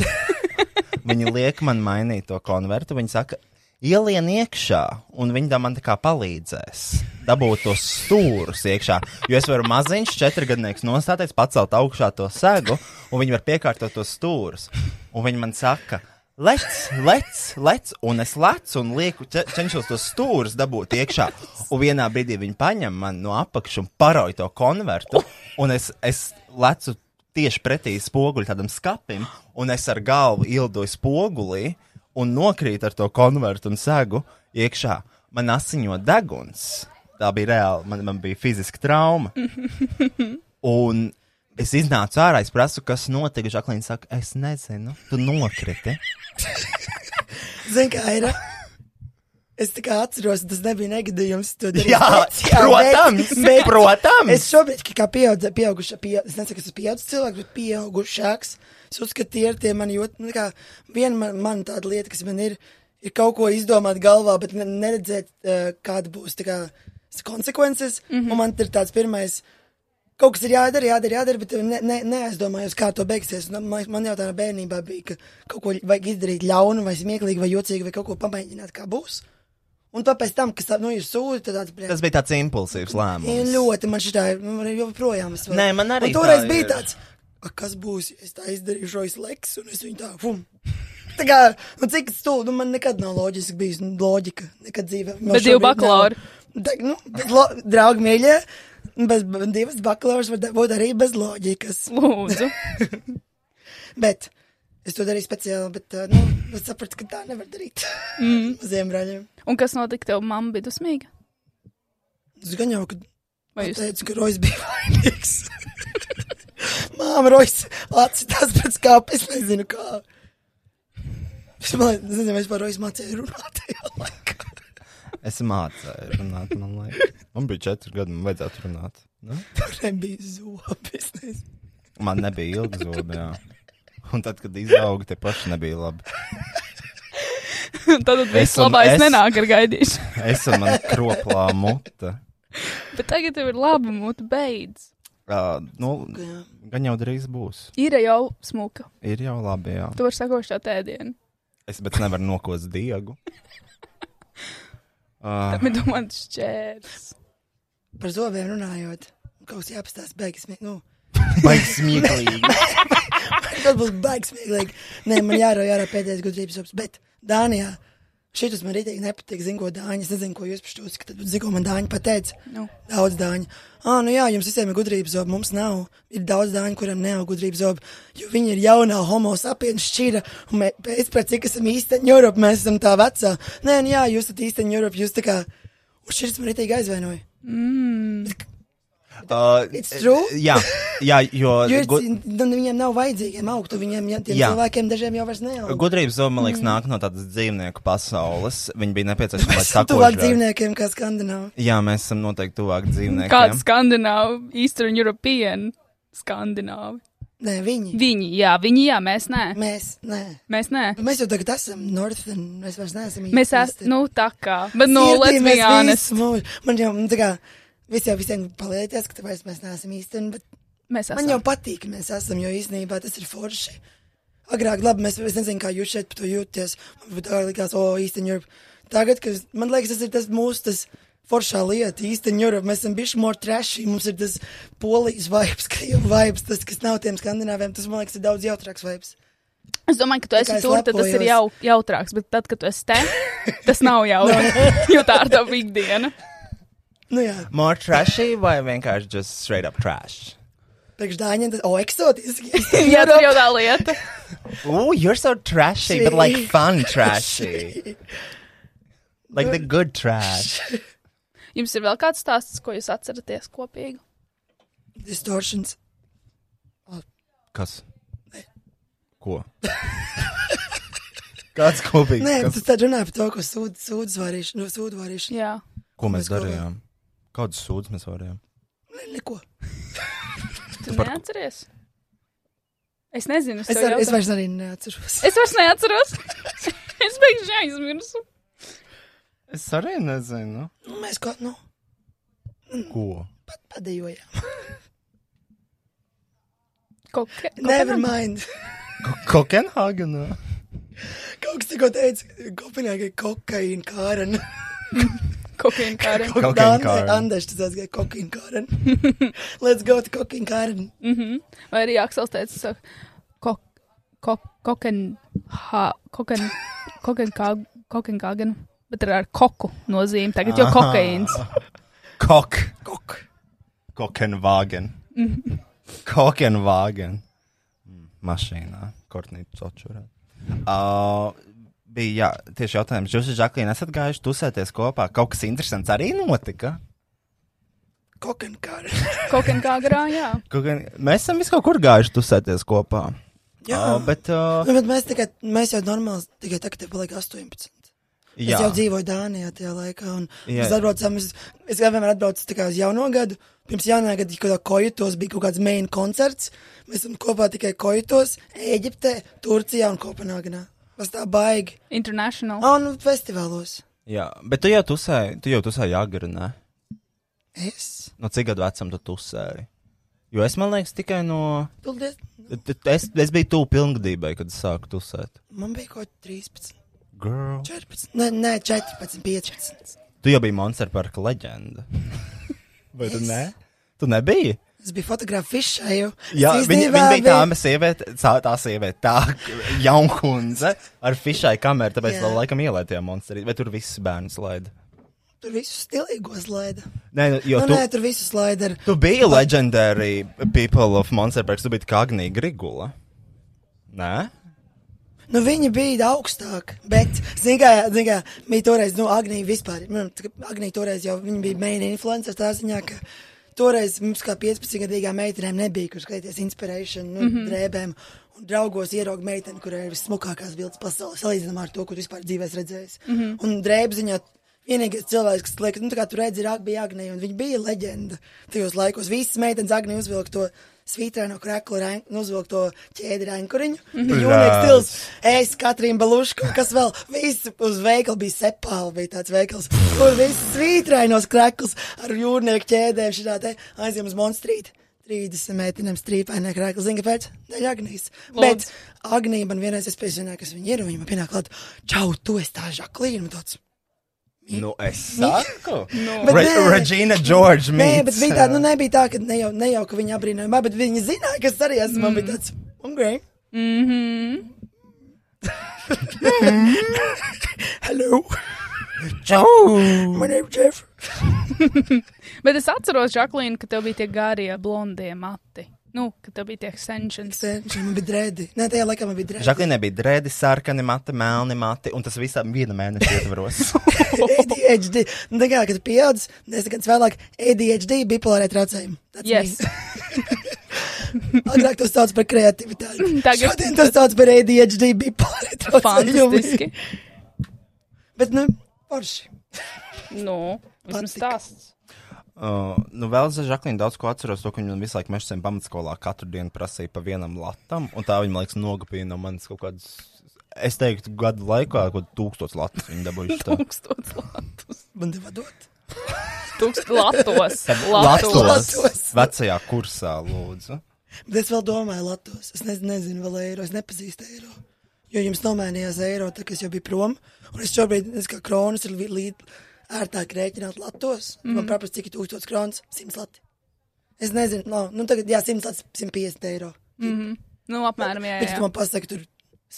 [SPEAKER 2] Viņi liek man mainīt to konvertu. Viņi saka, ielien iekšā, un viņi tam man tā kā palīdzēs. Dabūt tos stūrus iekšā. Jo es varu maziņš, četrgadnieks nostāties, pacelt augšā to segu, un viņi var piekārtot tos stūrus. Un viņi man saka, Lec, lec, lec, un es lecu un lieku, ce- cenšos tos stūrus dabūt iekšā. Un vienā brīdī viņi paņem mani no apakšas un parauj to konvertu. Un es, es lecu tieši pretī spoguļu tādam skapim, un es ar galvu ildoju spogulī un nokrītu ar to konvertu un segu iekšā. Man asiņo deguns. Tā bija reāli, man, man bija fiziska trauma. Un es iznācu ārā, es prasu, kas notika. Žaklīna saka, es nezinu, tu nokriti.
[SPEAKER 5] Zini, kā ir? Es tā kā atceros, tas nebija negadījums. tu darīji
[SPEAKER 2] Jā,
[SPEAKER 5] speciāli,
[SPEAKER 2] protams,
[SPEAKER 5] bet- bet
[SPEAKER 2] protams.
[SPEAKER 5] Es šobrīd, kā pieaudze, pieauguša, pie, es nesaku, ka esmu pieaugušs cilvēks, bet pieaugušāks. Es uzskatu, tie ir tie man jūt, nu, kā viena man, man tāda lieta, kas man ir, ir kaut ko izdomāt galvā, bet ne- neredzēt, eh, kāda būs tā kā s- konsekvences. Mm -hmm. Un man ir tāds pirmais. Kaut kas ir jādara, jādara, jādara, bet ne, ne, neaizdomājos, kā to beigsies. Un Man, man jau tādā bērnībā bija, ka kaut ko vajag izdarīt ļaunu, vai smieklīgu, vai jocīgu, vai kaut ko pamēģināt, kā būs. Un tad pēc tam, kas tā, nu, ir sūdi, tad tāds prieks.
[SPEAKER 2] Tas bija tāds impulsīvs lēmums.
[SPEAKER 5] Ir Nu, ļoti man šī tā ir. Man arī joprojām ir.
[SPEAKER 2] Nē, man arī
[SPEAKER 5] Toreiz
[SPEAKER 2] tā
[SPEAKER 5] bija
[SPEAKER 2] ir.
[SPEAKER 5] tāds, "A, kas būs, ja es tā izdarīju šo izlaiks, un es viņu tā, fum. Tā kā, nu cik stūdu, nu, man nekad nav loģiski bijis, nu, loģika, nekad dzīvē. Man
[SPEAKER 3] Bet divi
[SPEAKER 5] šobrīd nav.
[SPEAKER 3] bakalauri.
[SPEAKER 5] Da, nu, bet lo, draugi mīļie, bez divas bakalauras var būt arī bez loģikas.
[SPEAKER 3] Lūdzu.
[SPEAKER 5] Bet es to darīju speciāli, bet, ā, nu, es sapratu, ka tā nevar darīt. Mm. Ziemraļiem.
[SPEAKER 3] Un kas notika tev? Mamma bija dusmīga.
[SPEAKER 5] Es gan jau, kad
[SPEAKER 3] Vai
[SPEAKER 5] Es
[SPEAKER 3] jūs?
[SPEAKER 5] teicu, ka Roisas bija vainīgs. Māma, Roisas atcitās pēc kāpnes, es nezinu kā. Es man- es nezinu, vai es par Roisu mācīju runāt tajā laikā.
[SPEAKER 2] Es mācīju runāt, man liekas. Man bija četri gadi, man vajadzētu runāt. Nu?
[SPEAKER 5] Tur nebija zobi, es nezinu.
[SPEAKER 2] Man nebija ilgi zobi. Jā. Un tad, kad izauga, tie paši nebija labi.
[SPEAKER 3] Tad viss
[SPEAKER 2] un
[SPEAKER 3] labais
[SPEAKER 2] es.
[SPEAKER 3] nenāk ar gaidīšanu.
[SPEAKER 2] Es un man kroplā mute.
[SPEAKER 3] Bet tagad tev ir labi, mūti beidz.
[SPEAKER 2] Uh, nu,
[SPEAKER 5] Jā.
[SPEAKER 2] gan jau drīz būs.
[SPEAKER 3] Ir jau smuka.
[SPEAKER 2] Ir jau labi, jā.
[SPEAKER 3] Tu vari sakošot ēdienu.
[SPEAKER 2] Es bet nevaru nokost diegu. Uh,
[SPEAKER 3] Man domā, tas šķērs.
[SPEAKER 5] Par zobiem runājot, kaut kas jāpastāsta beigas. mie- Nu,
[SPEAKER 2] Baigi smieklīgi.
[SPEAKER 5] tas būs beigas smieklīgi. Nē, man jāro jārā pēdējais gudrības sops, bet Dānijā. Šitus man rītīgi nepatīk, zinu, ko Dāņi, es nezinu, ko jūs par to skatāt, bet zinu, ko man Dāņi pateica.
[SPEAKER 3] Nu.
[SPEAKER 5] Daudz dāņu. Ah, nu jā, jums visiem ir gudrības zobe. Mums nav. Ir daudz dāņu, kuriem nav gudrības zobe. Jo viņi ir jaunā homo sapiens šķira. Un mē- mēs pēc cik esam īstenībā Eiropā, mēs esam tā vecā. Nē, nu jā, jūs esat īstenībā Eiropā. Jūs tā kā. Un šis man rītīgi aizvainoja.
[SPEAKER 2] Uh,
[SPEAKER 5] It's true?
[SPEAKER 2] Jā, jā jo.
[SPEAKER 5] Jo ir,
[SPEAKER 2] gu-
[SPEAKER 5] nu, viņiem nav vajadzīgiem augt, un viņiem jā, tiem
[SPEAKER 2] Jā.
[SPEAKER 5] cilvēkiem dažiem jau vairs neaug.
[SPEAKER 2] Gudrības zoma, man liekas, nāk no tādas dzīvnieku pasaules. Viņi bija nepieciešami, lai
[SPEAKER 5] Esam
[SPEAKER 2] saktu
[SPEAKER 5] Tuvāk dzīvniekiem kā skandināvi.
[SPEAKER 2] Jā, mēs esam noteikti tuvāk dzīvniekiem.
[SPEAKER 3] Kāda skandināva, Eastern European skandināva.
[SPEAKER 5] Nē, viņi.
[SPEAKER 3] Viņi, jā, viņi, jā, mēs nē.
[SPEAKER 5] Mēs, nē.
[SPEAKER 3] Mēs nē.
[SPEAKER 5] Mēs jau tagad esam Northern, mēs vairs neesam
[SPEAKER 3] Mēs
[SPEAKER 5] īsti-
[SPEAKER 3] esam, nu, tā kā. Bet, nu,
[SPEAKER 5] Sirdī
[SPEAKER 3] let's be
[SPEAKER 5] mēs
[SPEAKER 3] honest.
[SPEAKER 5] visu mūžu- Man jau, nu, tā kā, Visiem, visiem palielieties, ka tāpēc mēs neesam īsteni, bet
[SPEAKER 3] Mēs esam.
[SPEAKER 5] Man jau patīk, ka mēs esam, jo īstenībā tas ir forši. Agrāk, labi, mēs, es nezinu, kā jūs šeit par to jūties. Man pat agrāk likās, o, īstenībā Eiropa. Tagad, kad man liekas, tas ir tas mūsu tas foršā lieta, īstenībā Eiropa. Mēs esam bijuši more trashy, mums ir tas polijas vibes, krievu vibes, tas, kas nav tiem skandināviem, tas man liekas, ir daudz jautrāks vibes.
[SPEAKER 3] Es domāju, ka tu esi
[SPEAKER 5] Tikai es
[SPEAKER 3] tur, tad tas ir jau,
[SPEAKER 5] lepojos.
[SPEAKER 3] jautrāks, bet tad, kad tu esi te, tas nav jautri, jo tā ir tava ikdiena.
[SPEAKER 5] Nu jā,
[SPEAKER 2] More trashy vai vienkārši just straight up trash?
[SPEAKER 5] priekš dāņiem tas, o, eksotiski.
[SPEAKER 3] Jā, tā jau tā lieta.
[SPEAKER 2] Ooh, you're so trashy, but like fun trashy. Like the good trash.
[SPEAKER 3] Jums ir vēl kāds stāsts, ko jūs atceraties kopīgi?
[SPEAKER 5] Distortions.
[SPEAKER 2] Kas? Ko? Kāds kopīgs?
[SPEAKER 5] Nē,
[SPEAKER 2] Kas?
[SPEAKER 5] tas tad runāja par to, ko sūdu sūd varīšanu, no sūdu varīšanu.
[SPEAKER 3] Jā.
[SPEAKER 2] Ko mēs
[SPEAKER 5] Mēs ko
[SPEAKER 2] darījām? Kādas sūdzes mēs varējām?
[SPEAKER 5] Nē, neko.
[SPEAKER 3] Tu neatceries? Es nezinu. Es,
[SPEAKER 5] Es,
[SPEAKER 3] es,
[SPEAKER 5] ar, es
[SPEAKER 3] es,
[SPEAKER 5] vairs arī neatceros.
[SPEAKER 3] es vairs neatceros. es beigšu aizmirsu.
[SPEAKER 2] Es arī nezinu.
[SPEAKER 5] Nu, Mēs kā, nu,
[SPEAKER 2] Ko?
[SPEAKER 5] padējojām.
[SPEAKER 3] Kaut kā.
[SPEAKER 5] Never mind.
[SPEAKER 2] Kopenhāgenā.
[SPEAKER 5] Kaut kas tikko teica, Kopenhāga ir kokaīna kārena.
[SPEAKER 3] Kokaīna kārē.
[SPEAKER 2] Kokaīna Karen.
[SPEAKER 5] Andrēs tas aizgāja kokaīna kārena. Let's go to kokaīna kārena.
[SPEAKER 3] Vai arī Aksels teica, saka, ko, ko, kokenhā, koken, kokenkā, kokenkāgen, bet ir ar koku nozīme tagad, jo kokaīns.
[SPEAKER 2] Kok. Kok. Kokenvāgen.
[SPEAKER 5] Mm-hmm.
[SPEAKER 2] Kokenvāgen. Mašīnā. Kortnīca očurā. Uh, bija, jā, tieši jautājums. Jūs, Žaklīna, esat gājuši tusēties kopā. Kaut kas interesants arī notika.
[SPEAKER 5] Kokaīna kārena.
[SPEAKER 3] Kokenkāgarā, jā.
[SPEAKER 2] Kaut Gan, mēs esam visu kaut kur gājuši tusēties kopā.
[SPEAKER 5] Jā,
[SPEAKER 2] Uh, bet, uh,
[SPEAKER 5] Nu, bet mēs tikai, mēs jau normāli, tikai tagad tev paliek 18. Jā.
[SPEAKER 2] jā.
[SPEAKER 5] Es jau dzīvoju Dānijā tajā laikā, un
[SPEAKER 2] Jā,
[SPEAKER 5] mēs
[SPEAKER 2] jā.
[SPEAKER 5] atbraucām, es, es jau vienmēr atbraucu tā kā uz jauno gadu. Pirms jaunā gada, kad bija kojotos, bija kaut kāds main koncerts. Mēs esam kopā tikai kojotos, Eģiptē, Turcijā un Kopenhāgenā. Tas tā baigi.
[SPEAKER 3] International.
[SPEAKER 5] Ah, nu, festivālos.
[SPEAKER 2] jā. Bet tu jau tusēji, tu jau tusēji agri, ne?
[SPEAKER 5] Es?
[SPEAKER 2] No cik gadu vecam tu tusēji? Jo es, man liekas, tikai no...
[SPEAKER 5] Paldies.
[SPEAKER 2] Es, es biju tuvu pilngadībai, kad es sāku tusēt.
[SPEAKER 5] Man bija kaut kā 13,
[SPEAKER 2] Girl.
[SPEAKER 5] 14, nē, nē 14, 15.
[SPEAKER 2] Tu jau biji Monster Parka leģenda. Vai tu ne? Tu nebiji?
[SPEAKER 5] Es biju fotografijā jau.
[SPEAKER 2] Jā,
[SPEAKER 5] Es
[SPEAKER 2] viņa,
[SPEAKER 5] īstenībā
[SPEAKER 2] viņa bija tā sieviete, tā, tā sieviete, tā jaunkundze ar fišai kameru, tāpēc
[SPEAKER 5] Jā.
[SPEAKER 2] tā laikam ielēja tajā monsterī. Vai tur viss bērns laida?
[SPEAKER 5] Tur visus stilīgos laida.
[SPEAKER 2] Nē, nu, jo
[SPEAKER 5] Nu,
[SPEAKER 2] tu,
[SPEAKER 5] nē, tur visus laida. ar-
[SPEAKER 2] tu biji legendary people of Monster Parks, tu biji kā Agnija Grigula. Nē?
[SPEAKER 5] Nu, viņi bija augstāk, bet, zin kā, zin kā, bija toreiz, nu, Agnija vispār, nu, tā kā Agnija toreiz jau, viņa bija main influencer tā ziņā, ka toreiz mums kā 15-gadīgā meitenēm nebija, kur skatīties inspiration, nu, mm -hmm. drēbēm, un draugos ierauga meiteni, kurai ir vissmukākās bildes pasaulē, salīdzinām ar to, ko tu vispār dzīvēs redzējis. Mm -hmm. Un drēbziņā vienīgais cilvēks, kas, liekas, nu, tā kā tu redzi, ir Agnija, Agnija, un viņa bija leģenda tajos laikos. Visas meitenes Agnija uzvilka to svītrā no krekla, rein- nu, uzvilka to ķēdi rankuriņu. Mm -hmm. Jūnīgs stils. Es Katrīna Baluška, kas vēl visu uz veikalu bija sepāli, bija tāds veikals, kur viss svītrainos krekls ar jūrnieku ķēdēm šitā te aizjām uz Monstrīti. 30 metriem strīpainē krēkla. Zini, kāpēc? Dēļ Agnijas. Bet Agnija man vienreiz es piezināju, kas viņa ir, un viņa man pienāk klāt, čau, tu esi tā Žaklīna. un Tāds,
[SPEAKER 2] Nu, es saku.
[SPEAKER 5] Nu, Bet
[SPEAKER 2] Re
[SPEAKER 5] nē.
[SPEAKER 2] Regina George.
[SPEAKER 5] Nē,
[SPEAKER 2] meets, uh,
[SPEAKER 5] bet viņa tā, nu nebija tā, ka ne jau, ne jau ka viņa apbrīnoja mani, bet viņa zināja, ka es arī esmu. Man
[SPEAKER 3] Mm.
[SPEAKER 5] bija tāds, ok.
[SPEAKER 3] Mhm.
[SPEAKER 5] Hello,
[SPEAKER 2] Čau!
[SPEAKER 5] my name is Jeff.
[SPEAKER 3] Bet es atceros, Žaklīna, ka tev bija tie garie blondie mati. Nu, ka tev bija tie extensions.
[SPEAKER 5] Viņš man bija drēdi. Nē, tajā laikā man bija drēdi.
[SPEAKER 2] Žaklīnai bija drēdi, sarkani mati, melni mati, un tas visā viena mēneša ietvaros.
[SPEAKER 5] ADHD. Nu, tā kā, kad pieaudz, desmit gadus vēlāk, ADHD bipolārē traucējumi. That's
[SPEAKER 3] Yes.
[SPEAKER 5] me. Agrāk tas sauc par kreativitāti.
[SPEAKER 3] Tagad-
[SPEAKER 5] Šodien tas sauc par ADHD bipolārē traucējumi.
[SPEAKER 3] Fantastiski.
[SPEAKER 5] Bet, nu, forši.
[SPEAKER 3] Nu, vismaz
[SPEAKER 5] Patika.
[SPEAKER 3] stāsts.
[SPEAKER 2] Uh, nu, vēl es ar Žaklīnu daudz ko atceros, to, ka viņa man visu laiku mežcēm pamatskolā katru dienu prasīja pa vienam latam, un tā viņa, man liekas, nogapīja no manis kaut kādas, es teiktu, gadu laikā, kaut tūkstots latus viņa dabūjuši. tā.
[SPEAKER 3] Tūkstots latus.
[SPEAKER 5] Man te vadot.
[SPEAKER 3] Tūkst latos.
[SPEAKER 2] Latvijas
[SPEAKER 5] Latos.
[SPEAKER 2] vecajā kursā, lūdzu.
[SPEAKER 5] Bet es vēl domāju, Latvijas. Es nezinu, nezinu vēl eiro. Es nepazīstu eiro. Jo jums nomainījās eiro, tā kā es jau biju prom. Un es šobrīd, es kā kronas, ir vi- līd ērtāk rēķināt Latvijas.
[SPEAKER 3] Mhm.
[SPEAKER 5] Mm. Man prasa, cik ir 1000 kronas, 100 lati. Es nezinu, no, nu tagad, jā, 100 lati, 150 eiro.
[SPEAKER 3] Nu, apmēram, jā.
[SPEAKER 5] Bet, ja tu
[SPEAKER 3] jā.
[SPEAKER 5] man pasaki, tur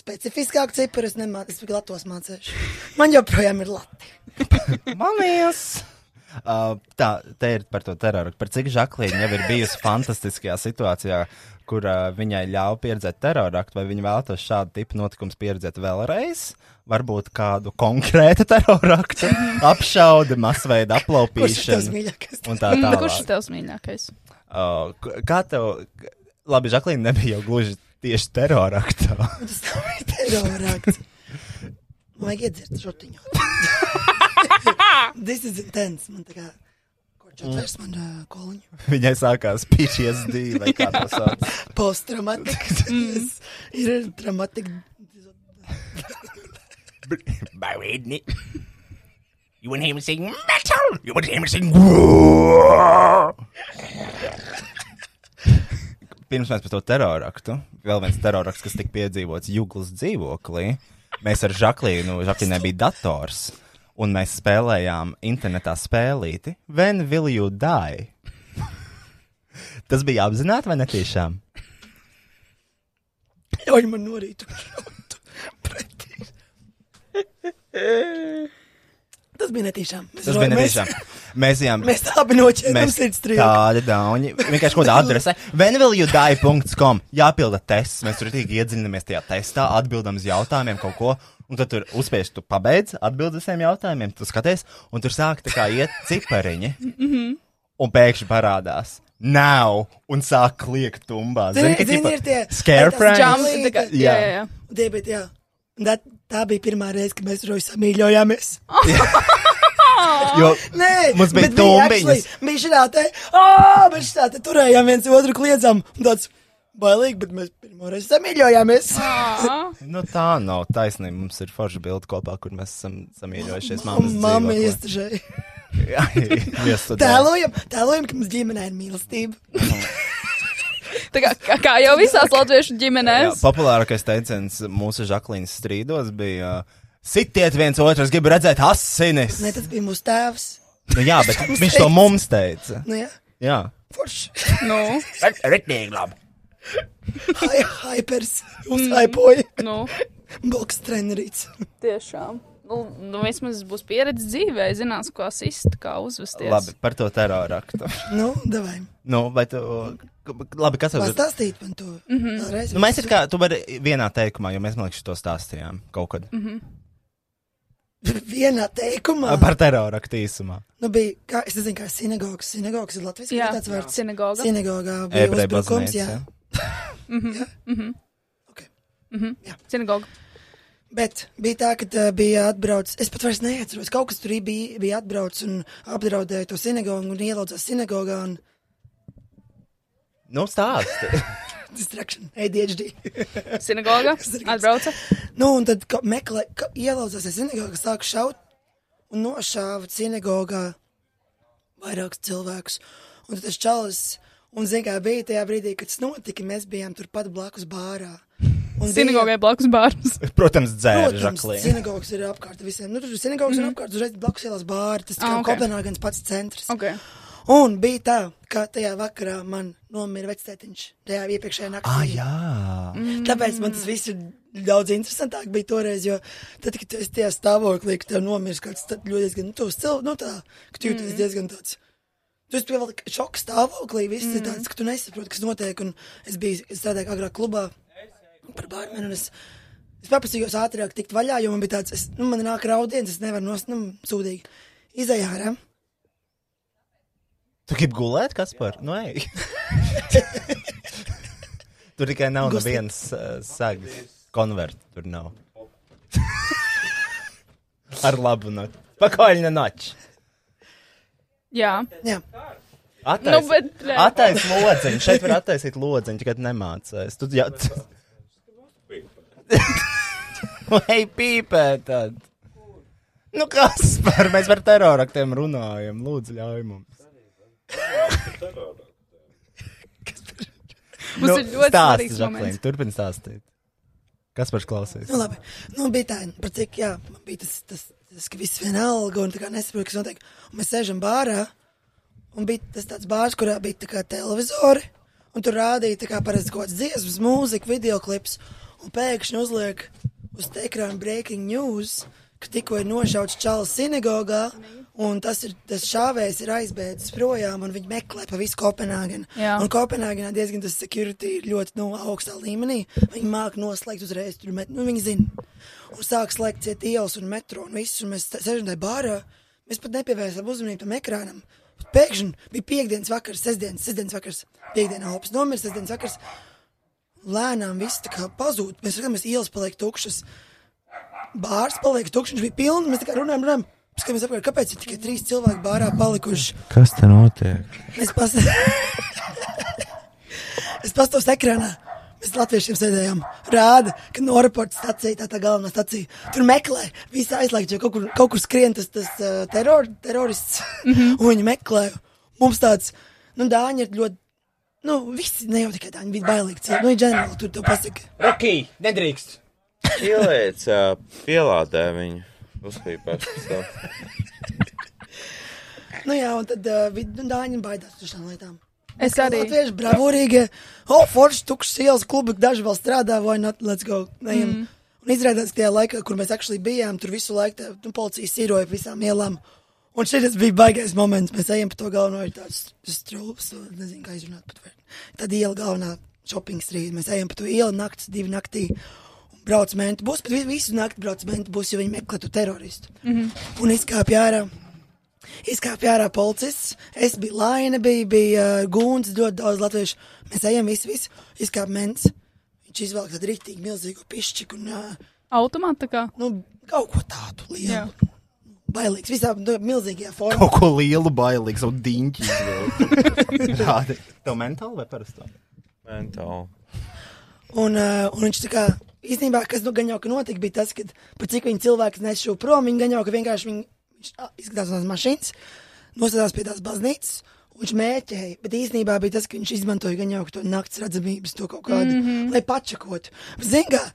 [SPEAKER 5] specifiskāk cipari, es nemācu, es tikai Latvijas mācīšu. Man joprojām ir lati.
[SPEAKER 2] Mamies! Uh, tā, te ir par to teroru. Par cik žaklīna jau ir bijusi fantastiskajā situācijā, kur uh, viņai ļāva pieredzēt teroru aktu, vai viņa vēlētos šādu tipu notikumus pieredzēt vēlreiz? Varbūt kādu konkrētu teroru aktu, apšaudi, masveida
[SPEAKER 5] Kurš ir tas
[SPEAKER 2] aplaupīšanu.
[SPEAKER 5] mīļākais?
[SPEAKER 2] Un tā
[SPEAKER 3] Mm,
[SPEAKER 2] tālāk.
[SPEAKER 3] Kurš ir tavs mīļākais?
[SPEAKER 2] Uh, k- kā tev, k- labi, Žaklīna nebija jau gluži tieši terora aktā.
[SPEAKER 5] Tas nav terorāks. Man vajag iedzert žotiņu. This is intense. Man tā kā. Kurš atvērs man uh, koliņu?
[SPEAKER 2] Viņai sākās PTSD vai kā tas sauc.
[SPEAKER 5] Posttraumatika. yes. Ir dramatika.
[SPEAKER 6] But wait, Nick. You wouldn't hear me sing metal. You wouldn't hear me sing. roar.
[SPEAKER 2] Pirms mēs par to teroraktu, vēl viens terorakts, kas tika piedzīvots Juglas dzīvoklī, mēs ar Žaklīnu, nu, Žaklīnai bija dators, un mēs spēlējām internetā spēlīti When Will You Die? Tas bija apzināti vai netiešām?
[SPEAKER 5] Oi, man norītu. pretī. Tas bija netīšām. Mēs
[SPEAKER 2] Tas
[SPEAKER 5] ro-
[SPEAKER 2] bija
[SPEAKER 5] mēs-
[SPEAKER 2] netiešām. Mēs bijām
[SPEAKER 5] Mēs tā abi noķēram
[SPEAKER 2] Mēs
[SPEAKER 5] sirds trījā.
[SPEAKER 2] tādi dauni. Vienkārši kaut kāda adrese. Venvilljudai.com. Jāpilda tests. Mēs tur tik iedziļināmies tajā testā, atbildam uz jautājumiem kaut ko. Un tad tur uzspiež, tu pabeidz atbild visiem jautājumiem, tu skaties, un tur sāk tā kā iet cipariņi.
[SPEAKER 5] Mhm.
[SPEAKER 2] Un pēkšņi parādās. Nav! Un sāk kliegt tumbā. Zini, ka
[SPEAKER 5] Zini,
[SPEAKER 2] tipa
[SPEAKER 5] ir tie-
[SPEAKER 2] Scare
[SPEAKER 5] vai tas
[SPEAKER 2] pranks.
[SPEAKER 5] jump?
[SPEAKER 3] Džams, tā kā.
[SPEAKER 5] Jā.
[SPEAKER 3] Jā, jā, jā.
[SPEAKER 5] Debet, jā. Un Tā, tā bija pirmā reize, kad mēs roju samīļojāmies.
[SPEAKER 2] Jo
[SPEAKER 5] Nē,
[SPEAKER 2] Mums bija
[SPEAKER 5] bet
[SPEAKER 2] tumbiņas.
[SPEAKER 5] actually- Bija šitā te, ah, mēs šitā te turējām viens otru kliedzām. Un tāds bailīgi, bet mēs pirmo reizi samīļojāmies.
[SPEAKER 3] Ā,
[SPEAKER 2] nu, tā nav taisnība. Mums ir forša bilde kopā, kur mēs esam samīļojušies.
[SPEAKER 5] Un mamma iestrēžēja.
[SPEAKER 2] iestrādāja.
[SPEAKER 5] Tēlojam, tēlojam, ka mums ģimenē ir mīlestība.
[SPEAKER 3] Tā kā, kā- kā jau visās latviešu ģimenēs.
[SPEAKER 2] Jā, populārākais teiciens mūsu žaklīnas strīdos bija. uh, Sitiet viens otru, es gribu redzēt asinis.
[SPEAKER 5] Nē, tas bija mūsu tēvs.
[SPEAKER 2] Nu, jā, bet viņš to mums teica.
[SPEAKER 5] Nu, jā.
[SPEAKER 2] Jā,
[SPEAKER 5] Forši.
[SPEAKER 3] Nu,
[SPEAKER 6] That's a nickname, love.
[SPEAKER 5] Hi- Hypers. Uzhaipoja.
[SPEAKER 3] nu,
[SPEAKER 5] Boks trenerīts.
[SPEAKER 3] tiešām. Nu, nu, vismaz būs pieredze dzīvē, zinās, ko sist, kā uzvesties.
[SPEAKER 2] labi, par to teroraktu.
[SPEAKER 5] Nu, davai.
[SPEAKER 2] Nu, vai tu, labi, kas tas ir?
[SPEAKER 5] Pastāstīt man to.
[SPEAKER 3] Mhm.
[SPEAKER 5] Vēlreiz.
[SPEAKER 2] Nu, mēs it kā, tu vari vienā teikumā, jo mēs, man liekas, to stāstījām kaut kad.
[SPEAKER 5] Mhm.
[SPEAKER 2] Mm
[SPEAKER 5] Vienā teikumā.
[SPEAKER 2] -hmm. Par teroraktu īsumā.
[SPEAKER 5] Nu, bija, kā, es nezinu, kā ir sinagogas. Sinagogas ir Latvijas
[SPEAKER 3] Jā,
[SPEAKER 5] tāds vārds.
[SPEAKER 3] sinagoga.
[SPEAKER 5] Sinagogā bija
[SPEAKER 2] Ebreja
[SPEAKER 5] uzbrukums, jā.
[SPEAKER 2] baznīca.
[SPEAKER 3] Sinagoga.
[SPEAKER 5] Bet bija tā, ka tā bija atbraucis. Es pat vairs neatceros, kaut kas tur i- bija, bija atbraucis un apdraudēja to sinagogu un ielaudzās sinagogā un
[SPEAKER 2] Nu, stāsti.
[SPEAKER 5] distrakšana, ADHD.
[SPEAKER 3] Sinagoga. Atbrauca.
[SPEAKER 5] nu, un tad ka- meklē, ka ielaudzās tajā sinagogā, sāk šaut un nošāva sinagogā vairākus cilvēkus. Un tad tas čalis, un zin kā bija tajā brīdī, kad tas notika, mēs bijām turpat blakus bārā. Un bija-
[SPEAKER 3] Sinagogai blakus bārns.
[SPEAKER 2] Protams, dzēra
[SPEAKER 5] Protams,
[SPEAKER 2] žaklīna.
[SPEAKER 5] sinagogas ir apkārt visiem. Nu, tur ir sinagogas mm. un apkārt uzreiz blakus ielas bāri. Tas kā
[SPEAKER 3] Mhm. Ah,
[SPEAKER 5] okay.
[SPEAKER 3] ok.
[SPEAKER 5] Kopenhāgenes pats centrs.
[SPEAKER 3] Okay.
[SPEAKER 5] Un bija tā, ka tajā vakarā man nomira vecētiņš tajā iepriekšējā naktī.
[SPEAKER 2] Ah, jā.
[SPEAKER 5] Tāpēc man tas viss ir daudz interesantāk bija toreiz, jo tad, kad tu esi tajā stāvoklī, ka tev nomirst kāds tad ļoti diezgan tuvs cilvēks, nu tā, ka tu jūties diezgan tāds. Tu esi vēl šoka stāvoklī, viss ir tāds, ka tu nesaproti, kas notiek. Un es biju, es strādāju agrāk klubā par bārmenu, un es, es paprasījos ātrāk tikt vaļā, jo man bija tāds, es, nu, man nāk raudiens, es nevaru nos, nu, sūdīgi. Izejā ārā.
[SPEAKER 2] Tu gribi gulēt, kas par? Nu, ej. tur tikai nav
[SPEAKER 5] Gusti.
[SPEAKER 2] nevienas uh, sagas. Konverta tur nav. Ar labu nakti. Pakaļņa nači.
[SPEAKER 3] Jā.
[SPEAKER 5] Jā.
[SPEAKER 2] Atais,
[SPEAKER 3] Nu, bet, blē.
[SPEAKER 2] atais lodziņš. Šeit var attaisīt lodziņu, tikai tu nemācās. Tu jā. t- Nu, Ej, pīpē tad. Nu, kas par mēs par teroraktiem runājam? Lūdzu, ļauj mums.
[SPEAKER 3] Mums ir ļoti
[SPEAKER 2] Nu, stāsti,
[SPEAKER 3] svarīgs
[SPEAKER 2] Žaklīn,
[SPEAKER 3] moments.
[SPEAKER 2] Turpin stāstīt. Kas par klausīs?
[SPEAKER 5] Nu, labi. Nu, bija tā, par cik, jā, man bija tas, tas, tas ka viss vienalga, un tā kā nesaprotu, kas notiek. Un mēs sēžam bārā, un bija tas tāds bārs, kurā bija tā kā televizori, un tur rādīja tā kā parasti kaut kāds dziesmas, mūzika, videoklips, un pēkšņi uzliek uz tā ekrāna breaking news, ka tikko ir nošauts čalis sinagogā, un tas ir, tas šāvējs ir aizbēdzis projām, un viņi meklē pa visu Kopenhāgenu.
[SPEAKER 3] Jā.
[SPEAKER 5] Un Kopenhāgenā diezgan tas security ir ļoti nu, augstā līmenī. Viņi māca noslēgt uzreiz, tur met, nu, viņi zina. Un sāk slēgt ciet ielas un metro un viss, un mēs tā- sēžam tajā bārā. Mēs pat nepievērsām uzmanību tam ekrānam. Pēkšņi bija piekdienas vakars, sestdienas, sestdienas vakars, piekdiena opis nomirs, sestdienas vakars. Lēnām viss tā kā pazūd. Mēs skatāmies, ielas paliek tukšas, bārs paliek tukšs, viņš bija pilns. Mēs tā kā runājam, runājam. Skatāmies apkārt, kāpēc ir tikai trīs cilvēki bārā palikuši.
[SPEAKER 2] Kas te notiek?
[SPEAKER 5] Mēs pastāvim. es pastāvu ekrānā. Mēs latviešiem sēdējām. Rāda, ka no aeroporta stācija, tā tā galvenā stācija, tur meklē. Visi aizliegts, jo kaut kur, kaut kur skrien tas, tas uh, teror, terorists. Mm -hmm. Un viņi meklē. Mums tāds, nu, dāņi ir ļoti. Nu, visi ne jau tikai dāņi, bija bailīgi. cilvēki. Nu, viņi ģenerāli tur to pasaka.
[SPEAKER 4] Rukī, nedrīkst.
[SPEAKER 7] Ieliec, ā, pielādē viņu. Uzlīpēs pēc tam.
[SPEAKER 5] Nu, jā, un tad uh, vi- nu, dāņi baidās no šādām lietām.
[SPEAKER 3] Es arī.
[SPEAKER 5] Latvieši bravūrīgi, oh, forši tukšs ielas klubi, daži vēl strādā, vai not, let's go. Ejam. Mm. Un izrādās, ka tajā laikā, kur mēs actually bijām, tur visu laiku tā, nu, policija sīroja pa visām ielām. Un šis bija baisais moments, mēs ejam pa to galveno, ir tāds strūps, nezinu, kā izrunāt pat vēl. Tad iela galvenā shopping street, mēs ejam pa to ielu naktis, divi naktī. Un Brauc mentu būs, bet vi- visu nakti brauc mentu būs, jo viņi meklē to teroristu. Mm
[SPEAKER 3] Mhm.
[SPEAKER 5] -hmm. Un izkāpj ārā. Izkāpa ārā policists, es biju Laina, bija, bija uh, Guns, ļoti daudz latviešu. Mēs ejam, viss, viss. Izkāpa mens. Viņš izvelk tādu rīktīgi milzīgu pišķiku un uh,
[SPEAKER 3] Automāti tā kā.
[SPEAKER 5] nu, kaut ko tādu lielu.
[SPEAKER 3] Jā.
[SPEAKER 5] Jā. Bailīgs, visā nu, milzīgajā formā.
[SPEAKER 2] Kaut ko lielu bailīgs un diņķi. Tāda. Tev mentāli vai parasto?
[SPEAKER 7] Mentāli.
[SPEAKER 5] Un, uh, un viņš tā kā īstenībā, kas nu gan jau ka notika, bija tas, ka par cik viņi cilvēks nes šo prom, viņi gan jau ka vienkārši viņi, viņš ā, izskatās no tās mašīnas, nostājās pie tās baznīcas. un Viņš mēķēja, bet īstenībā bija tas, ka viņš izmantoja gan jau ka to naktas redzamības, to kaut kādu, mm -hmm. lai pačakotu. Zinām,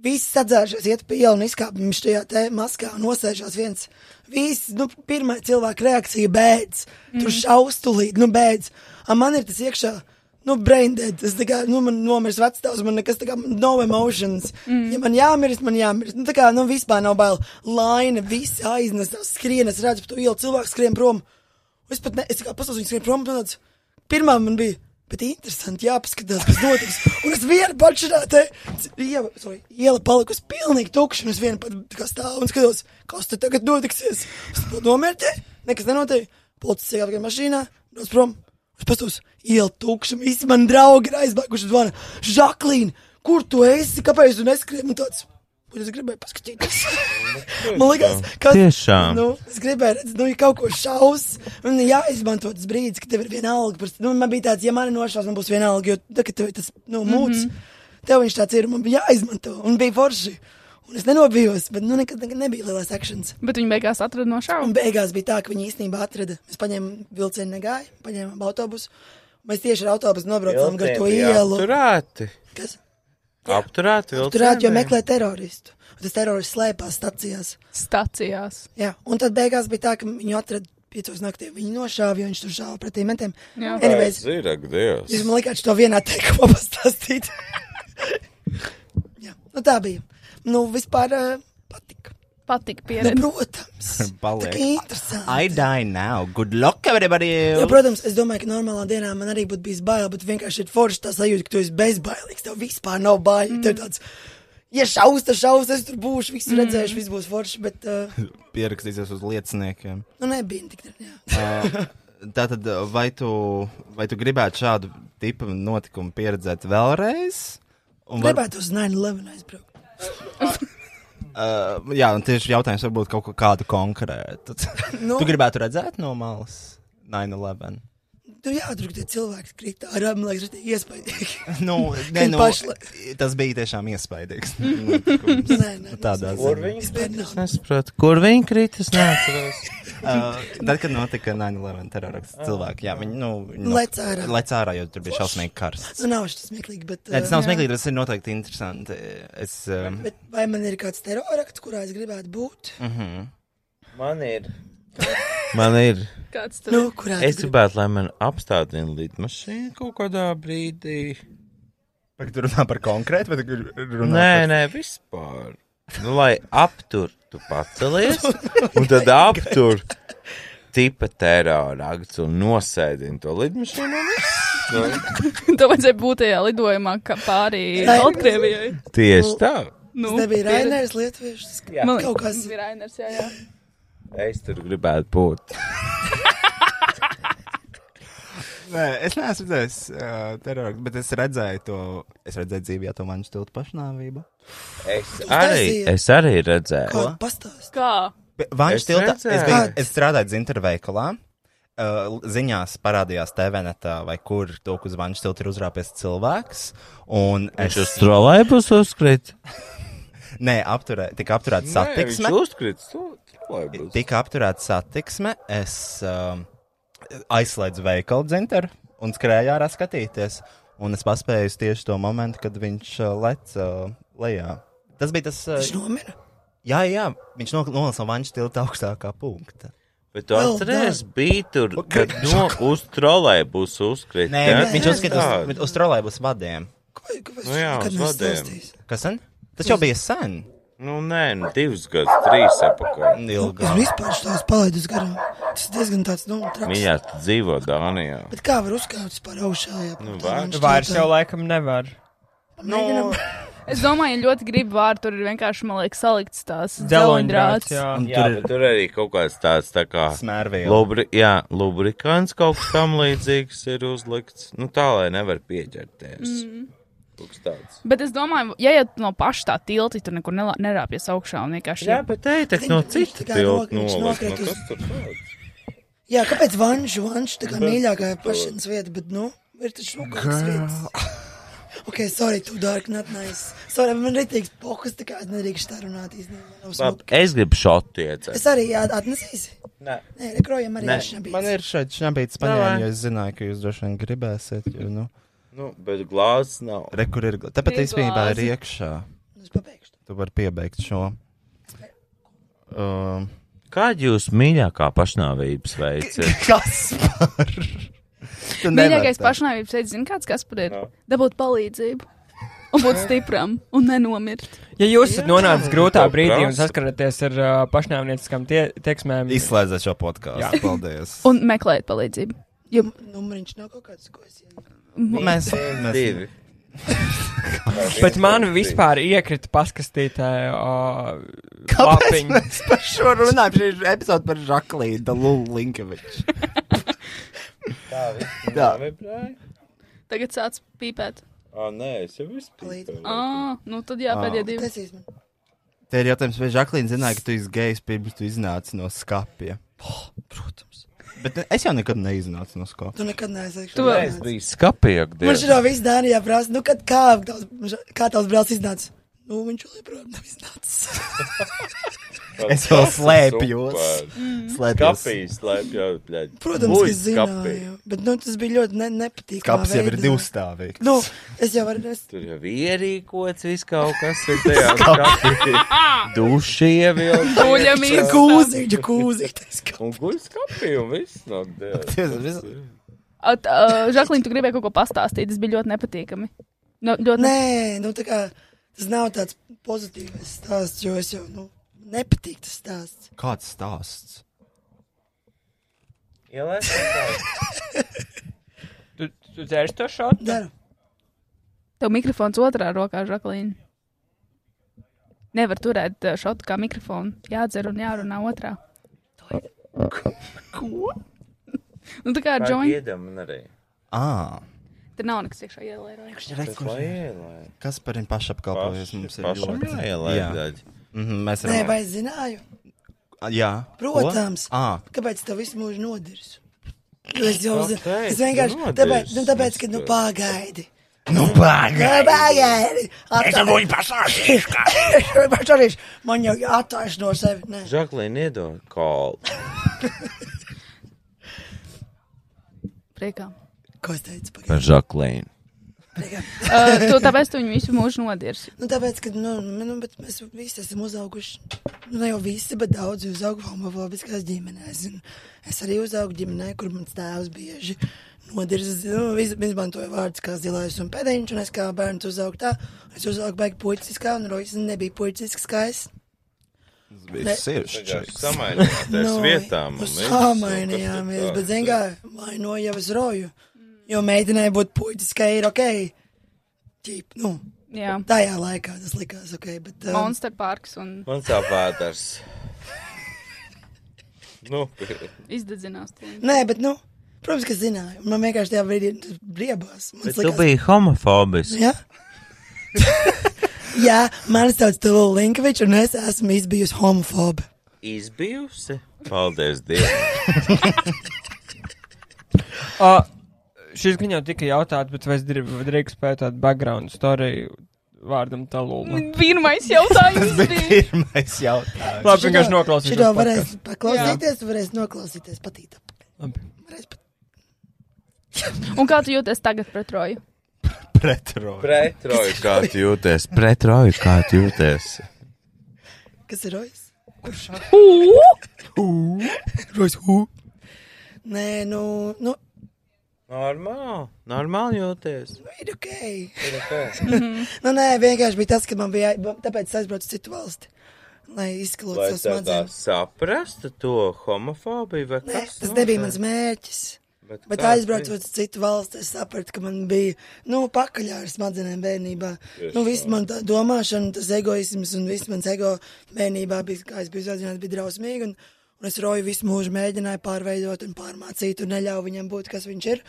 [SPEAKER 5] Visi sadzēršās, iet pie ielas un izkāpjams šajā te maskā un nosēžās viens. Visi, nu, pirmā cilvēka reakcija bēdz. Tur šaustulīgi, nu, bēdz. A, man ir tas iekšā, nu, braindead. Es tā kā, nu, man nomirst vecstāvs, man nekas tā kā, no emotions. Mm. Ja man jāmirst, man jāmirst. Nu, tā kā, nu, vispār nav bail. Laina, visi aiznes, skrien, es redzu, pa to ielu cilvēku skrien prom. Es pat ne, es kā pasaule skrienu prom, un tāds pirmā man bija. Bet interesanti, jāpaskatās, kas notiks. Un es vienu pašu šajā te c- ieva- sorry, iela palikusi pilnīgi tukša, un es vienu pat tā kā stāvu un skatos, kas tur tagad notiksies. Es domāju, nekas nenotiek. Policija apgāja mašīnā, brauc prom. Es paskatos, iela tukša, visi mani draugi ir aizbēguši uz vana. Žaklīn, kur tu esi? Kāpēc tu neskrieni? Un tāds, "Un Es gribēju paskatīties. Man liekas, ka
[SPEAKER 7] Tiešām.
[SPEAKER 5] Nu, es gribēju redzēt, nu, ja kaut ko šaus, un jāizmanto tas brīdis, kad tev ir vienalga. par- Nu, man bija tāds, ja mani nošaus, man būs vienalga, jo tā, ka tev ir tas nu, mūts, mm -hmm. tev viņš tāds ir, man bija jāizmanto, un bija forši. Un es nenobijos, bet nu, nekad, nekad nebija lielās akcijas.
[SPEAKER 3] Bet viņi beigās atrada no
[SPEAKER 5] Un
[SPEAKER 3] šaubu.
[SPEAKER 5] beigās bija tā, ka viņi īstenībā atrada. Mēs paņēmām vilcienu, negāju, paņēmām autobusu. Mēs tieši ar autobusu nobraucām gar to ielu.
[SPEAKER 7] Apturēti.
[SPEAKER 5] Kas?
[SPEAKER 7] Apturēti vilcieni.
[SPEAKER 5] Turēt, jo meklē teroristu. Un tas terorists slēpās stacijās.
[SPEAKER 3] Stacijās.
[SPEAKER 5] Jā, un tad beigās bija tā, ka viņu atrada piecos naktī. Viņu nošāva, jo viņš tur šāva pretī mentiem.
[SPEAKER 3] Jā.
[SPEAKER 5] Anyways,
[SPEAKER 7] Zirag, Dievs.
[SPEAKER 5] jūs man likāt, to vienā teikumā pastāstīt. Jā, nu tā bija. Nu, vispār uh, patika.
[SPEAKER 3] Patika
[SPEAKER 5] Nu,
[SPEAKER 3] pieredze.
[SPEAKER 5] protams.
[SPEAKER 2] Paliek.
[SPEAKER 5] Tā kā interesanti.
[SPEAKER 2] I die now. Good luck, everybody!
[SPEAKER 5] Jā, protams, es domāju, ka normālā dienā man arī būtu bijis bail, bet vienkārši ir forši tā sajūta, ka tu esi bezbailīgs. Tev vispār nav bail. Mm. Tev ir tāds, ja šaus, tad šaus, es tur būšu, viss mm. redzēšu, viss būs forši. Bet, uh,
[SPEAKER 2] Pierakstīsies uz lieciniekiem.
[SPEAKER 5] nu, nebija tik tālu.
[SPEAKER 2] Tātad, vai tu, vai tu gribētu šādu tipu notikumu pieredzēt vēlreiz? Un var-
[SPEAKER 5] Gribētu uz 9-11 aizbraukt.
[SPEAKER 2] Uh, jā, un tieši jautājums varbūt kaut ko kādu konkrētu.
[SPEAKER 5] Nu.
[SPEAKER 2] Nu. Tu gribētu redzēt no malas 9-11.
[SPEAKER 5] Tu Nu, jā, tur tie cilvēki krīt ārā, man liekas, tas ir iespaidīgi.
[SPEAKER 2] Nu, ne, nu,
[SPEAKER 5] pašlaik. Mm.
[SPEAKER 2] tas bija tiešām iespaidīgs. notikums.
[SPEAKER 5] Nē, nē,
[SPEAKER 2] Tādā
[SPEAKER 7] Kur
[SPEAKER 2] ziņā.
[SPEAKER 7] viņi
[SPEAKER 5] Vispār nav.
[SPEAKER 7] Nesaprotu, kur viņi krīt, es neatceros.
[SPEAKER 2] Uh, tad, kad notika 9-11
[SPEAKER 7] Ah.
[SPEAKER 2] terorists cilvēki, jā, viņi, nu, viņi no-
[SPEAKER 5] Lec ārā.
[SPEAKER 2] Lec ārā, jo tur bija šausmīgi karsts.
[SPEAKER 5] Nu, nav šis smieklīgi, bet.
[SPEAKER 2] Nē, tas nav
[SPEAKER 5] ā,
[SPEAKER 2] smieklīgi, tas ir noteikti interesanti. Es, um,
[SPEAKER 5] Bet vai man ir kāds terorakts, kurā es gribētu būt? Mm.
[SPEAKER 7] Man ir. Man ir.
[SPEAKER 3] Kāds tur
[SPEAKER 5] Nu,
[SPEAKER 3] nu.
[SPEAKER 5] kurā
[SPEAKER 7] Es gribētu, lai man apstādina lidmašīna kaut kādā brīdī.
[SPEAKER 2] Pagaid, tu runā par konkrētu, bet runā
[SPEAKER 7] Nē, nē, vispār. Nu, lai apturtu pacelies, un tad aptur tipa terorāgts un nosēdina to lidmašīnu. un viss. Nu,
[SPEAKER 3] tev vajadzēja būt tajā lidojumā, kā pāri
[SPEAKER 5] Nē.
[SPEAKER 3] Baltkrievijai?
[SPEAKER 7] Tieši tā.
[SPEAKER 3] Nu,
[SPEAKER 5] Tas nebija
[SPEAKER 3] pieredze.
[SPEAKER 5] Rainers, Lietuviešu.
[SPEAKER 7] Jā.
[SPEAKER 3] Man
[SPEAKER 5] Kaut
[SPEAKER 3] liekas,
[SPEAKER 5] kas-
[SPEAKER 3] tas bija Rainers, jā, jā.
[SPEAKER 7] Es tur gribētu būt.
[SPEAKER 2] Nē, es neesmu redzējis uh, teroristu, bet es redzēju to. Es redzēju dzīvē, ja to man šķiet pašnāvība.
[SPEAKER 7] Es arī, es arī redzēju.
[SPEAKER 5] Kādu pastāst?
[SPEAKER 3] Kā?
[SPEAKER 2] Vāņš
[SPEAKER 7] Es
[SPEAKER 2] tilta. Es,
[SPEAKER 7] redzēju.
[SPEAKER 2] biju- es strādāju dzintra veikalā. Uh, ziņās parādījās TVNetā vai kur to, ka uz Vāņš tilta ir uzrāpies cilvēks. Un
[SPEAKER 7] Viņš uz
[SPEAKER 2] es
[SPEAKER 7] trolēbus uzkrīt.
[SPEAKER 2] nē, apturē, tika apturēta satiksme.
[SPEAKER 7] Viņš uzkrīt trolēbus.
[SPEAKER 2] Tika apturēta satiksme. Es um, aizslēdzu veikalu dzintaru un skrēju ārā skatīties. Un es paspēju tieši to momentu, kad viņš uh, lec uh, lejā. Tas bija tas. Uh,
[SPEAKER 5] Viņš nomira.
[SPEAKER 2] jā, jā, viņš nok- nolasa vanšu tilta augstākā punkta.
[SPEAKER 7] Bet tu
[SPEAKER 5] Well
[SPEAKER 7] atceries, bija tur, kad no uz trolēbus uzkrīt.
[SPEAKER 2] Nē,
[SPEAKER 7] Jā,
[SPEAKER 2] jā, viņš
[SPEAKER 5] jā.
[SPEAKER 2] uzskata uz, bet uz trolēbus vadiem.
[SPEAKER 5] Ko ko es
[SPEAKER 7] Nu jā,
[SPEAKER 5] nekad
[SPEAKER 7] uz
[SPEAKER 5] neesmu
[SPEAKER 7] vadiem.
[SPEAKER 5] stāstījis?
[SPEAKER 2] Kas sen? Tas jau bija sen.
[SPEAKER 7] Nu, nē, nu, divus gadus, trīs apakaļ.
[SPEAKER 5] Nu, Es
[SPEAKER 2] Ilgāk.
[SPEAKER 5] vispār tās palaidu garām. Tas ir diezgan tāds, nu, traks.
[SPEAKER 7] Mīļā, tu dzīvo Dānijā.
[SPEAKER 5] Bet kā var uzkāpt vispār augšā? Jā,
[SPEAKER 7] Nu,
[SPEAKER 5] tā
[SPEAKER 7] var.
[SPEAKER 4] Vairs jau laikam nevar.
[SPEAKER 5] Mēģinam.
[SPEAKER 3] Es domāju, ja ļoti gribu vārdu, tur ir vienkārši, man liekas, salikts tās dzeloņdrāts.
[SPEAKER 4] jā.
[SPEAKER 2] Un
[SPEAKER 7] Jā,
[SPEAKER 2] tur
[SPEAKER 7] tur,
[SPEAKER 2] ir
[SPEAKER 7] tur arī kaut kāds tāds tā kā.
[SPEAKER 2] smērviela.
[SPEAKER 7] Lubri, jā, lubrikants kaut kas tam līdzīgs ir uzlikts. Nu, tā lai nevar pieķerties. Mm. Kaut kas tāds.
[SPEAKER 3] Bet es domāju, ja jau no paša tā tilta tur nekur nelā- nerāpjas augšā un vienkārši.
[SPEAKER 7] Jā, bet ej, tā
[SPEAKER 5] Viņš-
[SPEAKER 7] no
[SPEAKER 5] viņš
[SPEAKER 7] cita
[SPEAKER 5] tikai
[SPEAKER 7] tilta
[SPEAKER 5] nokrīt, viņš
[SPEAKER 7] nolikt.
[SPEAKER 5] nokrīt
[SPEAKER 7] Nu,
[SPEAKER 5] uz-
[SPEAKER 7] kas tur tāds?
[SPEAKER 5] Jā, kāpēc vanš, vanš, tā kā mīļākā pašanas vieta, bet, nu, ir taču kaut kādas vietas. Ok, sorry, too dark, not nice. Sorry, man netīks pokus, tā kā es nedrīkst tā runāt īstenībā. Nav
[SPEAKER 7] Labi,
[SPEAKER 5] smuki.
[SPEAKER 7] es gribu šotu iecēt.
[SPEAKER 5] Es arī jā, atnesīsi.
[SPEAKER 7] Nē.
[SPEAKER 5] Nē, rekrojam arī
[SPEAKER 7] Nē,
[SPEAKER 5] šiem
[SPEAKER 2] Man
[SPEAKER 5] bija.
[SPEAKER 2] ir šeit šņabīts paņēma, jo es zināju, ka jūs droši vien gribēsiet. Jo, nu,
[SPEAKER 7] Nu, bet glāzes nav.
[SPEAKER 2] re, kur ir. gla- Tāpēc
[SPEAKER 3] Ir
[SPEAKER 2] īstenībā ir
[SPEAKER 3] glāzi.
[SPEAKER 2] iekšā.
[SPEAKER 5] Nu, Es pabeigšu.
[SPEAKER 2] Tu vari piebeigt šo. Um,
[SPEAKER 7] Kāda jūs mīļākā pašnāvības veids ir?
[SPEAKER 2] Kas par? Tu nevari
[SPEAKER 3] Mīļākais
[SPEAKER 2] tā.
[SPEAKER 3] pašnāvības veids, zini, kāds kas par ir?
[SPEAKER 7] No.
[SPEAKER 3] Dabūt palīdzību. Un būt stipram un nenomirt.
[SPEAKER 4] Ja jūs esat nonācis grūtā
[SPEAKER 7] Kaut
[SPEAKER 4] brīdī un
[SPEAKER 7] prasa.
[SPEAKER 4] saskaraties ar uh, pašnāvnieciskām tie, tieksmēm,
[SPEAKER 2] Izslēdzēt šo podkāstu. Paldies.
[SPEAKER 3] Un meklēt palīdzību. Jo
[SPEAKER 5] Numuriņš nav kaut kāds, ko es jau.
[SPEAKER 2] mēs mēs
[SPEAKER 7] Divi.
[SPEAKER 4] bet man vispār iekrita paskastītē uh,
[SPEAKER 2] kāpēc
[SPEAKER 4] lapiņa.
[SPEAKER 2] mēs par šo runājam? Šī ir epizode par Žaklīdu Linkeviču.
[SPEAKER 7] Jā,
[SPEAKER 2] Jā.
[SPEAKER 7] vibrēja.
[SPEAKER 3] tagad sāc pīpēt.
[SPEAKER 7] Ā, nē, es jau vispār.
[SPEAKER 5] Līdz-
[SPEAKER 3] Ah, nu tad jā, pēdējie divi.
[SPEAKER 5] Taisīs man.
[SPEAKER 2] Te ir jautājums, vai Žaklīna zināja, ka tu esi gejs pirms tu iznāci no skapja?
[SPEAKER 5] Protams.
[SPEAKER 2] Bet es jau nekad neiznācu no skapja.
[SPEAKER 5] Tu nekad neesi.
[SPEAKER 3] Tu vēl-
[SPEAKER 7] Es biju skapīgi.
[SPEAKER 5] Man šī nav viss Dānijā prasa, nu, kad kā tavs, kā tavs brālis iznāca? Nu, viņš jau joprojām nav iznācis.
[SPEAKER 2] Es vēl slēpjos. Mm. Slēpjos.
[SPEAKER 7] Kapīs slēpjos, bļaļ.
[SPEAKER 5] Protams,
[SPEAKER 7] Ui,
[SPEAKER 5] ka es zināju, bet, nu, tas bija ļoti ne, nepatīkami.
[SPEAKER 2] Kaps jau ir divstāvīgs.
[SPEAKER 5] Nu, es jau varu, es
[SPEAKER 7] Tur jau ierīkots viss kaut kas, ir tajā skapī. Duši ievilkt.
[SPEAKER 3] Guļamīts.
[SPEAKER 5] kūzīju, kūzīju.
[SPEAKER 7] Un guļ skapī un viss no dēļ.
[SPEAKER 2] Tas viss-
[SPEAKER 3] At, uh, Žaklīn, tu gribēji kaut ko pastāstīt, tas bija ļoti nepatīkami. No, ļoti ne.
[SPEAKER 5] Nē, nu, tā kā tas nav tāds pozitīvs stāsts, jo es jau, nu, nepatīk tas stāsts.
[SPEAKER 2] Kāds stāsts?
[SPEAKER 4] Tu, tu dzērsi to šādu?
[SPEAKER 5] Daru.
[SPEAKER 3] Tev mikrofons otrā rokā, Žaklīn. Nevar turēt uh, šādu kā mikrofonu. Jādzer un jārunā otrā. Ko? nu tā kā ar džoinu.
[SPEAKER 7] Iedam man arī.
[SPEAKER 2] Ā,
[SPEAKER 3] Tur nav nekas iekšā ielērojams.
[SPEAKER 7] Tas lai ielai.
[SPEAKER 2] kas par viņu pašapkalpojas mums ir?
[SPEAKER 7] Pašam
[SPEAKER 2] ļoti-
[SPEAKER 7] jāielai,
[SPEAKER 2] Jā.
[SPEAKER 7] bļaļ.
[SPEAKER 2] Mhm, Mēs
[SPEAKER 5] Nē,
[SPEAKER 2] varam.
[SPEAKER 5] vai es zināju?
[SPEAKER 2] Jā.
[SPEAKER 5] Protams.
[SPEAKER 2] Ko? Ā,
[SPEAKER 5] Kāpēc tev visu mūžu nodirs? Jo Es jau zinu,
[SPEAKER 7] Tāpēc,
[SPEAKER 5] es vienkārši. Tāpēc,
[SPEAKER 7] dodies.
[SPEAKER 5] nu, tāpēc ka, nu, pagaidi.
[SPEAKER 7] Nu,
[SPEAKER 5] Nu,
[SPEAKER 7] pagaidi!
[SPEAKER 5] pagaidi.
[SPEAKER 6] Es
[SPEAKER 5] Atā-
[SPEAKER 6] tev pasāšu, kā.
[SPEAKER 5] Pats arī man jau jāattaisno sevi. Nē.
[SPEAKER 7] Žaklīna iedod kolu.
[SPEAKER 8] Priekā.
[SPEAKER 5] Ko es teicu? Pagaidi.
[SPEAKER 7] Par Žaklīnu.
[SPEAKER 8] Uh, tu, tāpēc tu viņu visu mūžu nodirsi.
[SPEAKER 5] Nu, tāpēc, ka nu, nu, bet mēs visi esam uzauguši. Nu, ne jau visi, bet daudzi uzauga homofobiskās ģimenēs. Un es arī uzaugu ģimenē, kur mans tēvs bieži nodirza. Nu, vis- izmantoja vārdus kā zilais un pēdiņš, un es kā bērns uzaugu tā. Es uzaugu baigi puiciskā, un Rojas nebija puicisks skaists.
[SPEAKER 2] Tas bija sirds.
[SPEAKER 7] Samainījāties vietām. un
[SPEAKER 5] Nu, mēs
[SPEAKER 7] viss.
[SPEAKER 5] samainījāmies, bet, zin kā, vainoja jau es Roju. Jo meitenei būt puiciskai ir ok. Ķip, nu,
[SPEAKER 8] Jā.
[SPEAKER 5] tajā laikā tas likās ok, bet... um,
[SPEAKER 8] Monster parks un
[SPEAKER 7] Man sāpētars. Nu, bet
[SPEAKER 8] izdedzinās. to.
[SPEAKER 5] Nē, bet, nu, protams, ka zināju. Man vienkārši tajā brīdī tas riebās. Man
[SPEAKER 7] tu biji homofobs.
[SPEAKER 5] Jā, Jā man sauc Tulu Linkovičs, un es esmu izbijusi homofobu.
[SPEAKER 7] Izbijusi? Paldies Dievam.
[SPEAKER 4] Uh, šis gan jau tika jautāts, bet vai es dri- drīkstu spēt tādu background storiju vārdam talūlu?
[SPEAKER 8] Pirmais jautājums bija.
[SPEAKER 2] Pirmais jautājums.
[SPEAKER 4] Labi, vienkārši noklausīšos.
[SPEAKER 5] Šito
[SPEAKER 4] podcastu.
[SPEAKER 5] varēs paklausīties, varēs noklausīties patīt.
[SPEAKER 4] Labi.
[SPEAKER 5] Varēs pat...
[SPEAKER 8] Un kā tu jūties tagad pret Roju?
[SPEAKER 2] Pretro.
[SPEAKER 7] Pretroju, kā tu jūties? Pretroju, kā tu jūties?
[SPEAKER 5] Kas ir rojas?
[SPEAKER 8] Ū!
[SPEAKER 5] Rojas hū. Nē, nu, nu,
[SPEAKER 7] Normāli, normāli jūties.
[SPEAKER 5] ir ok.
[SPEAKER 7] Ir ok.
[SPEAKER 5] Nu, nē, vienkārši bija tas, ka man bija, jā- tāpēc es aizbraucu uz citu valsti, lai
[SPEAKER 7] Lai
[SPEAKER 5] izkalot savus
[SPEAKER 7] tā tā
[SPEAKER 5] smadzenes.
[SPEAKER 7] saprastu to homofobiju vai
[SPEAKER 5] Nē,
[SPEAKER 7] kas?
[SPEAKER 5] tas nebija mans mērķis. Bet
[SPEAKER 7] kāds
[SPEAKER 5] aizbraucot uz citu valsti, es sapratu, ka man bija nu, pakaļā ar smadzenēm bērnībā. Nu, viss man tā domāšana, tas egoisms un viss mans ego bērnībā bija, kā es biju uzaicināts, bija drausmīgi. Un, un es roju visu mūžu mēģināju pārveidot un pārmācīt un neļauju viņam būt, kas viņš ir.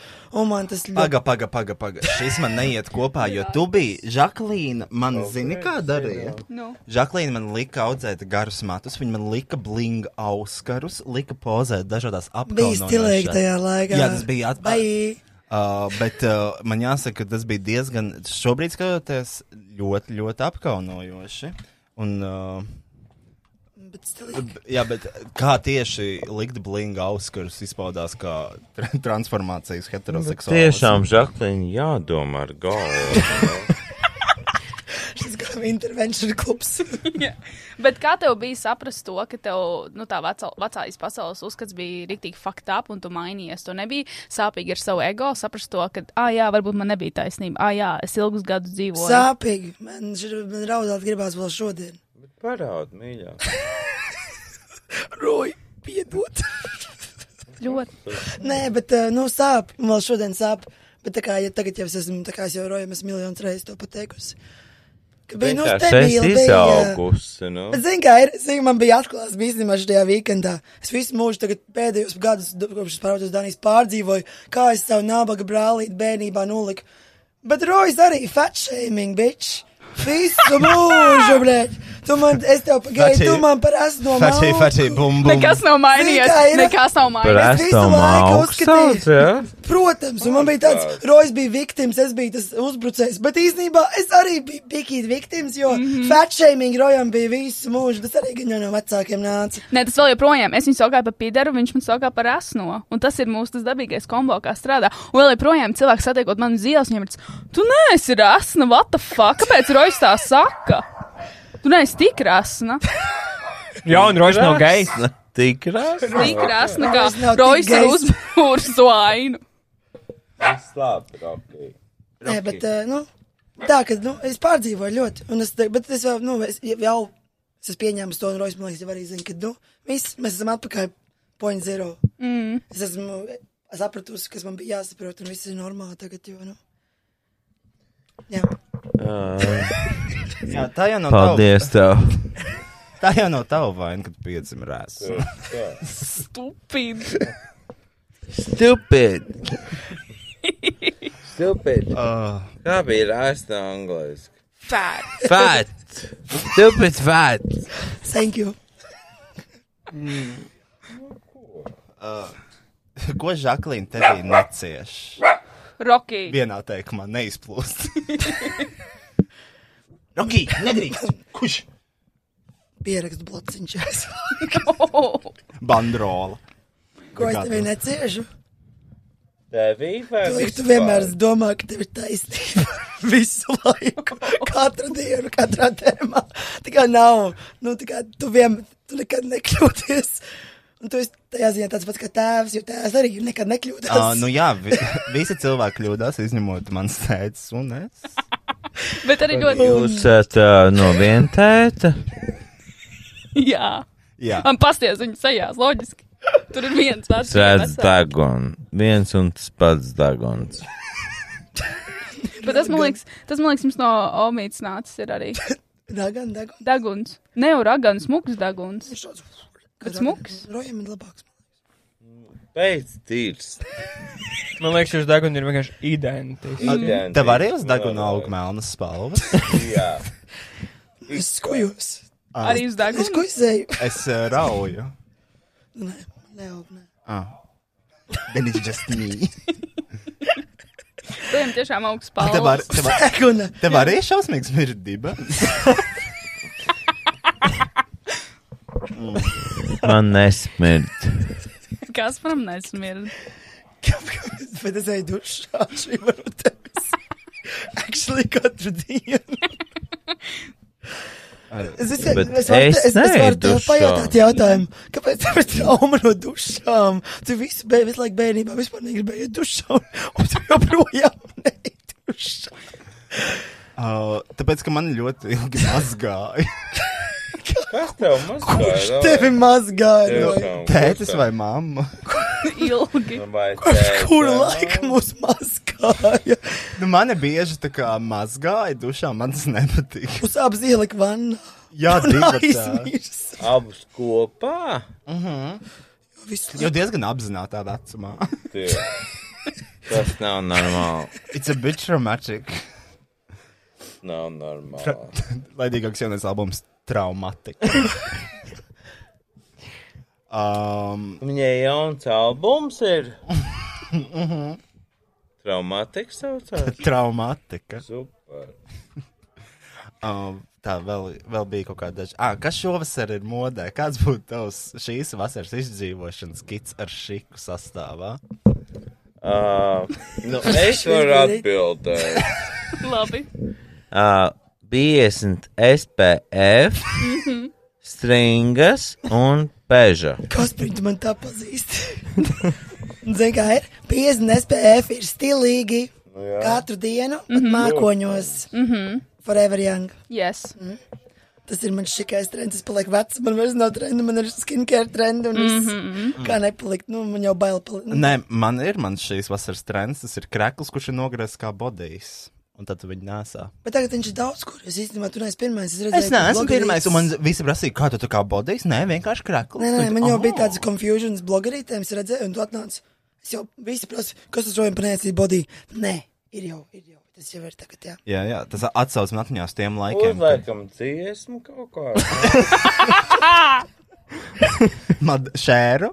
[SPEAKER 5] Un man tas ļoti.
[SPEAKER 2] Paga, paga, paga, paga. Šis man neiet kopā, jo tu biji Žaklīna. Man zini, kā darīja.
[SPEAKER 8] Nu.
[SPEAKER 2] Žaklīna man lika audzēt garus matus, viņa man lika blinga auskarus, lika pozēt dažādās apgabalos.
[SPEAKER 5] Bija stilīgi tajā laikā.
[SPEAKER 2] Jā, tas bija atpakaļ.
[SPEAKER 5] Vai
[SPEAKER 2] Uh, bet uh, man jāsaka, ka tas bija diezgan, šobrīd skatoties, ļoti, ļoti apkaunojoši. Un, uh,
[SPEAKER 5] bet stilīgi.
[SPEAKER 2] b- jā, bet kā tieši likt blinga auskarus izpaudās kā tra transformācijas heteroseksuālisms?
[SPEAKER 7] Nu, Tiešām, Žaklīna, jādomā ar galvu.
[SPEAKER 5] Tas kā intervention klubs.
[SPEAKER 8] Bet kā tev bija saprast to, ka tev nu, tā vecā, vecājas pasaules uzskats bija riktīgi fakt up un tu mainījies? Tu nebija sāpīgi ar savu ego, saprast to, ka, ah, jā, varbūt man nebija taisnība, ah, jā, es ilgus gadus dzīvoju.
[SPEAKER 5] Sāpīgi. Man, šir- man raudāt gribās vēl šodien.
[SPEAKER 7] Parādi, mīļā.
[SPEAKER 5] Roji, piedod.
[SPEAKER 8] Ļoti.
[SPEAKER 5] Nē, bet eh, nu, sāp. Man vēl šodien sāp. Bet tā kā ja tagad jau es esmu, tā kā es jau rojam, es miljonus reizes to pateikusi. Ka bija nu
[SPEAKER 7] Vienkārši
[SPEAKER 5] stabila.
[SPEAKER 7] esi
[SPEAKER 5] bija, jā.
[SPEAKER 7] izaugusi, nu.
[SPEAKER 5] Bet, zini, kā ir, zini, man bija atklāsme īstenībā šajā weekendā. Es visu mūžu, tagad pēdējos gadus, du- kopš es pārvācu uz Dānijas, pārdzīvoju, kā es savu nabaga brālīti bērnībā noliku. Bet Rojas arī fat shaming, bitch! Visu mūžu, brēķ! Tu man, es tev pagaidu,
[SPEAKER 2] Fatī-
[SPEAKER 5] tu man par esmu no
[SPEAKER 2] Fatī,
[SPEAKER 5] malku.
[SPEAKER 2] fatī, bum, bum.
[SPEAKER 8] Nekas nav mainījies.
[SPEAKER 5] Zini, kā ir?
[SPEAKER 8] Nekas nav mainījies.
[SPEAKER 5] es visu
[SPEAKER 7] Prastam
[SPEAKER 5] laiku
[SPEAKER 7] augstsauc,
[SPEAKER 5] uzskatīju.
[SPEAKER 7] jā?
[SPEAKER 5] Protams, un man bija tāds, Rojas bija viktims, es biju tas uzbrucējs, bet īstenībā es arī biju pikīt viktims, jo mm -hmm. fat shaming Rojam bija visu mūžu, tas arī gan jau no vecākiem nāca.
[SPEAKER 8] Nē, tas vēl joprojām. Es viņu saukāju par pideru, viņš man saukā par asno. Un tas ir mūsu tas dabīgais kombo, kā strādā. Un vēl joprojām cilvēks satiekot man uz ielas, viņam ir tas, tu neesi asna, what the fuck, kāpēc Rojas tā saka? Tu neesi tik asna.
[SPEAKER 4] Jā, un Rojas nav gejs.
[SPEAKER 7] Tik krāsni.
[SPEAKER 8] Tik asna,
[SPEAKER 5] Rojas
[SPEAKER 8] kā
[SPEAKER 5] nav tik
[SPEAKER 8] Rojas ir
[SPEAKER 5] gejs.
[SPEAKER 8] uzbūrs vainu.
[SPEAKER 7] Slāpi, roki.
[SPEAKER 5] Nē, bet, eh, nu, tā, ka, nu, es pārdzīvoju ļoti, un es, te- bet es vēl, nu, es jau, es esmu pieņēmis to, un Rojas, man liekas, jau arī zina, ka, nu, viss, mēs esam atpakaļ point zero. Mm. Es esmu eh, sapratusi, kas man bija jāsaprot, un viss ir normāli tagad, jo, nu. Jā.
[SPEAKER 2] Jā, tā jau nav tava,
[SPEAKER 7] Paldies tev.
[SPEAKER 2] tā jau nav tava vaina, kad piedzim rēs.
[SPEAKER 8] Stupid.
[SPEAKER 7] Stupid. Stupid.
[SPEAKER 2] Uh,
[SPEAKER 7] Kā bija rēsta angliski?
[SPEAKER 8] Fat.
[SPEAKER 7] Fat. Stupid fat.
[SPEAKER 5] Thank you.
[SPEAKER 2] Ko Žaklīna te bija necieš?
[SPEAKER 8] Rocky.
[SPEAKER 2] Vienā teikumā neizplūst.
[SPEAKER 6] Roki, nedrīkst. Kurš?
[SPEAKER 5] Pierakstu blociņš.
[SPEAKER 8] Oh,
[SPEAKER 2] Bandrola.
[SPEAKER 5] Ko es tevi neciešu?
[SPEAKER 7] Tevī
[SPEAKER 5] Tu,
[SPEAKER 7] vai?
[SPEAKER 5] tu vienmēr domā, ka tev ir taisnība. Visu laiku, katru dienu, katrā tēmā. Tā kā nav. Nu, tā kā tu vienmēr, tu nekad nekļūties. Un tu esi tajā ziņā tāds pats kā tēvs, jo tēvs arī nekad nekļūdās.
[SPEAKER 2] Uh, nu jā, vi visi cilvēki kļūdās, izņemot mans tēvs un es.
[SPEAKER 8] Bet arī ļoti.
[SPEAKER 7] Jūs esat ā, no viena tēta.
[SPEAKER 8] Jā.
[SPEAKER 2] Jā,
[SPEAKER 8] Man pasties viņa sejās, loģiski. Tur ir viens
[SPEAKER 7] Es
[SPEAKER 8] vārds.
[SPEAKER 7] redzu dagonu. Viens un tas pats dagons.
[SPEAKER 8] Bet tas, man liekas, tas, man liekas, mums no Omītas nācis ir arī
[SPEAKER 5] Dagan, dagan.
[SPEAKER 8] deguns. Ne jau ragans, smuks deguns.
[SPEAKER 5] Viņš šāds.
[SPEAKER 8] Bet smuks.
[SPEAKER 5] Rojam ir labāks.
[SPEAKER 7] Pēc tīrs.
[SPEAKER 4] Man liekas, šis deguns ir vienkārši identisks.
[SPEAKER 2] tev arī uz deguna aug melnas spalvas.
[SPEAKER 7] Jā.
[SPEAKER 5] Es skujos.
[SPEAKER 8] Arī uz
[SPEAKER 5] Es
[SPEAKER 8] deguns.
[SPEAKER 5] skujosēju.
[SPEAKER 2] Es uh, rauju.
[SPEAKER 5] Nē, neaug, nē.
[SPEAKER 2] Then it's just me.
[SPEAKER 8] Viņam tiešām augsts
[SPEAKER 2] Tev, ar,
[SPEAKER 8] palmas.
[SPEAKER 2] tev, ar,
[SPEAKER 5] Dagana.
[SPEAKER 2] tev arī ir šausmīgs mirdība.
[SPEAKER 7] Man nesmirt.
[SPEAKER 8] Kas param nesmird?
[SPEAKER 5] Bet es eju dušā, šī var būt tevis. Actually, katru dienu. Es tikai es
[SPEAKER 7] Bet
[SPEAKER 5] varu
[SPEAKER 7] es
[SPEAKER 5] te- es- es varu
[SPEAKER 7] neeju
[SPEAKER 5] tev
[SPEAKER 7] dušā.
[SPEAKER 5] pajautāt jautājumu, kāpēc tev ir trauma no dušām? Tu visu, bē, visu laiku bērnībā vispār negribēji iet dušā, un, un tu joprojām neej dušā.
[SPEAKER 2] Uh, tāpēc, ka man ļoti ilgi mazgāja.
[SPEAKER 7] Kas tev
[SPEAKER 5] Kurš tevi mazgāja? no-
[SPEAKER 2] Tētis vai mamma?
[SPEAKER 7] Nu,
[SPEAKER 8] Ilgi.
[SPEAKER 5] Kuru laiku mūs mazgāja?
[SPEAKER 2] Nu, mani bieži tā kā mazgāja dušā, man tas nepatīk.
[SPEAKER 5] Uz abas ielika vannā.
[SPEAKER 2] Jā,
[SPEAKER 5] Un
[SPEAKER 2] divi.
[SPEAKER 5] aizmirs.
[SPEAKER 7] Abus kopā?
[SPEAKER 5] Visu
[SPEAKER 2] Jau diezgan apzināta vecumā.
[SPEAKER 7] Tie. Tas nav normāli.
[SPEAKER 2] It's a bit traumatic.
[SPEAKER 7] Nav normāli.
[SPEAKER 2] Laidīgāks jaunais albums - Traumatic. Um,
[SPEAKER 7] Viņai jauns albums ir.
[SPEAKER 5] Mhm.
[SPEAKER 7] Traumatiks saucās.
[SPEAKER 2] traumatika.
[SPEAKER 7] Super.
[SPEAKER 2] Um, tā vēl, vēl bija kaut kāda daži. Ah, kas šovasar ir modē? Kāds būtu tavs šīs vasaras izdzīvošanas kits ar šiku sastāvā?
[SPEAKER 7] Uh, nu, es varu atbildēt.
[SPEAKER 8] Labi.
[SPEAKER 7] Uh, 50 SPF, stringas un peža.
[SPEAKER 5] Kosprīts man tā pazīst. Zini, kā ir? 50 SPF ir stilīgi.
[SPEAKER 2] Nu
[SPEAKER 7] jā.
[SPEAKER 5] Katru dienu mm -hmm. mākoņos. Mm -hmm. Forever young.
[SPEAKER 8] Yes.
[SPEAKER 5] Tas ir mans šikais trends. Es palieku vecs, man vairs nav trendi, man ir skincare trendi. Un mm -hmm. Kā nepalikt? Nu, man jau bail palikt. Nu,
[SPEAKER 2] Nē, man ir mans šīs vasaras trends. Tas ir krekls, kurš ir nogriezts kā bodijs. Un tad viņi nesā.
[SPEAKER 5] bet tagad viņš ir daudz kur. Es īstenībā tur neesmu pirmais. Es, redzēju,
[SPEAKER 2] Es neesmu
[SPEAKER 5] blogerītes-
[SPEAKER 2] pirmais, un man visi prasīja, kā tu tā kā bodijs? Nē, vienkārši "Oh!" krekls.
[SPEAKER 5] Nē, nē, man jau bija
[SPEAKER 2] tāds.
[SPEAKER 5] tāds confusions blogerītēm, es redzēju, un tu atnāc. Es jau visi prasu, kas tas rojam panēcīja bodī. Nē, ir jau, ir jau. Tas jau ir tagad, jā.
[SPEAKER 2] Jā, jā, tas atsauc man atmiņā uz tiem laikiem. kad
[SPEAKER 7] Uzliekam dziesmu kaut kādā.
[SPEAKER 2] Man šēru,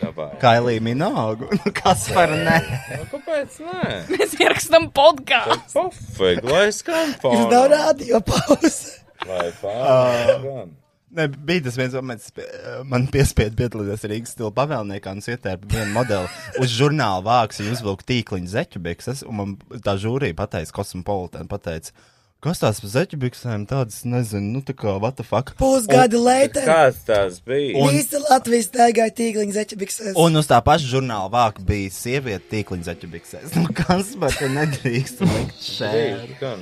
[SPEAKER 7] Tāpēc.
[SPEAKER 2] Kailī Minogu, un Kasparu nē.
[SPEAKER 7] Nu, Kāpēc nē?
[SPEAKER 8] Mēs ierakstām podkāstu.
[SPEAKER 7] Pofīgi, lai skan
[SPEAKER 5] Jums nav
[SPEAKER 7] fonā.
[SPEAKER 5] rādio pauze.
[SPEAKER 7] Lai fonā.
[SPEAKER 2] Ne, bija tas viens moments, kad man piespiedu piedalīties Rīgas stila pavēlniekā un es ietērpu vienu modeli uz žurnāla vāks, un uzvilku tīkliņu zeķubikses, un man tā žūrija pateica, kosmopolitēna pateica, kas tās pa zeķubiksēm tādas, nezinu, nu tā kā, what the fuck.
[SPEAKER 5] Pusgada leitē.
[SPEAKER 7] Kāds tas bija?
[SPEAKER 5] Visi Latvijas tēgāja tīkliņa zeķebiksēs.
[SPEAKER 2] Un uz tā paša žurnāla vāka bija sieviete tīkliņu zeķubiksēs. Nu, Kaspar, tu nedrīkst likt šeit.
[SPEAKER 7] Skan.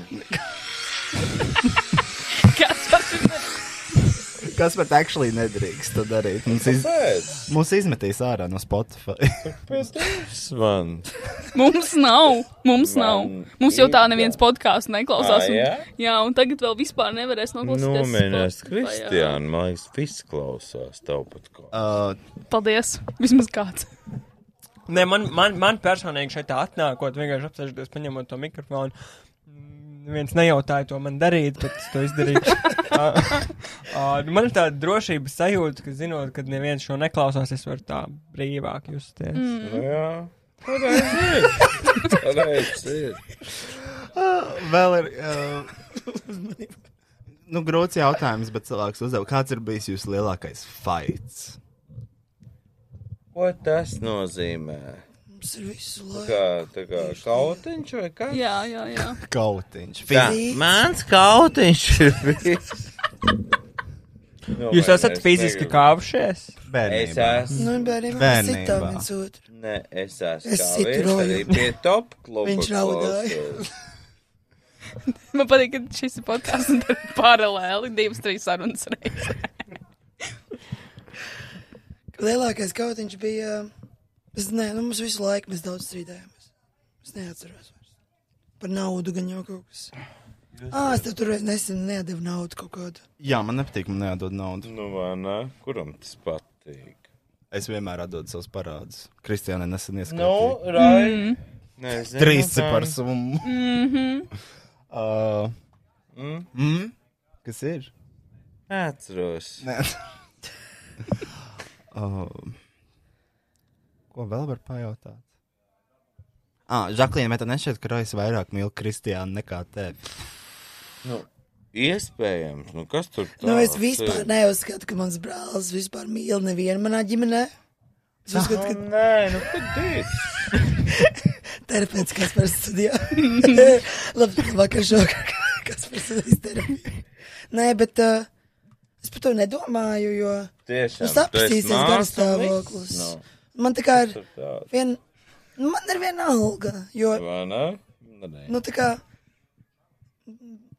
[SPEAKER 8] Kas tas ir?
[SPEAKER 2] Kaspar, tu actually nedrīkst to darīt. Mums, iz...
[SPEAKER 7] Pēc.
[SPEAKER 2] Mums izmetīs ārā no Spotify.
[SPEAKER 7] Pēc tevis, man.
[SPEAKER 8] Mums nav. Mums nav.
[SPEAKER 7] Man
[SPEAKER 8] Mums jau tā
[SPEAKER 7] ir,
[SPEAKER 8] neviens
[SPEAKER 7] jā.
[SPEAKER 8] podkāsts neklausās.
[SPEAKER 7] Ā, Ah, jā? Nu,
[SPEAKER 8] Un, jā, un tagad vēl vispār nevarēs noklausīties.
[SPEAKER 7] Nominēs
[SPEAKER 8] Spotify, jā.
[SPEAKER 7] Kristiāna, man liekas, viss klausās tev pat ko.
[SPEAKER 2] Uh,
[SPEAKER 8] Paldies. Vismaz kāds.
[SPEAKER 4] Nē, man, man, man personīgi šeit tā atnākot, vienkārši apsēžoties, paņemot to mikrofonu. mm, Neviens nejautāja to man darīt, bet es to izdarīju. Ā, ā, nu, man ir tāda drošības sajūta, ka zinot, ka neviens šo neklausās, es varu tā brīvāk justies. Mm.
[SPEAKER 7] Nu Jā, pareizi ir. Pareizi ir.
[SPEAKER 2] Vēl ir. Uh, nu, grūts jautājums, bet cilvēks uzdeva, kāds ir bijis jūsu lielākais fights?
[SPEAKER 7] Ko tas nozīmē?
[SPEAKER 5] Mums ir visu
[SPEAKER 7] Tā
[SPEAKER 5] laiku.
[SPEAKER 7] kā, tā kā kautiņš vai kā?
[SPEAKER 8] Jā, jā, jā.
[SPEAKER 2] Kautiņš.
[SPEAKER 7] Tā, mans kautiņš ir viss. Nu,
[SPEAKER 4] Jūs
[SPEAKER 7] vai
[SPEAKER 4] esat
[SPEAKER 7] es
[SPEAKER 4] fiziski
[SPEAKER 7] negribu?
[SPEAKER 4] kāpušies?
[SPEAKER 7] Es eh,
[SPEAKER 2] Bērnībā.
[SPEAKER 7] esmu.
[SPEAKER 5] Nu, bērniem ir
[SPEAKER 2] Bērnībā.
[SPEAKER 5] citām viens otru.
[SPEAKER 7] Nē, es esmu.
[SPEAKER 5] Es
[SPEAKER 7] Es
[SPEAKER 5] citu
[SPEAKER 7] arī
[SPEAKER 5] roju.
[SPEAKER 7] pie top kluba.
[SPEAKER 5] Viņš raudāja.
[SPEAKER 7] klausos.
[SPEAKER 8] Man patīk, ka šis ir podkāsts un tad paralēli divas, trīs sarunas reizes.
[SPEAKER 5] Lielākais kautiņš bija. Es, nē, nu, mums visu laiku mēs daudz strīdējāmies. Es neatceros vairs. Par naudu gan jau kaut kas. Ah, es tev tur nesen nedevu naudu kaut kādu.
[SPEAKER 2] Jā, man nepatīk, man neatdod naudu.
[SPEAKER 7] Nu, vai ne? Kuram tas patīk?
[SPEAKER 2] Es vienmēr atdodu savus parādus. Kristiānai nesen
[SPEAKER 7] Nu,
[SPEAKER 2] ieskaitīju.
[SPEAKER 5] Mm.
[SPEAKER 7] Rai. Nē, es zinu,
[SPEAKER 2] Trīs
[SPEAKER 7] tā-
[SPEAKER 2] cipars summu. Mhm. Uh,
[SPEAKER 7] Mm.
[SPEAKER 2] mm? Kas ir?
[SPEAKER 7] Neatceros.
[SPEAKER 2] Nē. uh, ko vēl var pajautāt? Ah, Žaklīna, man te nešķiet, ka Rojas vairāk mīl Kristiānu nekā tevi.
[SPEAKER 7] Iespējams, nu kas tur tāds?
[SPEAKER 5] Nu,
[SPEAKER 2] Ah,
[SPEAKER 5] es vispār
[SPEAKER 7] ir?
[SPEAKER 5] neuzskatu, ka mans brālis vispār mīl nevienu manā ģimenē. Es uzskatu,
[SPEAKER 7] Nu, Nē, nu, kur dīs?
[SPEAKER 5] ka terapeits Kaspars studijā. Labi, vakar šovakar Kaspars studijas terapiju. Nē, bet uh, es par to nedomāju, jo
[SPEAKER 7] Tiešām.
[SPEAKER 5] nu, sapratīsies gan stāvoklis.
[SPEAKER 7] No,
[SPEAKER 5] Man tā kā ir
[SPEAKER 7] Nu, tur tāds.
[SPEAKER 5] vien, nu, man ir viena alga, jo,
[SPEAKER 7] Vai ne? Nu, Nē.
[SPEAKER 5] nu, tā kā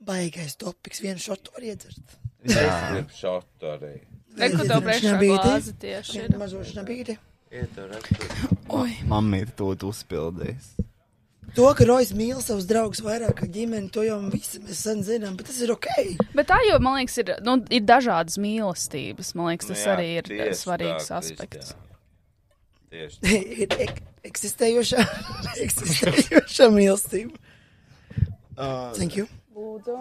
[SPEAKER 5] baigais topiks, vienu šotu var iedzert.
[SPEAKER 7] Es gribu šādu arī.
[SPEAKER 8] Kur tev priekšā glāze tieši ir?
[SPEAKER 5] Mazo šnabīti.
[SPEAKER 2] Mammīte to tu uzpildīs.
[SPEAKER 5] To, ka Rojas mīl savus draugus vairāk kā ģimeni, to jau visi mēs sen zinām, bet tas ir ok.
[SPEAKER 8] Bet tā jau, man liekas, ir, nu, ir dažādas mīlestības. Man liekas, tas
[SPEAKER 7] Nu jā,
[SPEAKER 8] arī ir eh,
[SPEAKER 7] tieši
[SPEAKER 8] svarīgs
[SPEAKER 7] tā,
[SPEAKER 8] aspekts.
[SPEAKER 7] Kristiāna. Tieši tā.
[SPEAKER 5] ir ek eksistējošā, eksistējošā mīlestība.
[SPEAKER 2] Uh,
[SPEAKER 5] Thank you.
[SPEAKER 8] Lūdzu,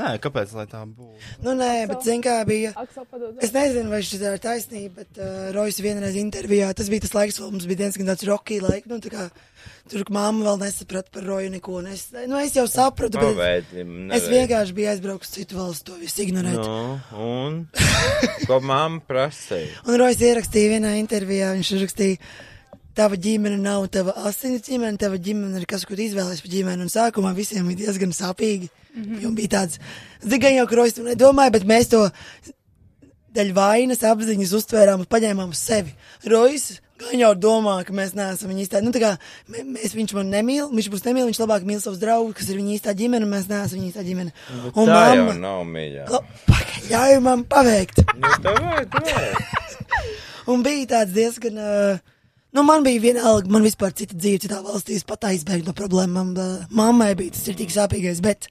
[SPEAKER 2] nē, kāpēc lai tā būtu?
[SPEAKER 5] Nu, nē, bet zin kā bija.
[SPEAKER 8] Aksel, padod.
[SPEAKER 5] Es nezinu, vai šis ir taisnība, bet uh, Rojas vienreiz intervijā, tas bija tas laiks, kad mums bija diezgan daudz rokkī laika. Nu, tā kā tur māma vēl nesaprata par Roju neko. un Es, nu, es jau sapratu, bet
[SPEAKER 7] Paveidim,
[SPEAKER 5] es vienkārši biju aizbraucis citu valstu, to visu ignorēt. No.
[SPEAKER 7] Nu, un? Ko mamma prasīja?
[SPEAKER 5] Un Rojas ierakstīja vienā intervijā, viņš rakstīja, tava ģimene nav tava asins ģimene, tava ģimene ir kas, kur izvēlēties par ģimeni. Un sākumā visiem bija diezgan sāpīgi. Mm -hmm. Bija tāds, zigāj jau, ka Rojas to nedomāja, bet mēs to daļu vainas apziņas uztvērām un paņēmām uz sevi. Rojas gan jau domā, ka mēs neesam viņa īstā. Nu, tā kā mē- mēs viņš man nemīl, viņš būs nemīl, viņš labāk mīl savus draugus, kas ir viņa īstā ģimene, un mēs neesam viņa īstā ģimene. Un
[SPEAKER 7] Nu, Tā jau
[SPEAKER 5] mamma,
[SPEAKER 7] nav mīļā.
[SPEAKER 5] la- pagaļauj man paveikt.
[SPEAKER 7] Nu, tā vajag, tā vajag.
[SPEAKER 5] Un bija tāds diezgan. Uh, nu, man bija vienalga, man vispār cita dzīve, citā valstī, es pat aizbēgu no problēmām. bla. Mammai bija tas ir tik sāpīgais, bet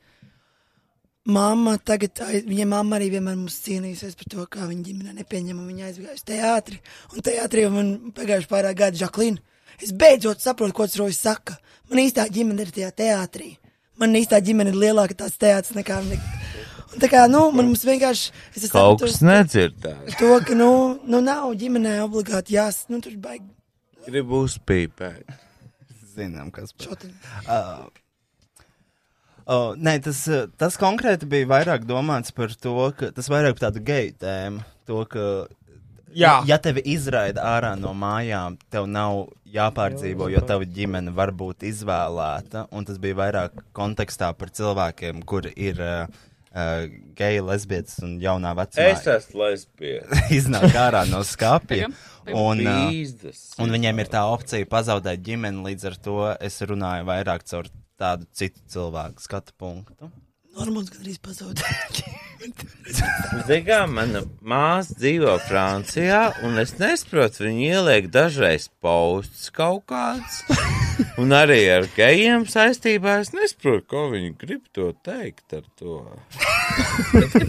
[SPEAKER 5] mamma tagad, aiz- viņa mamma arī vienmēr mums cīnīsies par to, kā viņa ģimene nepieņem, un viņa aizgāja uz teātri. Un teātrī jau man pagājuši pārāk gadi, Žaklīna. Es beidzot saprotu, ko tas rojas saka. Man īstā ģimene ir tajā teātrī. Man īstā ģimene ir lielāka tās teātris nekā viņa. Un tā kā, nu, man mums vienkārši. es esmu
[SPEAKER 7] Kaut
[SPEAKER 5] tur-
[SPEAKER 7] kas nedzirdēts.
[SPEAKER 5] to, ka nu, nu nav ģimenē obligāti jās, nu tur baigi
[SPEAKER 7] Gribu uzpīpēt.
[SPEAKER 2] Zinām, kas būtu.
[SPEAKER 5] šotiņ.
[SPEAKER 2] Uh, nē, tas, uh, tas konkrēti bija vairāk domāts par to, ka tas vairāk par tādu geju tēmu. To, ka,
[SPEAKER 4] Jā,
[SPEAKER 2] ja tevi izraida ārā no mājām, tev nav jāpārdzīvo, jo tava ģimene var būt izvēlēta. Un tas bija vairāk kontekstā par cilvēkiem, kuri ir uh, uh, geji, lesbietes un jaunā vecumā.
[SPEAKER 7] Es eh, esmu lesbieta.
[SPEAKER 2] iznāk ārā no skāpja.
[SPEAKER 8] Pagam,
[SPEAKER 2] Un, uh,
[SPEAKER 7] Pīzdas.
[SPEAKER 2] Un viņiem ir tā opcija pazaudēt ģimeni, līdz ar to es runāju vairāk caur tādu citu cilvēku skatu punktu.
[SPEAKER 5] Normāls gandrīz pazaudēja.
[SPEAKER 7] Zini kā, mana māsa dzīvo Francijā, un es nesaprotu, viņi ieliek dažreiz posts kaut kāds. Un arī ar gejiem saistībā es nesaprotu, ko viņi grib to teikt ar to.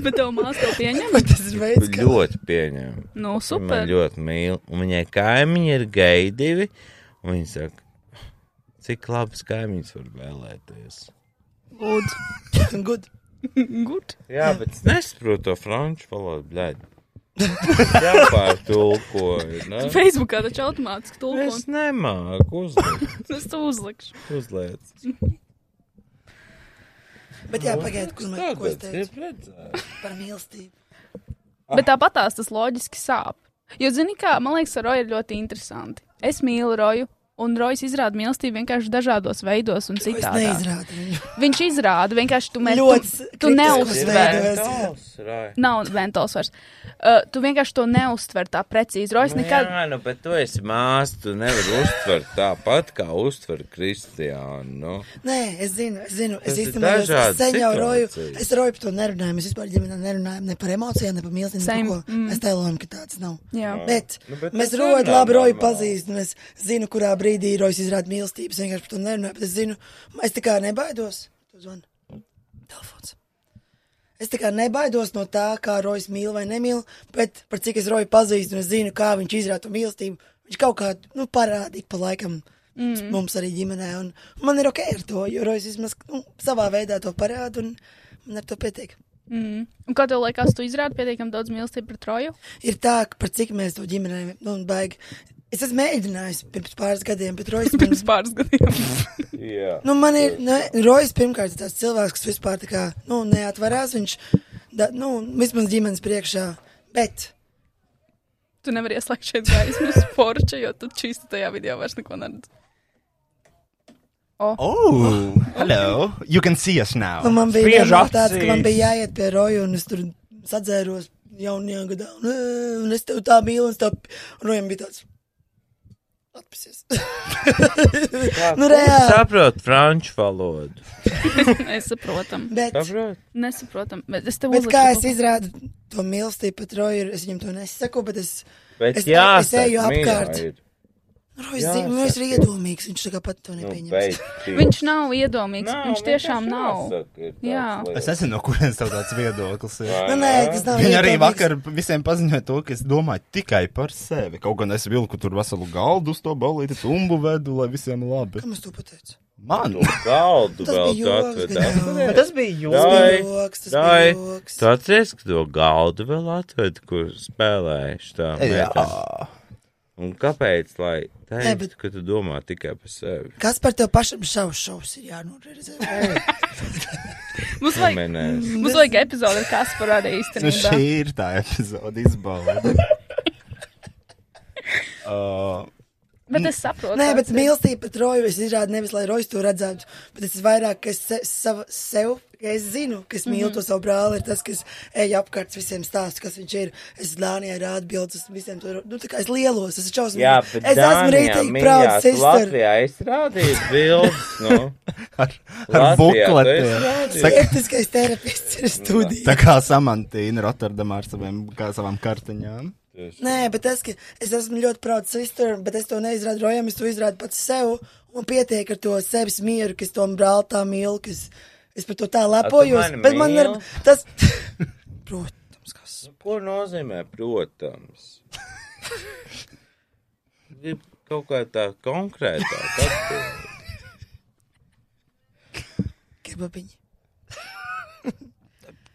[SPEAKER 8] Bet tev māsa to pieņem?
[SPEAKER 5] Bet tas ir veids, kā
[SPEAKER 7] Ļoti pieņem.
[SPEAKER 8] Nu,
[SPEAKER 7] Viņa Man
[SPEAKER 8] super.
[SPEAKER 7] ļoti mīl, un viņai kaimiņi ir geji divi, un viņi saka, cik labas kaimiņas var vēlēties.
[SPEAKER 8] Lūdzu.
[SPEAKER 5] Good.
[SPEAKER 8] Gut.
[SPEAKER 7] Jā, bet es nesaprotu to franču valodu, blēdi. Jā, pārtulkoju.
[SPEAKER 8] Facebookā taču automātiski tulko.
[SPEAKER 7] Es nemāku uzlikt.
[SPEAKER 8] Es to uzlikšu.
[SPEAKER 7] uzliet.
[SPEAKER 5] Bet jā, pagaidiet, kur man ko es
[SPEAKER 7] Tagad ir
[SPEAKER 5] teicu
[SPEAKER 7] redzēts.
[SPEAKER 5] par mīlestību.
[SPEAKER 8] Bet tāpat tās tas loģiski sāp. Jo, zini, kā man liekas, ar Roju ir ļoti interesanti. Es mīlu Roju, un Rojas izrāda mīlestību vienkārši dažādos veidos un
[SPEAKER 5] Es
[SPEAKER 8] citādi.
[SPEAKER 5] neizrādu viņu.
[SPEAKER 8] Viņš izrāda vienkārši tu mērķi.
[SPEAKER 5] Ļoti
[SPEAKER 8] tu
[SPEAKER 5] kritiskos
[SPEAKER 8] neuztver.
[SPEAKER 5] veidos. Nu,
[SPEAKER 8] Nav ventos vairs. Uh, tu vienkārši to neuztver tā precīzi. Rojas nekad.
[SPEAKER 7] Jā, nu, bet tu esi māsts. Tu nevari uztvert tāpat, kā uztver Kristiānu. Nu.
[SPEAKER 5] Nē, es zinu, es zinu, es
[SPEAKER 7] Tas ir
[SPEAKER 5] īstenībā jau
[SPEAKER 7] dažādas
[SPEAKER 5] sen jau roju.
[SPEAKER 7] situācijas.
[SPEAKER 5] Es roju par to nerunāju. Mēs vispār ģimenē nerunājam ne par emocijām, ne par mīlestību.
[SPEAKER 8] Same, Mm.
[SPEAKER 5] neko. Mēs tēlojam, ka tāds nav.
[SPEAKER 8] Jā.
[SPEAKER 5] Bet,
[SPEAKER 7] Nu,
[SPEAKER 5] nu,
[SPEAKER 7] bet
[SPEAKER 5] bet
[SPEAKER 7] tas
[SPEAKER 5] mēs roju
[SPEAKER 7] runā
[SPEAKER 5] labi roju
[SPEAKER 7] normāli.
[SPEAKER 5] pazīstam. Es zinu, kurā brīdī rojas izrāda mīlestības. Es vienkārši par to nerunāju, bet es zinu, es tā kā nebaidos. Tu zvani.
[SPEAKER 7] Nu.
[SPEAKER 5] Telefons. Es tā kā nebaidos no tā, kā rojas mīl vai nemīl, bet par cik es roju pazīstu un es zinu, kā viņš izrāda to mīlestību. Viņš kaut kā nu, parādīja pa laikam. Mm. Mums arī ģimenē, un man ir ok ar to, jo Rojas vismaz nu, savā veidā to parāda, un man ar to pietiek.
[SPEAKER 8] Un kā tev liekas, tu izrādi pietiekami daudz mīlestību pret Roju?
[SPEAKER 5] ir tā, ka par cik mēs to ģimenē nu, baigi. Es esmu mēģinājis pirms pāris gadiem, bet Rojas
[SPEAKER 8] Pirms
[SPEAKER 5] pirms.
[SPEAKER 8] pāris gadiem.
[SPEAKER 7] Jā.
[SPEAKER 5] Nu, man ir ne, Rojas pirmkārt ir tāds cilvēks, kas vispār tā kā, nu, neatvarās. Viņš, da, nu, vismaz ģimenes priekšā. Bet
[SPEAKER 8] tu nevari ieslēgt šeit gaismas porča, jo tu čīsti tajā video vairs neko neredz.
[SPEAKER 2] Oh, hello. You can see us now.
[SPEAKER 5] nu, man bija
[SPEAKER 4] Spiež
[SPEAKER 5] vienmēr tāds, ka man
[SPEAKER 4] acīs.
[SPEAKER 5] bija jāiet pie Roja un es tur sadzēros jaunajā gadā. Un, "Ē, un es tev tā mīlu, un es tev Rojam bija tāds. Atpasies. nu,
[SPEAKER 7] Es
[SPEAKER 5] reāli.
[SPEAKER 7] saprotu franču valodu.
[SPEAKER 8] Nesaprotam.
[SPEAKER 5] Bet,
[SPEAKER 7] Saprotu?
[SPEAKER 8] Nesaprotam. Bet es tev
[SPEAKER 5] bet
[SPEAKER 8] uzliku
[SPEAKER 5] kā
[SPEAKER 8] to-
[SPEAKER 5] es izrādu to mīlestību pret Roju, es viņam to nesaku, bet es
[SPEAKER 7] Bet
[SPEAKER 5] Es-
[SPEAKER 7] jā,
[SPEAKER 5] es eju apkārt.
[SPEAKER 7] Ir.
[SPEAKER 5] Rojas
[SPEAKER 7] Jā,
[SPEAKER 5] zina,
[SPEAKER 7] saka.
[SPEAKER 5] viņš ir nu, iedomīgs. Viņš tā kā pat to
[SPEAKER 7] Nu,
[SPEAKER 5] nepieņems.
[SPEAKER 7] beidz, tu.
[SPEAKER 8] Viņš nav iedomīgs. Nav, viņš
[SPEAKER 7] vienkārši
[SPEAKER 8] tiešām nav.
[SPEAKER 7] jāsaka, ir tāds
[SPEAKER 8] Jā.
[SPEAKER 7] lietas.
[SPEAKER 2] Es nezinu, no kurienes tev tāds viedoklis ir.
[SPEAKER 7] Vai
[SPEAKER 5] Nu, nē,
[SPEAKER 7] ne?
[SPEAKER 5] tas nav.
[SPEAKER 2] Viņa arī
[SPEAKER 5] iedomīgs.
[SPEAKER 2] vakar visiem paziņoja to, ka es domāju tikai par sevi. Kaut gan es vilku tur veselu galdu uz to balīti, umbu vedu, lai visiem labi.
[SPEAKER 5] Kam es to pateicu?
[SPEAKER 2] Man!
[SPEAKER 7] Tu Nu, galdu
[SPEAKER 5] Tas
[SPEAKER 7] vēl
[SPEAKER 5] bija
[SPEAKER 7] tu
[SPEAKER 5] joks,
[SPEAKER 7] atvedi.
[SPEAKER 5] gan
[SPEAKER 2] Tas bija
[SPEAKER 5] Tas
[SPEAKER 2] jūsu.
[SPEAKER 5] bija
[SPEAKER 7] Dai,
[SPEAKER 5] joks, tas
[SPEAKER 7] dai,
[SPEAKER 5] bija joks.
[SPEAKER 7] Tu atceries, ka to galdu vēl atvedi, kur spēlēji šitā
[SPEAKER 2] Jā.
[SPEAKER 7] meitene? Un kāpēc, lai
[SPEAKER 5] Nē,
[SPEAKER 7] teikt,
[SPEAKER 5] bet-
[SPEAKER 7] ka tu domā tikai par sevi?
[SPEAKER 5] Kas par tev pašam šaus šaus ir jānorganizē?
[SPEAKER 8] Mums vajag,
[SPEAKER 7] Ģimenēs.
[SPEAKER 8] mums vajag epizode ar Kasparu arī
[SPEAKER 2] Nu, šī
[SPEAKER 8] īstenībā.
[SPEAKER 2] ir tā epizode izbauda. Uh,
[SPEAKER 8] Bet es saprotu.
[SPEAKER 5] Nē, bet
[SPEAKER 8] kāds ir.
[SPEAKER 5] mīlestība pret Roju es izrādu nevis, lai Rojas to redzētu, bet es vairāk, ka es se, sav, sev, ka es zinu, ka
[SPEAKER 2] Mhm.
[SPEAKER 5] es mīlu to savu brāli, ir tas, kas eja apkārt visiem stāstu, kas viņš ir. Es Dānijā ir atbildes, es visiem to, nu, tā kā es lielos, es čausmu.
[SPEAKER 7] Jā, bet
[SPEAKER 5] es esmu rītīgi proud sister.
[SPEAKER 7] Latvijā es rādīju bildes, nu.
[SPEAKER 2] ar ar
[SPEAKER 7] Latvijā,
[SPEAKER 2] bukletiem.
[SPEAKER 7] tu esi
[SPEAKER 2] Saka,
[SPEAKER 5] Etiskais terapeits ir studija.
[SPEAKER 2] Tā kā Samantīna Rotterdamā ar saviem, kā savām kartiņām.
[SPEAKER 5] Nē, bet tas, ka es esmu ļoti proud sister, bet es to neizrādu rojām, es to izrādu pats sev. Un pietiek ar to sevis mieru, kas tom brāl tā mīl, kas es par to tā lepojos.
[SPEAKER 7] mani
[SPEAKER 5] Bet man ir
[SPEAKER 7] mīli?
[SPEAKER 5] tas. Protams, kas.
[SPEAKER 7] Nu, Ko nozīmē, protams? Grib kaut kā tā konkrētā. atbilde.
[SPEAKER 5] Kebabiņi.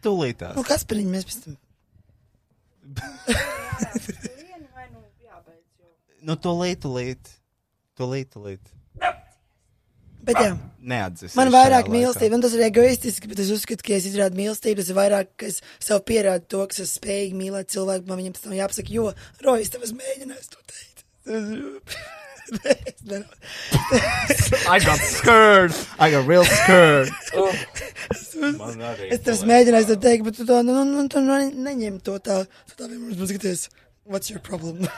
[SPEAKER 2] Tūlītās.
[SPEAKER 5] Nu, kas par viņu mēs pēc tam?
[SPEAKER 2] Nu, tūlīt, tūlīt. Tūlīt, tūlīt.
[SPEAKER 5] Bet jā,
[SPEAKER 2] Neatzīst.
[SPEAKER 5] man vairāk mīlestība, un tas ir egoistiski, bet es uzskatu, ka ja es izrādu mīlestību, tas ir vairāk, ka es sev pierādu to, ka es esmu spējīgi mīlēt cilvēku, man viņam tas nav jāpasaka, jo Rojas tev es mēģināju to teikt. Nē, es nevaru.
[SPEAKER 2] I got scared. I got real scared.
[SPEAKER 5] Es tev mēģināju to teikt, bet tu to nu, nu, tu nu, neņem to tā. Tu tā vienmēr paskaties, what's your problem?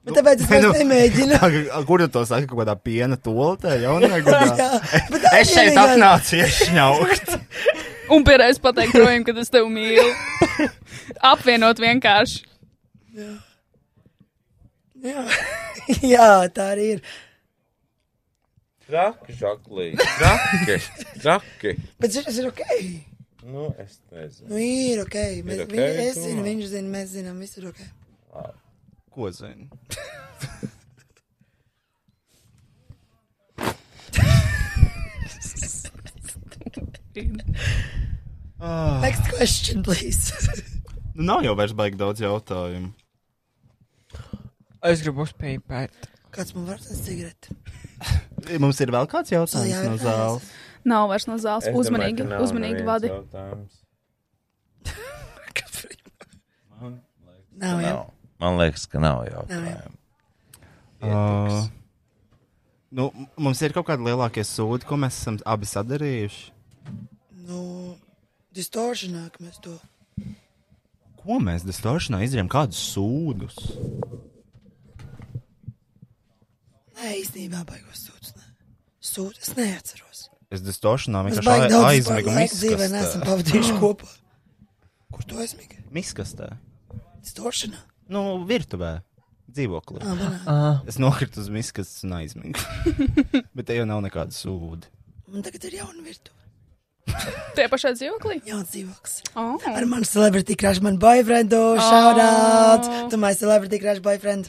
[SPEAKER 5] Bet tāpēc es
[SPEAKER 2] Nu,
[SPEAKER 5] vairs nemēģinu.
[SPEAKER 2] Ak, Kur tu to saki, kaut kādā piena toltē? Jaunajā gadā.
[SPEAKER 5] Jā, bet tā
[SPEAKER 2] Es šeit
[SPEAKER 5] vienīgā-
[SPEAKER 2] atnācu iešņaukt.
[SPEAKER 8] Un pierādījis pateikt Rojam, ka es tevi mīlu. Apvienot vienkārši.
[SPEAKER 5] Jā. Jā, tā arī ir.
[SPEAKER 7] Traki, žaklī. Traki, traki.
[SPEAKER 5] Bet šis ir ok.
[SPEAKER 7] Nu, es nezinu.
[SPEAKER 5] Nu, ir ok. Mēs,
[SPEAKER 7] Ir
[SPEAKER 5] ir
[SPEAKER 7] ok,
[SPEAKER 5] okay viņi, es
[SPEAKER 7] tu
[SPEAKER 5] zinu,
[SPEAKER 7] runā.
[SPEAKER 5] viņš zina, mēs zinām, viss ir ok.
[SPEAKER 2] Ko zini?
[SPEAKER 5] Next question, please.
[SPEAKER 2] Nu, nav jau vairs baigi daudz jautājumu.
[SPEAKER 4] Es gribu uzpēpēt.
[SPEAKER 5] Kāds man var tas cigareti?
[SPEAKER 2] Mums ir vēl kāds
[SPEAKER 5] Vēl jā,
[SPEAKER 2] jautājums
[SPEAKER 5] ir
[SPEAKER 2] no
[SPEAKER 5] vēl
[SPEAKER 2] zāles.
[SPEAKER 8] Nav vairs no zāles. Uzmanīgi, uzmanīgi vadi.
[SPEAKER 5] Nav jau.
[SPEAKER 7] Man liekas, ka nav
[SPEAKER 5] jautājumu.
[SPEAKER 7] jautājumu.
[SPEAKER 2] Uh, nu, m- mums ir kaut kādi lielākie sūdi, ko mēs esam abi sadarījuši.
[SPEAKER 5] Nu, distorsionāk mēs to.
[SPEAKER 2] Ko mēs distorsionā izdarījām? Kādus sūdus?
[SPEAKER 5] Nē, īstenībā baigos sūdzes. Sūdzes neatceros.
[SPEAKER 2] Es distorsionā
[SPEAKER 5] Mēs
[SPEAKER 2] vienkārši
[SPEAKER 5] baigi
[SPEAKER 2] ai-
[SPEAKER 5] daudz
[SPEAKER 2] aizmigu
[SPEAKER 5] laika dzīvē neesam
[SPEAKER 2] miskastē.
[SPEAKER 5] pavadījuši kopā. Kur tu aizmigi?
[SPEAKER 2] Miskastē.
[SPEAKER 5] Distorsionā.
[SPEAKER 2] Nu, virtuvē. Dzīvoklī.
[SPEAKER 5] Ah, manā.
[SPEAKER 2] Es nokritu uz miskastes un aizmigu. Bet te jau nav nekāda sūda.
[SPEAKER 5] Man tagad ir jauna virtuve,
[SPEAKER 8] Tie pašā dzīvoklī?
[SPEAKER 5] jauns dzīvoklis.
[SPEAKER 8] Oh.
[SPEAKER 5] Ar manu celebrity crush, man boyfriendu, shout out! Tu my celebrity crush boyfriend.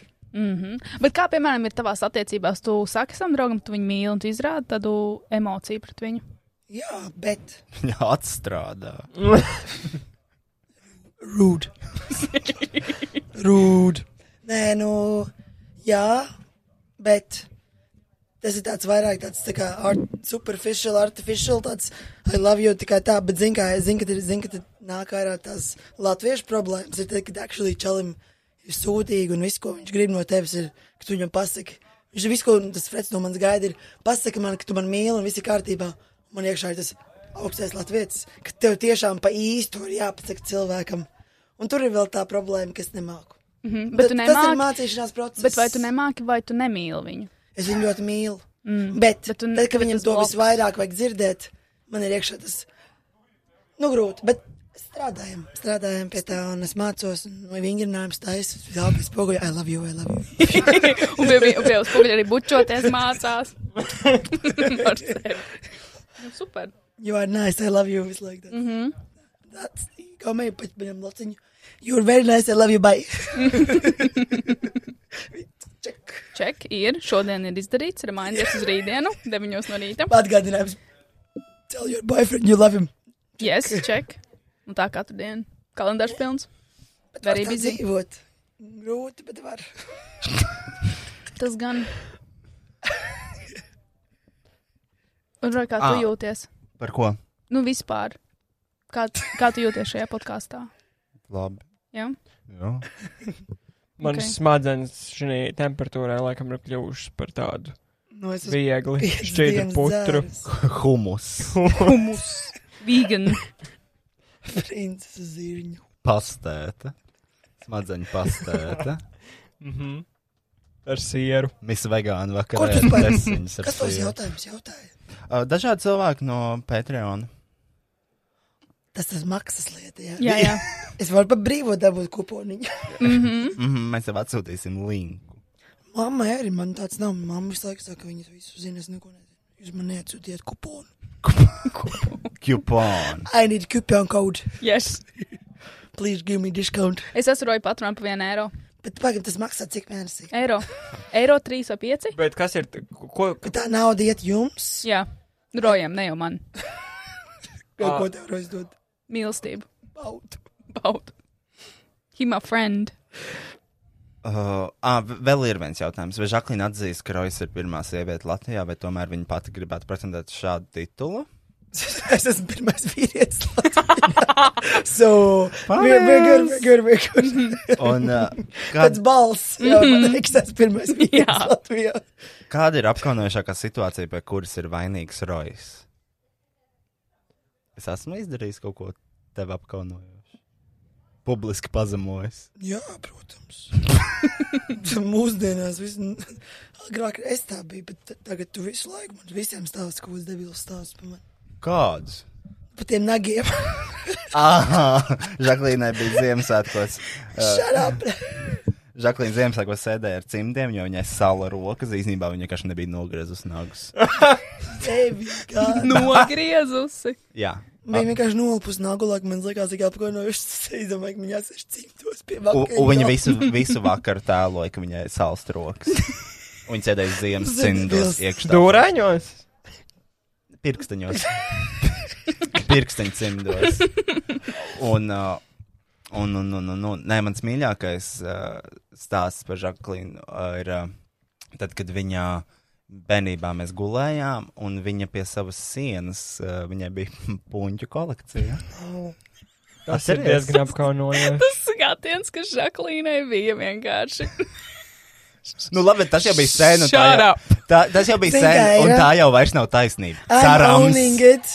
[SPEAKER 8] Bet kā, piemēram, ir tavās attiecībās, tu saki savam draugam, tu viņu mīli un tu izrādi tādu emociju pret viņu?
[SPEAKER 5] Jā, bet.
[SPEAKER 2] Viņa atstrādā.
[SPEAKER 5] Rude. Rude. Nē, nu, jā, bet tas ir tāds vairāk tāds tā kā art, superficial, artificial, tāds I love you tikai tā, bet zin, kā, zin, kad ir, zin, kad ir nāk ārā tās latviešu problēmas, ir tad, kad actually čalim ir sūtīgi un viss, ko viņš grib no tevis, ir, ka tu viņam pasaki. Viņš ir viss, ko tas freds no manas gaida, ir pasaki man, ka tu man mīli un viss ir kārtībā. Man iekšā ir tas augstais latvietis, ka tev tiešām pa īstu ir jāpasaka cilvēkam. Un tur ir vēl tā problēma, kas nemāku. Mm -hmm,
[SPEAKER 8] Mhm, bet tu
[SPEAKER 5] Tas ir
[SPEAKER 8] nemāki-
[SPEAKER 5] mācīšanās process.
[SPEAKER 8] Bet vai tu nemāki, vai tu nemīli viņu?
[SPEAKER 5] Es viņu ļoti mīlu. Mm. Bet,
[SPEAKER 8] Bet
[SPEAKER 5] bet
[SPEAKER 8] tu-
[SPEAKER 5] tad, kad
[SPEAKER 8] bet
[SPEAKER 5] viņam
[SPEAKER 8] tas
[SPEAKER 5] to
[SPEAKER 8] bloks.
[SPEAKER 5] visvairāk vajag dzirdēt, man ir iekšā tas nu, grūti. Bet strādājam, strādājam pie tā, un es mācos, un vingrinājums taisa. Jā, pēc spoguļa, I love you, I love you.
[SPEAKER 8] Un pie, vi- un pie uzpūļa arī bučoties mācās. Ar sevi. Nu, Super.
[SPEAKER 5] You are nice, I love you, visu laiku. Mm -hmm.
[SPEAKER 8] Mhm.
[SPEAKER 5] That's, kā mēs pēc viņam lociņu. You are very nice, I love you, bye. Check.
[SPEAKER 8] Ček ir. Šodien ir izdarīts. Reminders uz rītdienu, 9 no rīta.
[SPEAKER 5] Atgādinājums. Tell your boyfriend you love him.
[SPEAKER 8] Yes, ček. Un tā katru dienu. Kalendārs pilns.
[SPEAKER 5] Var
[SPEAKER 8] Very
[SPEAKER 5] tā
[SPEAKER 8] busy.
[SPEAKER 5] dzīvot. Grūti, bet var.
[SPEAKER 8] Tas gan. Un Roy, kā tu
[SPEAKER 2] Ah.
[SPEAKER 8] jūties?
[SPEAKER 2] Par ko?
[SPEAKER 8] Nu, vispār. Kā, kā tu jūties šajā podkāstā?
[SPEAKER 2] Labi.
[SPEAKER 8] Ja?
[SPEAKER 2] Jā.
[SPEAKER 4] Man
[SPEAKER 8] Ok.
[SPEAKER 4] okay. smadzenes šī temperatūrā laikam ir kļuvušas par tādu
[SPEAKER 5] Nu, es esmu
[SPEAKER 4] viegli
[SPEAKER 5] piecas
[SPEAKER 4] šķīdu
[SPEAKER 5] dienas
[SPEAKER 4] putru.
[SPEAKER 5] dzērusi.
[SPEAKER 2] Humus.
[SPEAKER 8] Humus. Vegan.
[SPEAKER 5] Princese zirņu.
[SPEAKER 2] Pastēta. Smadzeņu pastēta.
[SPEAKER 4] Mhm. Ar sieru.
[SPEAKER 2] Mēs vegāni
[SPEAKER 5] Kur
[SPEAKER 2] vakarā
[SPEAKER 5] tu vispār-
[SPEAKER 2] dresiņus ar
[SPEAKER 5] Kas tos
[SPEAKER 2] sieru.
[SPEAKER 5] jautājums jautāja?
[SPEAKER 2] Uh, Dažādi cilvēki no Patreon.
[SPEAKER 5] Tas tas maksas lieta, jā.
[SPEAKER 8] Jā, jā.
[SPEAKER 5] Es varu pat brīvo dabūt kuponiņu.
[SPEAKER 2] Mm -hmm, mēs tev atsūtīsim linku.
[SPEAKER 5] Mamma arī man tāds nav. Mamma visu laiku saka, viņas visu zina, es neko nezinu. Jūs man neatsūtiet kuponu.
[SPEAKER 2] Kupon.
[SPEAKER 5] I need coupon code.
[SPEAKER 8] Yes.
[SPEAKER 5] Please give me discount.
[SPEAKER 8] Es esmu Roy Patronam par 1 eiro.
[SPEAKER 5] Bet pagaid, tas maksā cik mēnesī?
[SPEAKER 8] Eiro. Eiro 3 vai 5?
[SPEAKER 4] Bet kas ir, t- ko,
[SPEAKER 5] Bet tā nauda iet jums.
[SPEAKER 8] Jā. Rojam, ne jau man.
[SPEAKER 5] Vai Ko tev aizdod?
[SPEAKER 8] Mīlestība.
[SPEAKER 5] Baut.
[SPEAKER 8] Baud. He my friend.
[SPEAKER 2] Uh, à, vēl ir viens jautājums. Vai Žaklina atzīst, ka Rojas ir pirmā sieviete Latvijā, vai tomēr viņa pati gribētu pretendēt šādu titulu?
[SPEAKER 5] Es esmu pirmais vīrietis Latvijā. so, we're bigger, bigger, bigger.
[SPEAKER 2] Un, uh,
[SPEAKER 5] Tāds
[SPEAKER 2] kād,
[SPEAKER 5] balss. Jā, man liekas, tas pirmais vīrietis Latvijā.
[SPEAKER 2] kāda ir apkaunojošākā situācija, pie kuras ir vainīgs Rojas? Es esmu izdarījis kaut ko tev apkaunojošu. Publiski pazemojis.
[SPEAKER 5] Jā, protams. Mūsdienās viss n- agrāk es tā biju, bet ta- tagad tu visu laiku man visiem stāsti, ko es debilu stāstu par mani.
[SPEAKER 2] Kādus?
[SPEAKER 5] Par tiem nagiem.
[SPEAKER 2] Ah, Žaklīnai bija Ziemassvētkos.
[SPEAKER 5] Shut up!
[SPEAKER 2] Žaklīna Ziemassvētkos sēdēja ar cimdiem, jo viņai sāla rokas. Īsnībā viņa vienkārši nebija nogriezus nagus.
[SPEAKER 5] Tevi, kā.
[SPEAKER 8] Nogriezusi.
[SPEAKER 2] Jā.
[SPEAKER 5] Viņa vienkārši nolpus nagu, lai man liekas, ka apkonojuši. Es domāju, ka viņa jāsēž cimtos pie
[SPEAKER 2] U,
[SPEAKER 5] vakariņām.
[SPEAKER 2] u, viņa visu, visu vakaru tēloja, ka viņai sāls rokas. Un Viņa sēdēja ziemas cimdos iekšā.
[SPEAKER 4] Dūraņos?
[SPEAKER 2] Pirksteņos. pirksteņa cimdos. Un, uh, un, un, un, un, un nē, mans mīļākais uh, stāsts par Žaklinu uh, ir uh, tad, kad viņa bērnībā mēs gulējām, un viņa pie savas sienas, uh, viņai bija puņu kolekcija.
[SPEAKER 4] Tas ir
[SPEAKER 2] Atceries?
[SPEAKER 4] diezgan apkaunojoši.
[SPEAKER 8] Tas skatiens, kas Žaklīnai bija vienkārši.
[SPEAKER 2] Nu, labi, tas jau bija sen. un Tā,
[SPEAKER 8] Shut
[SPEAKER 2] jau-
[SPEAKER 8] up.
[SPEAKER 2] tā, tas jau bija
[SPEAKER 5] Zini,
[SPEAKER 2] sen,
[SPEAKER 5] kā
[SPEAKER 2] un
[SPEAKER 5] ir,
[SPEAKER 2] tā jau vairs nav taisnība.
[SPEAKER 5] I'm owning
[SPEAKER 2] Cerams,
[SPEAKER 5] it.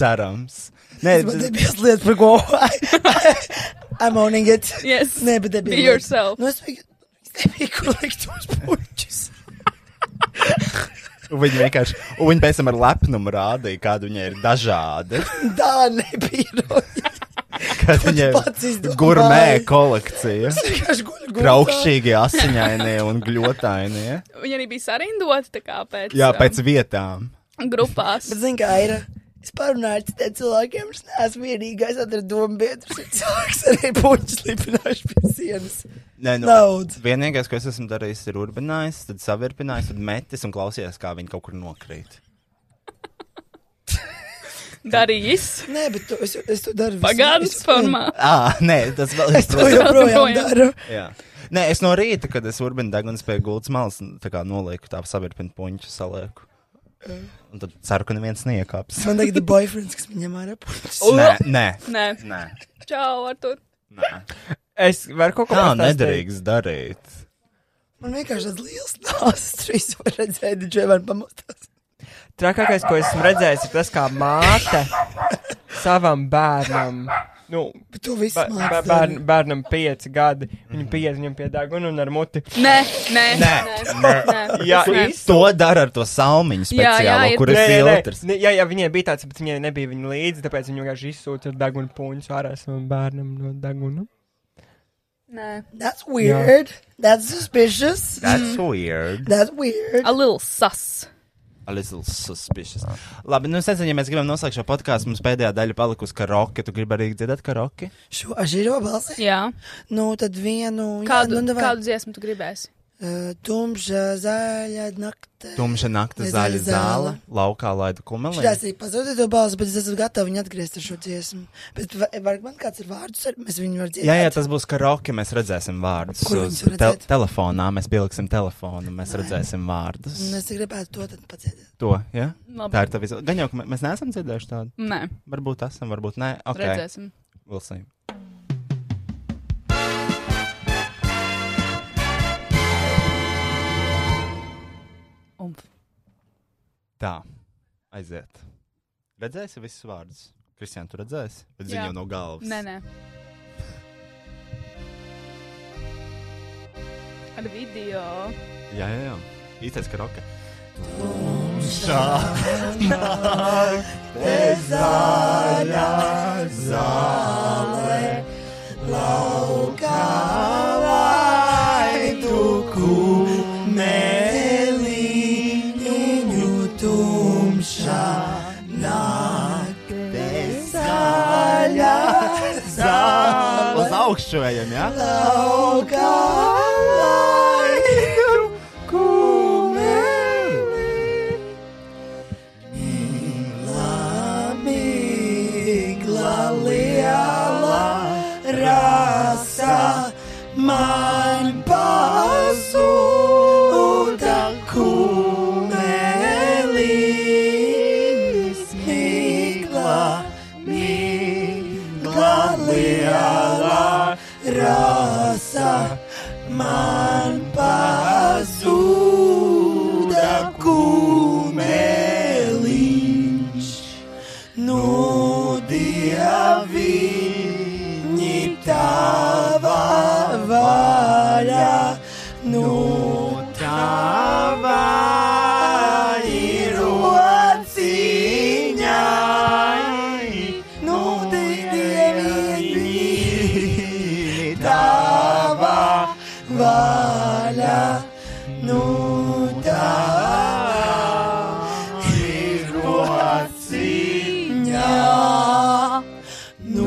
[SPEAKER 2] cerams. Nē,
[SPEAKER 5] Man bija lietas, par ko. I'm owning it.
[SPEAKER 8] Yes.
[SPEAKER 5] Nē, bet
[SPEAKER 8] Be
[SPEAKER 5] nebija.
[SPEAKER 8] yourself.
[SPEAKER 5] Nu, es biju. Es biju kolektors puķis.
[SPEAKER 2] Viņa vienkārši, un viņa pēc tam ar lepnumu rādīja, kāda viņai ir dažāda.
[SPEAKER 5] Tā nebija. no-
[SPEAKER 2] Kad viņai
[SPEAKER 5] pats
[SPEAKER 2] ir
[SPEAKER 5] izdomāji.
[SPEAKER 2] gurmē kolekcija.
[SPEAKER 5] Es vienkārši guļu gultā.
[SPEAKER 2] Graukšīgi, asiņainie un gļotainie.
[SPEAKER 8] Viņa arī bija sarindota tā kā pēc,
[SPEAKER 2] Jā,
[SPEAKER 8] um,
[SPEAKER 2] pēc vietām.
[SPEAKER 8] grupās.
[SPEAKER 5] Bet, zini, kā ir. Es parunāju ar citiem cilvēkiem, es neesmu vienīgais, atradu domu biedrus. ir Cilvēks arī puķis lipināšu pie sienas.
[SPEAKER 2] Nē, nu,
[SPEAKER 5] Daudz.
[SPEAKER 2] vienīgais, ko es esmu darījis, ir urbinājis, tad savirpinājis, tad metis un klausījās, kā viņi kaut kur nokrīt.
[SPEAKER 8] Darījis.
[SPEAKER 5] Nē, bet tu, es, es to daru. visu.
[SPEAKER 8] Pagātnes
[SPEAKER 5] Es-
[SPEAKER 8] formā.
[SPEAKER 2] Ā, nē, tas vēl
[SPEAKER 5] Es to
[SPEAKER 2] ir.
[SPEAKER 5] joprojām daru.
[SPEAKER 2] Jā. Nē, es no rīta, kad es urbinu deguns pie gultas malas, tā kā nolieku tā savirpinu puņķu salieku. Un tad ceru, ka neviens neiekāps.
[SPEAKER 5] Man tagad ir boyfriends, kas man ņem ārā puķis.
[SPEAKER 2] Nē, nē,
[SPEAKER 8] Nē,
[SPEAKER 2] nē.
[SPEAKER 8] čau, Artur.
[SPEAKER 2] nē.
[SPEAKER 4] Es varu kaut ko
[SPEAKER 2] Tā
[SPEAKER 4] pastāstīt?
[SPEAKER 2] nedrīkst darīt.
[SPEAKER 5] Man vienkārši tāds liels nāsts, trīs var redzēt, džēvāni pamotās.
[SPEAKER 4] Trakākais, ko esmu redzējis, ir tas, kā māte savam bērnam. Nu,
[SPEAKER 5] Bet tu viss
[SPEAKER 4] Ba- ba-
[SPEAKER 5] mācis.
[SPEAKER 4] bērn, bērnam pieci gadi. Viņam pieci viņam pie dāguna un ar muti.
[SPEAKER 8] Nē, nē, nē. nē. nē.
[SPEAKER 4] Jā,
[SPEAKER 8] nē.
[SPEAKER 4] īsti.
[SPEAKER 2] To dara ar to salmiņu
[SPEAKER 8] Jā, jā,
[SPEAKER 2] speciālo,
[SPEAKER 8] ir-
[SPEAKER 2] kur ir filtrs.
[SPEAKER 4] nē, jā, jā, viņai bija tāds, bet viņai nebija viņa līdzi, tāpēc viņa vienkārši izsūta ar dāguna puņus ārā savam bērnam no dāguna.
[SPEAKER 8] nē.
[SPEAKER 5] That's weird. That's suspicious.
[SPEAKER 2] That's weird.
[SPEAKER 5] That's weird.
[SPEAKER 8] A little sus.
[SPEAKER 2] A little suspicious. Labi, nu, sensei, ja mēs gribam noslēgt šo podkāstu, mums pēdējā daļa palikusi karaoke. Tu gribi arī dzirdēt karaoke?
[SPEAKER 5] Šo ažīro balsi.
[SPEAKER 8] Jā.
[SPEAKER 5] Nu, tad vienu. jā,
[SPEAKER 8] Kādu,
[SPEAKER 5] nu, davai.
[SPEAKER 8] kādu dziesmu tu gribēsi?
[SPEAKER 5] Uh, Tumša, zaļa, nakte.
[SPEAKER 2] Tumša naktas zaļa
[SPEAKER 5] Zaļa
[SPEAKER 2] zāle,
[SPEAKER 5] zāle.
[SPEAKER 2] laukā laida kumelī.
[SPEAKER 5] Šitās ir pazudis to balsi, bet es esmu gatava viņu atgriezt ar šo dziesmu. Bet va- var man kāds ir vārdus? ar- Mēs viņu varam dzirdēt.
[SPEAKER 2] Jā, jā, tas būs karaoke. Mēs redzēsim vārdus.
[SPEAKER 5] Kur
[SPEAKER 2] uz
[SPEAKER 5] viņus var
[SPEAKER 2] tel-
[SPEAKER 5] redzēt?
[SPEAKER 2] telefonā mēs pieliksim telefonu, mēs redzēsim vārdus.
[SPEAKER 5] Un es gribētu to tad pacietīt.
[SPEAKER 2] To, ja?
[SPEAKER 8] Labi.
[SPEAKER 2] Tā ir tā vizuāla. Gan jau, ka mē- mēs neesam dzirdējuši tādu.
[SPEAKER 8] Nē,
[SPEAKER 2] Varbūt esam, varbūt nē.
[SPEAKER 8] okay.
[SPEAKER 2] Okay.
[SPEAKER 8] redzēsim.
[SPEAKER 2] We'll see.
[SPEAKER 8] Un
[SPEAKER 2] Tā, aiziet. Redzēsi visus vārdus. Kristian, tu redzēsi? Bet
[SPEAKER 8] Jā.
[SPEAKER 2] zini jau no galvas.
[SPEAKER 8] Nē, nē. Ar video.
[SPEAKER 2] Jā, jā, jā. Īstais karaoke. Uz augšu ejam, jā? Ja?
[SPEAKER 5] Nu,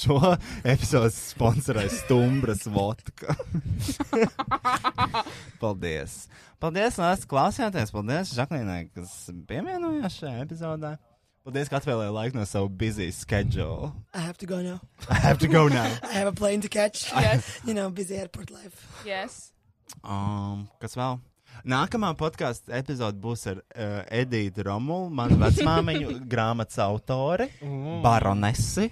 [SPEAKER 2] Šo epizodu sponsorē Stumbras vodka. Paldies! Paldies, lai esat klausījāties! Paldies Žaklīnai, kas pievienojās šajā epizodē! Paldies, ka atvēlēji laiku no savu busy schedule.
[SPEAKER 5] I have to go now.
[SPEAKER 2] I have to go now.
[SPEAKER 5] I have a plane to catch.
[SPEAKER 3] Yes.
[SPEAKER 5] you know, busy airport life.
[SPEAKER 3] Yes.
[SPEAKER 2] Um, kas vēl? Nākamā podkāstu epizode būs ar uh, Edītu Romulu, manu vecmāmiņu, grāmatas autori, baronesi.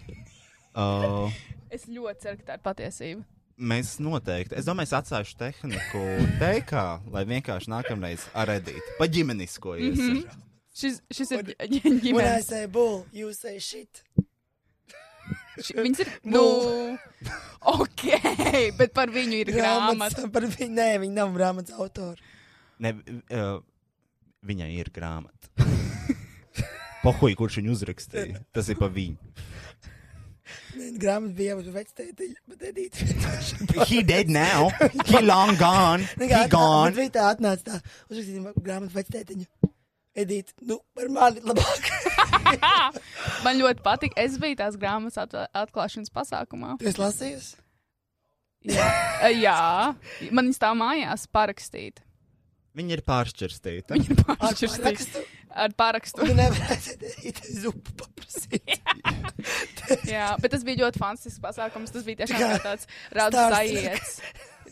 [SPEAKER 2] Uh,
[SPEAKER 3] Es ļoti ceru, ka tā ir patiesība.
[SPEAKER 2] mēs noteikti, es domāju, es atstāšu tehniku teikā, lai vienkārši nākamreiz ar Edītu, pa ģimenisko iesim. Mm -hmm.
[SPEAKER 3] Šis, šis ir ģ-
[SPEAKER 5] When I
[SPEAKER 3] ģimenes.
[SPEAKER 5] say bull, you say shit.
[SPEAKER 3] Ši- Viņas ir. Nu, ok, bet par viņu ir grāmata.
[SPEAKER 5] Grāmatas par viņu. Nē, viņa nav grāmatas autora.
[SPEAKER 2] Ne, uh, viņai ir grāmata. Pohuj, kurš viņu uzrakstīja? Tas ir pa viņu.
[SPEAKER 5] Nē, Grāmata bija jau vectētiņa, bet Edīte vienkārši.
[SPEAKER 2] He dead now. He long gone. He
[SPEAKER 5] Gan
[SPEAKER 2] gone.
[SPEAKER 5] bija tā, atnāca tā, uzrakstīja grāmatu vectētiņu. Edīte, nu, par mani labāk.
[SPEAKER 3] Man ļoti patīk. Es biju tās grāmatas atva- atklāšanas pasākumā.
[SPEAKER 5] Tu esi lasījusi?
[SPEAKER 3] Jā, Jā. man viņas tā mājās parakstīt.
[SPEAKER 2] Viņa ir pāršķirstīta.
[SPEAKER 3] Viņa ir parakstīt.
[SPEAKER 5] Rakstu.
[SPEAKER 3] Ar
[SPEAKER 5] Tu
[SPEAKER 3] parakstu.
[SPEAKER 5] nevarēsi Edīte zupu paprasīt.
[SPEAKER 3] Jā, bet tas bija ļoti fantastisks pasākums. Tas bija tiešām
[SPEAKER 5] Jā.
[SPEAKER 3] kā tāds radu
[SPEAKER 5] Stāsts.
[SPEAKER 3] sajiets.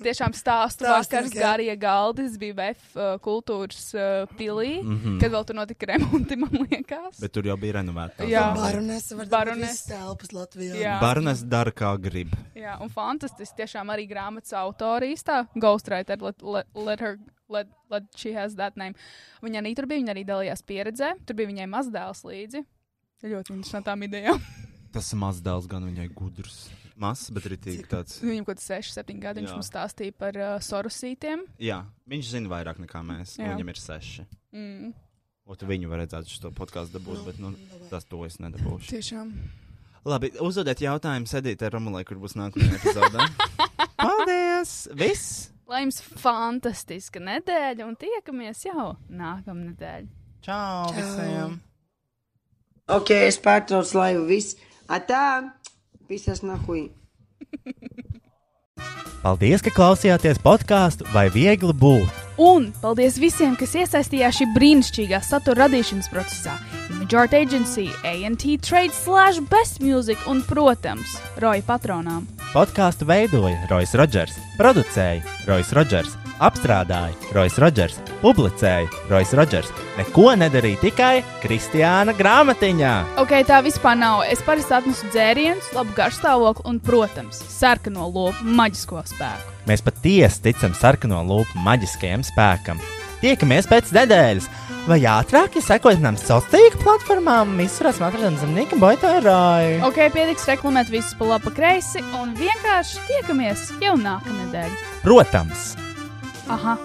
[SPEAKER 3] Tiešām stāstu
[SPEAKER 5] Stāsts,
[SPEAKER 3] vakars,
[SPEAKER 5] jā.
[SPEAKER 3] garie galdi. Tas bija VF uh, kultūras uh, pilī, mm -hmm. kad vēl tur notika remonti, man liekas.
[SPEAKER 2] Bet tur jau bija renovēta.
[SPEAKER 3] Jā.
[SPEAKER 5] Baronese var
[SPEAKER 3] Baronese.
[SPEAKER 5] būt visas telpas Latvijā.
[SPEAKER 3] Jā.
[SPEAKER 2] Barnes dara, kā grib.
[SPEAKER 3] Jā, un fantastiski. Tiešām arī grāmatas autora īstā ghostwriter, let, let, let her, let, let she has that name. Viņa arī tur bija, viņa arī dalījās pieredzē. Tur bija viņai mazdēls līdzi. Ļoti interesantām idejām.
[SPEAKER 2] Tas mazdēls gan viņai gudrs. Mazs, bet ritīgi tāds.
[SPEAKER 3] Viņam kaut kas 6, 7 gadi viņš
[SPEAKER 2] Jā.
[SPEAKER 3] mums stāstīja par uh, sorosītiem.
[SPEAKER 2] Jā, viņš zina vairāk nekā mēs.
[SPEAKER 3] Jā.
[SPEAKER 2] Jā. Viņam ir seši.
[SPEAKER 3] Mm,
[SPEAKER 2] Ot, viņu varētu šo podkāstu dabūt, bet nu, tas to es nedabūšu.
[SPEAKER 3] tiešām.
[SPEAKER 2] Labi, uzdodiet jautājumu, sediet ar Romulai, kur būs nākamā epizode. Paldies! Viss!
[SPEAKER 3] Lai jums fantastiska nedēļa un tiekamies jau nākamnedēļ.
[SPEAKER 2] Čau, Čau. visiem!
[SPEAKER 9] Ok, es pārtraucu laivu viss. Atā, pisas nahuj.
[SPEAKER 1] Paldies, ka klausījāties podkāstu vai viegli būt.
[SPEAKER 10] Un paldies visiem, kas iesaistījās šī brīnišķīgā satura radīšanas procesā. Majority Agency, ANT Trade, Slash, Best Music un, protams, Roja patronām.
[SPEAKER 1] Podkāstu veidoja Rois Rodžers, producēja Rois Rodžers, apstrādāja Rois Rodžers, publicēja Rois Rodžers. Neko nedarīja tikai Kristiāna grāmatiņā.
[SPEAKER 10] Ok, tā vispār nav. Es parasti atnesu dzērienus, labu garšstāvokli un, protams, sarkano lopu maģisko spēku.
[SPEAKER 1] Mēs patiesi ticam sarkano lupu maģiskajam spēkam. Tiekamies pēc nedēļas, vai ātrāk, ja sekojat mums sociālajām tīkla platformām, visurās matradienas zemnieka boitārāju.
[SPEAKER 10] Ok, pietiks reklamēt visus pa labi, pa kreisi un vienkārši tiekamies jau nākamnedēļ.
[SPEAKER 1] Protams!
[SPEAKER 10] Aha!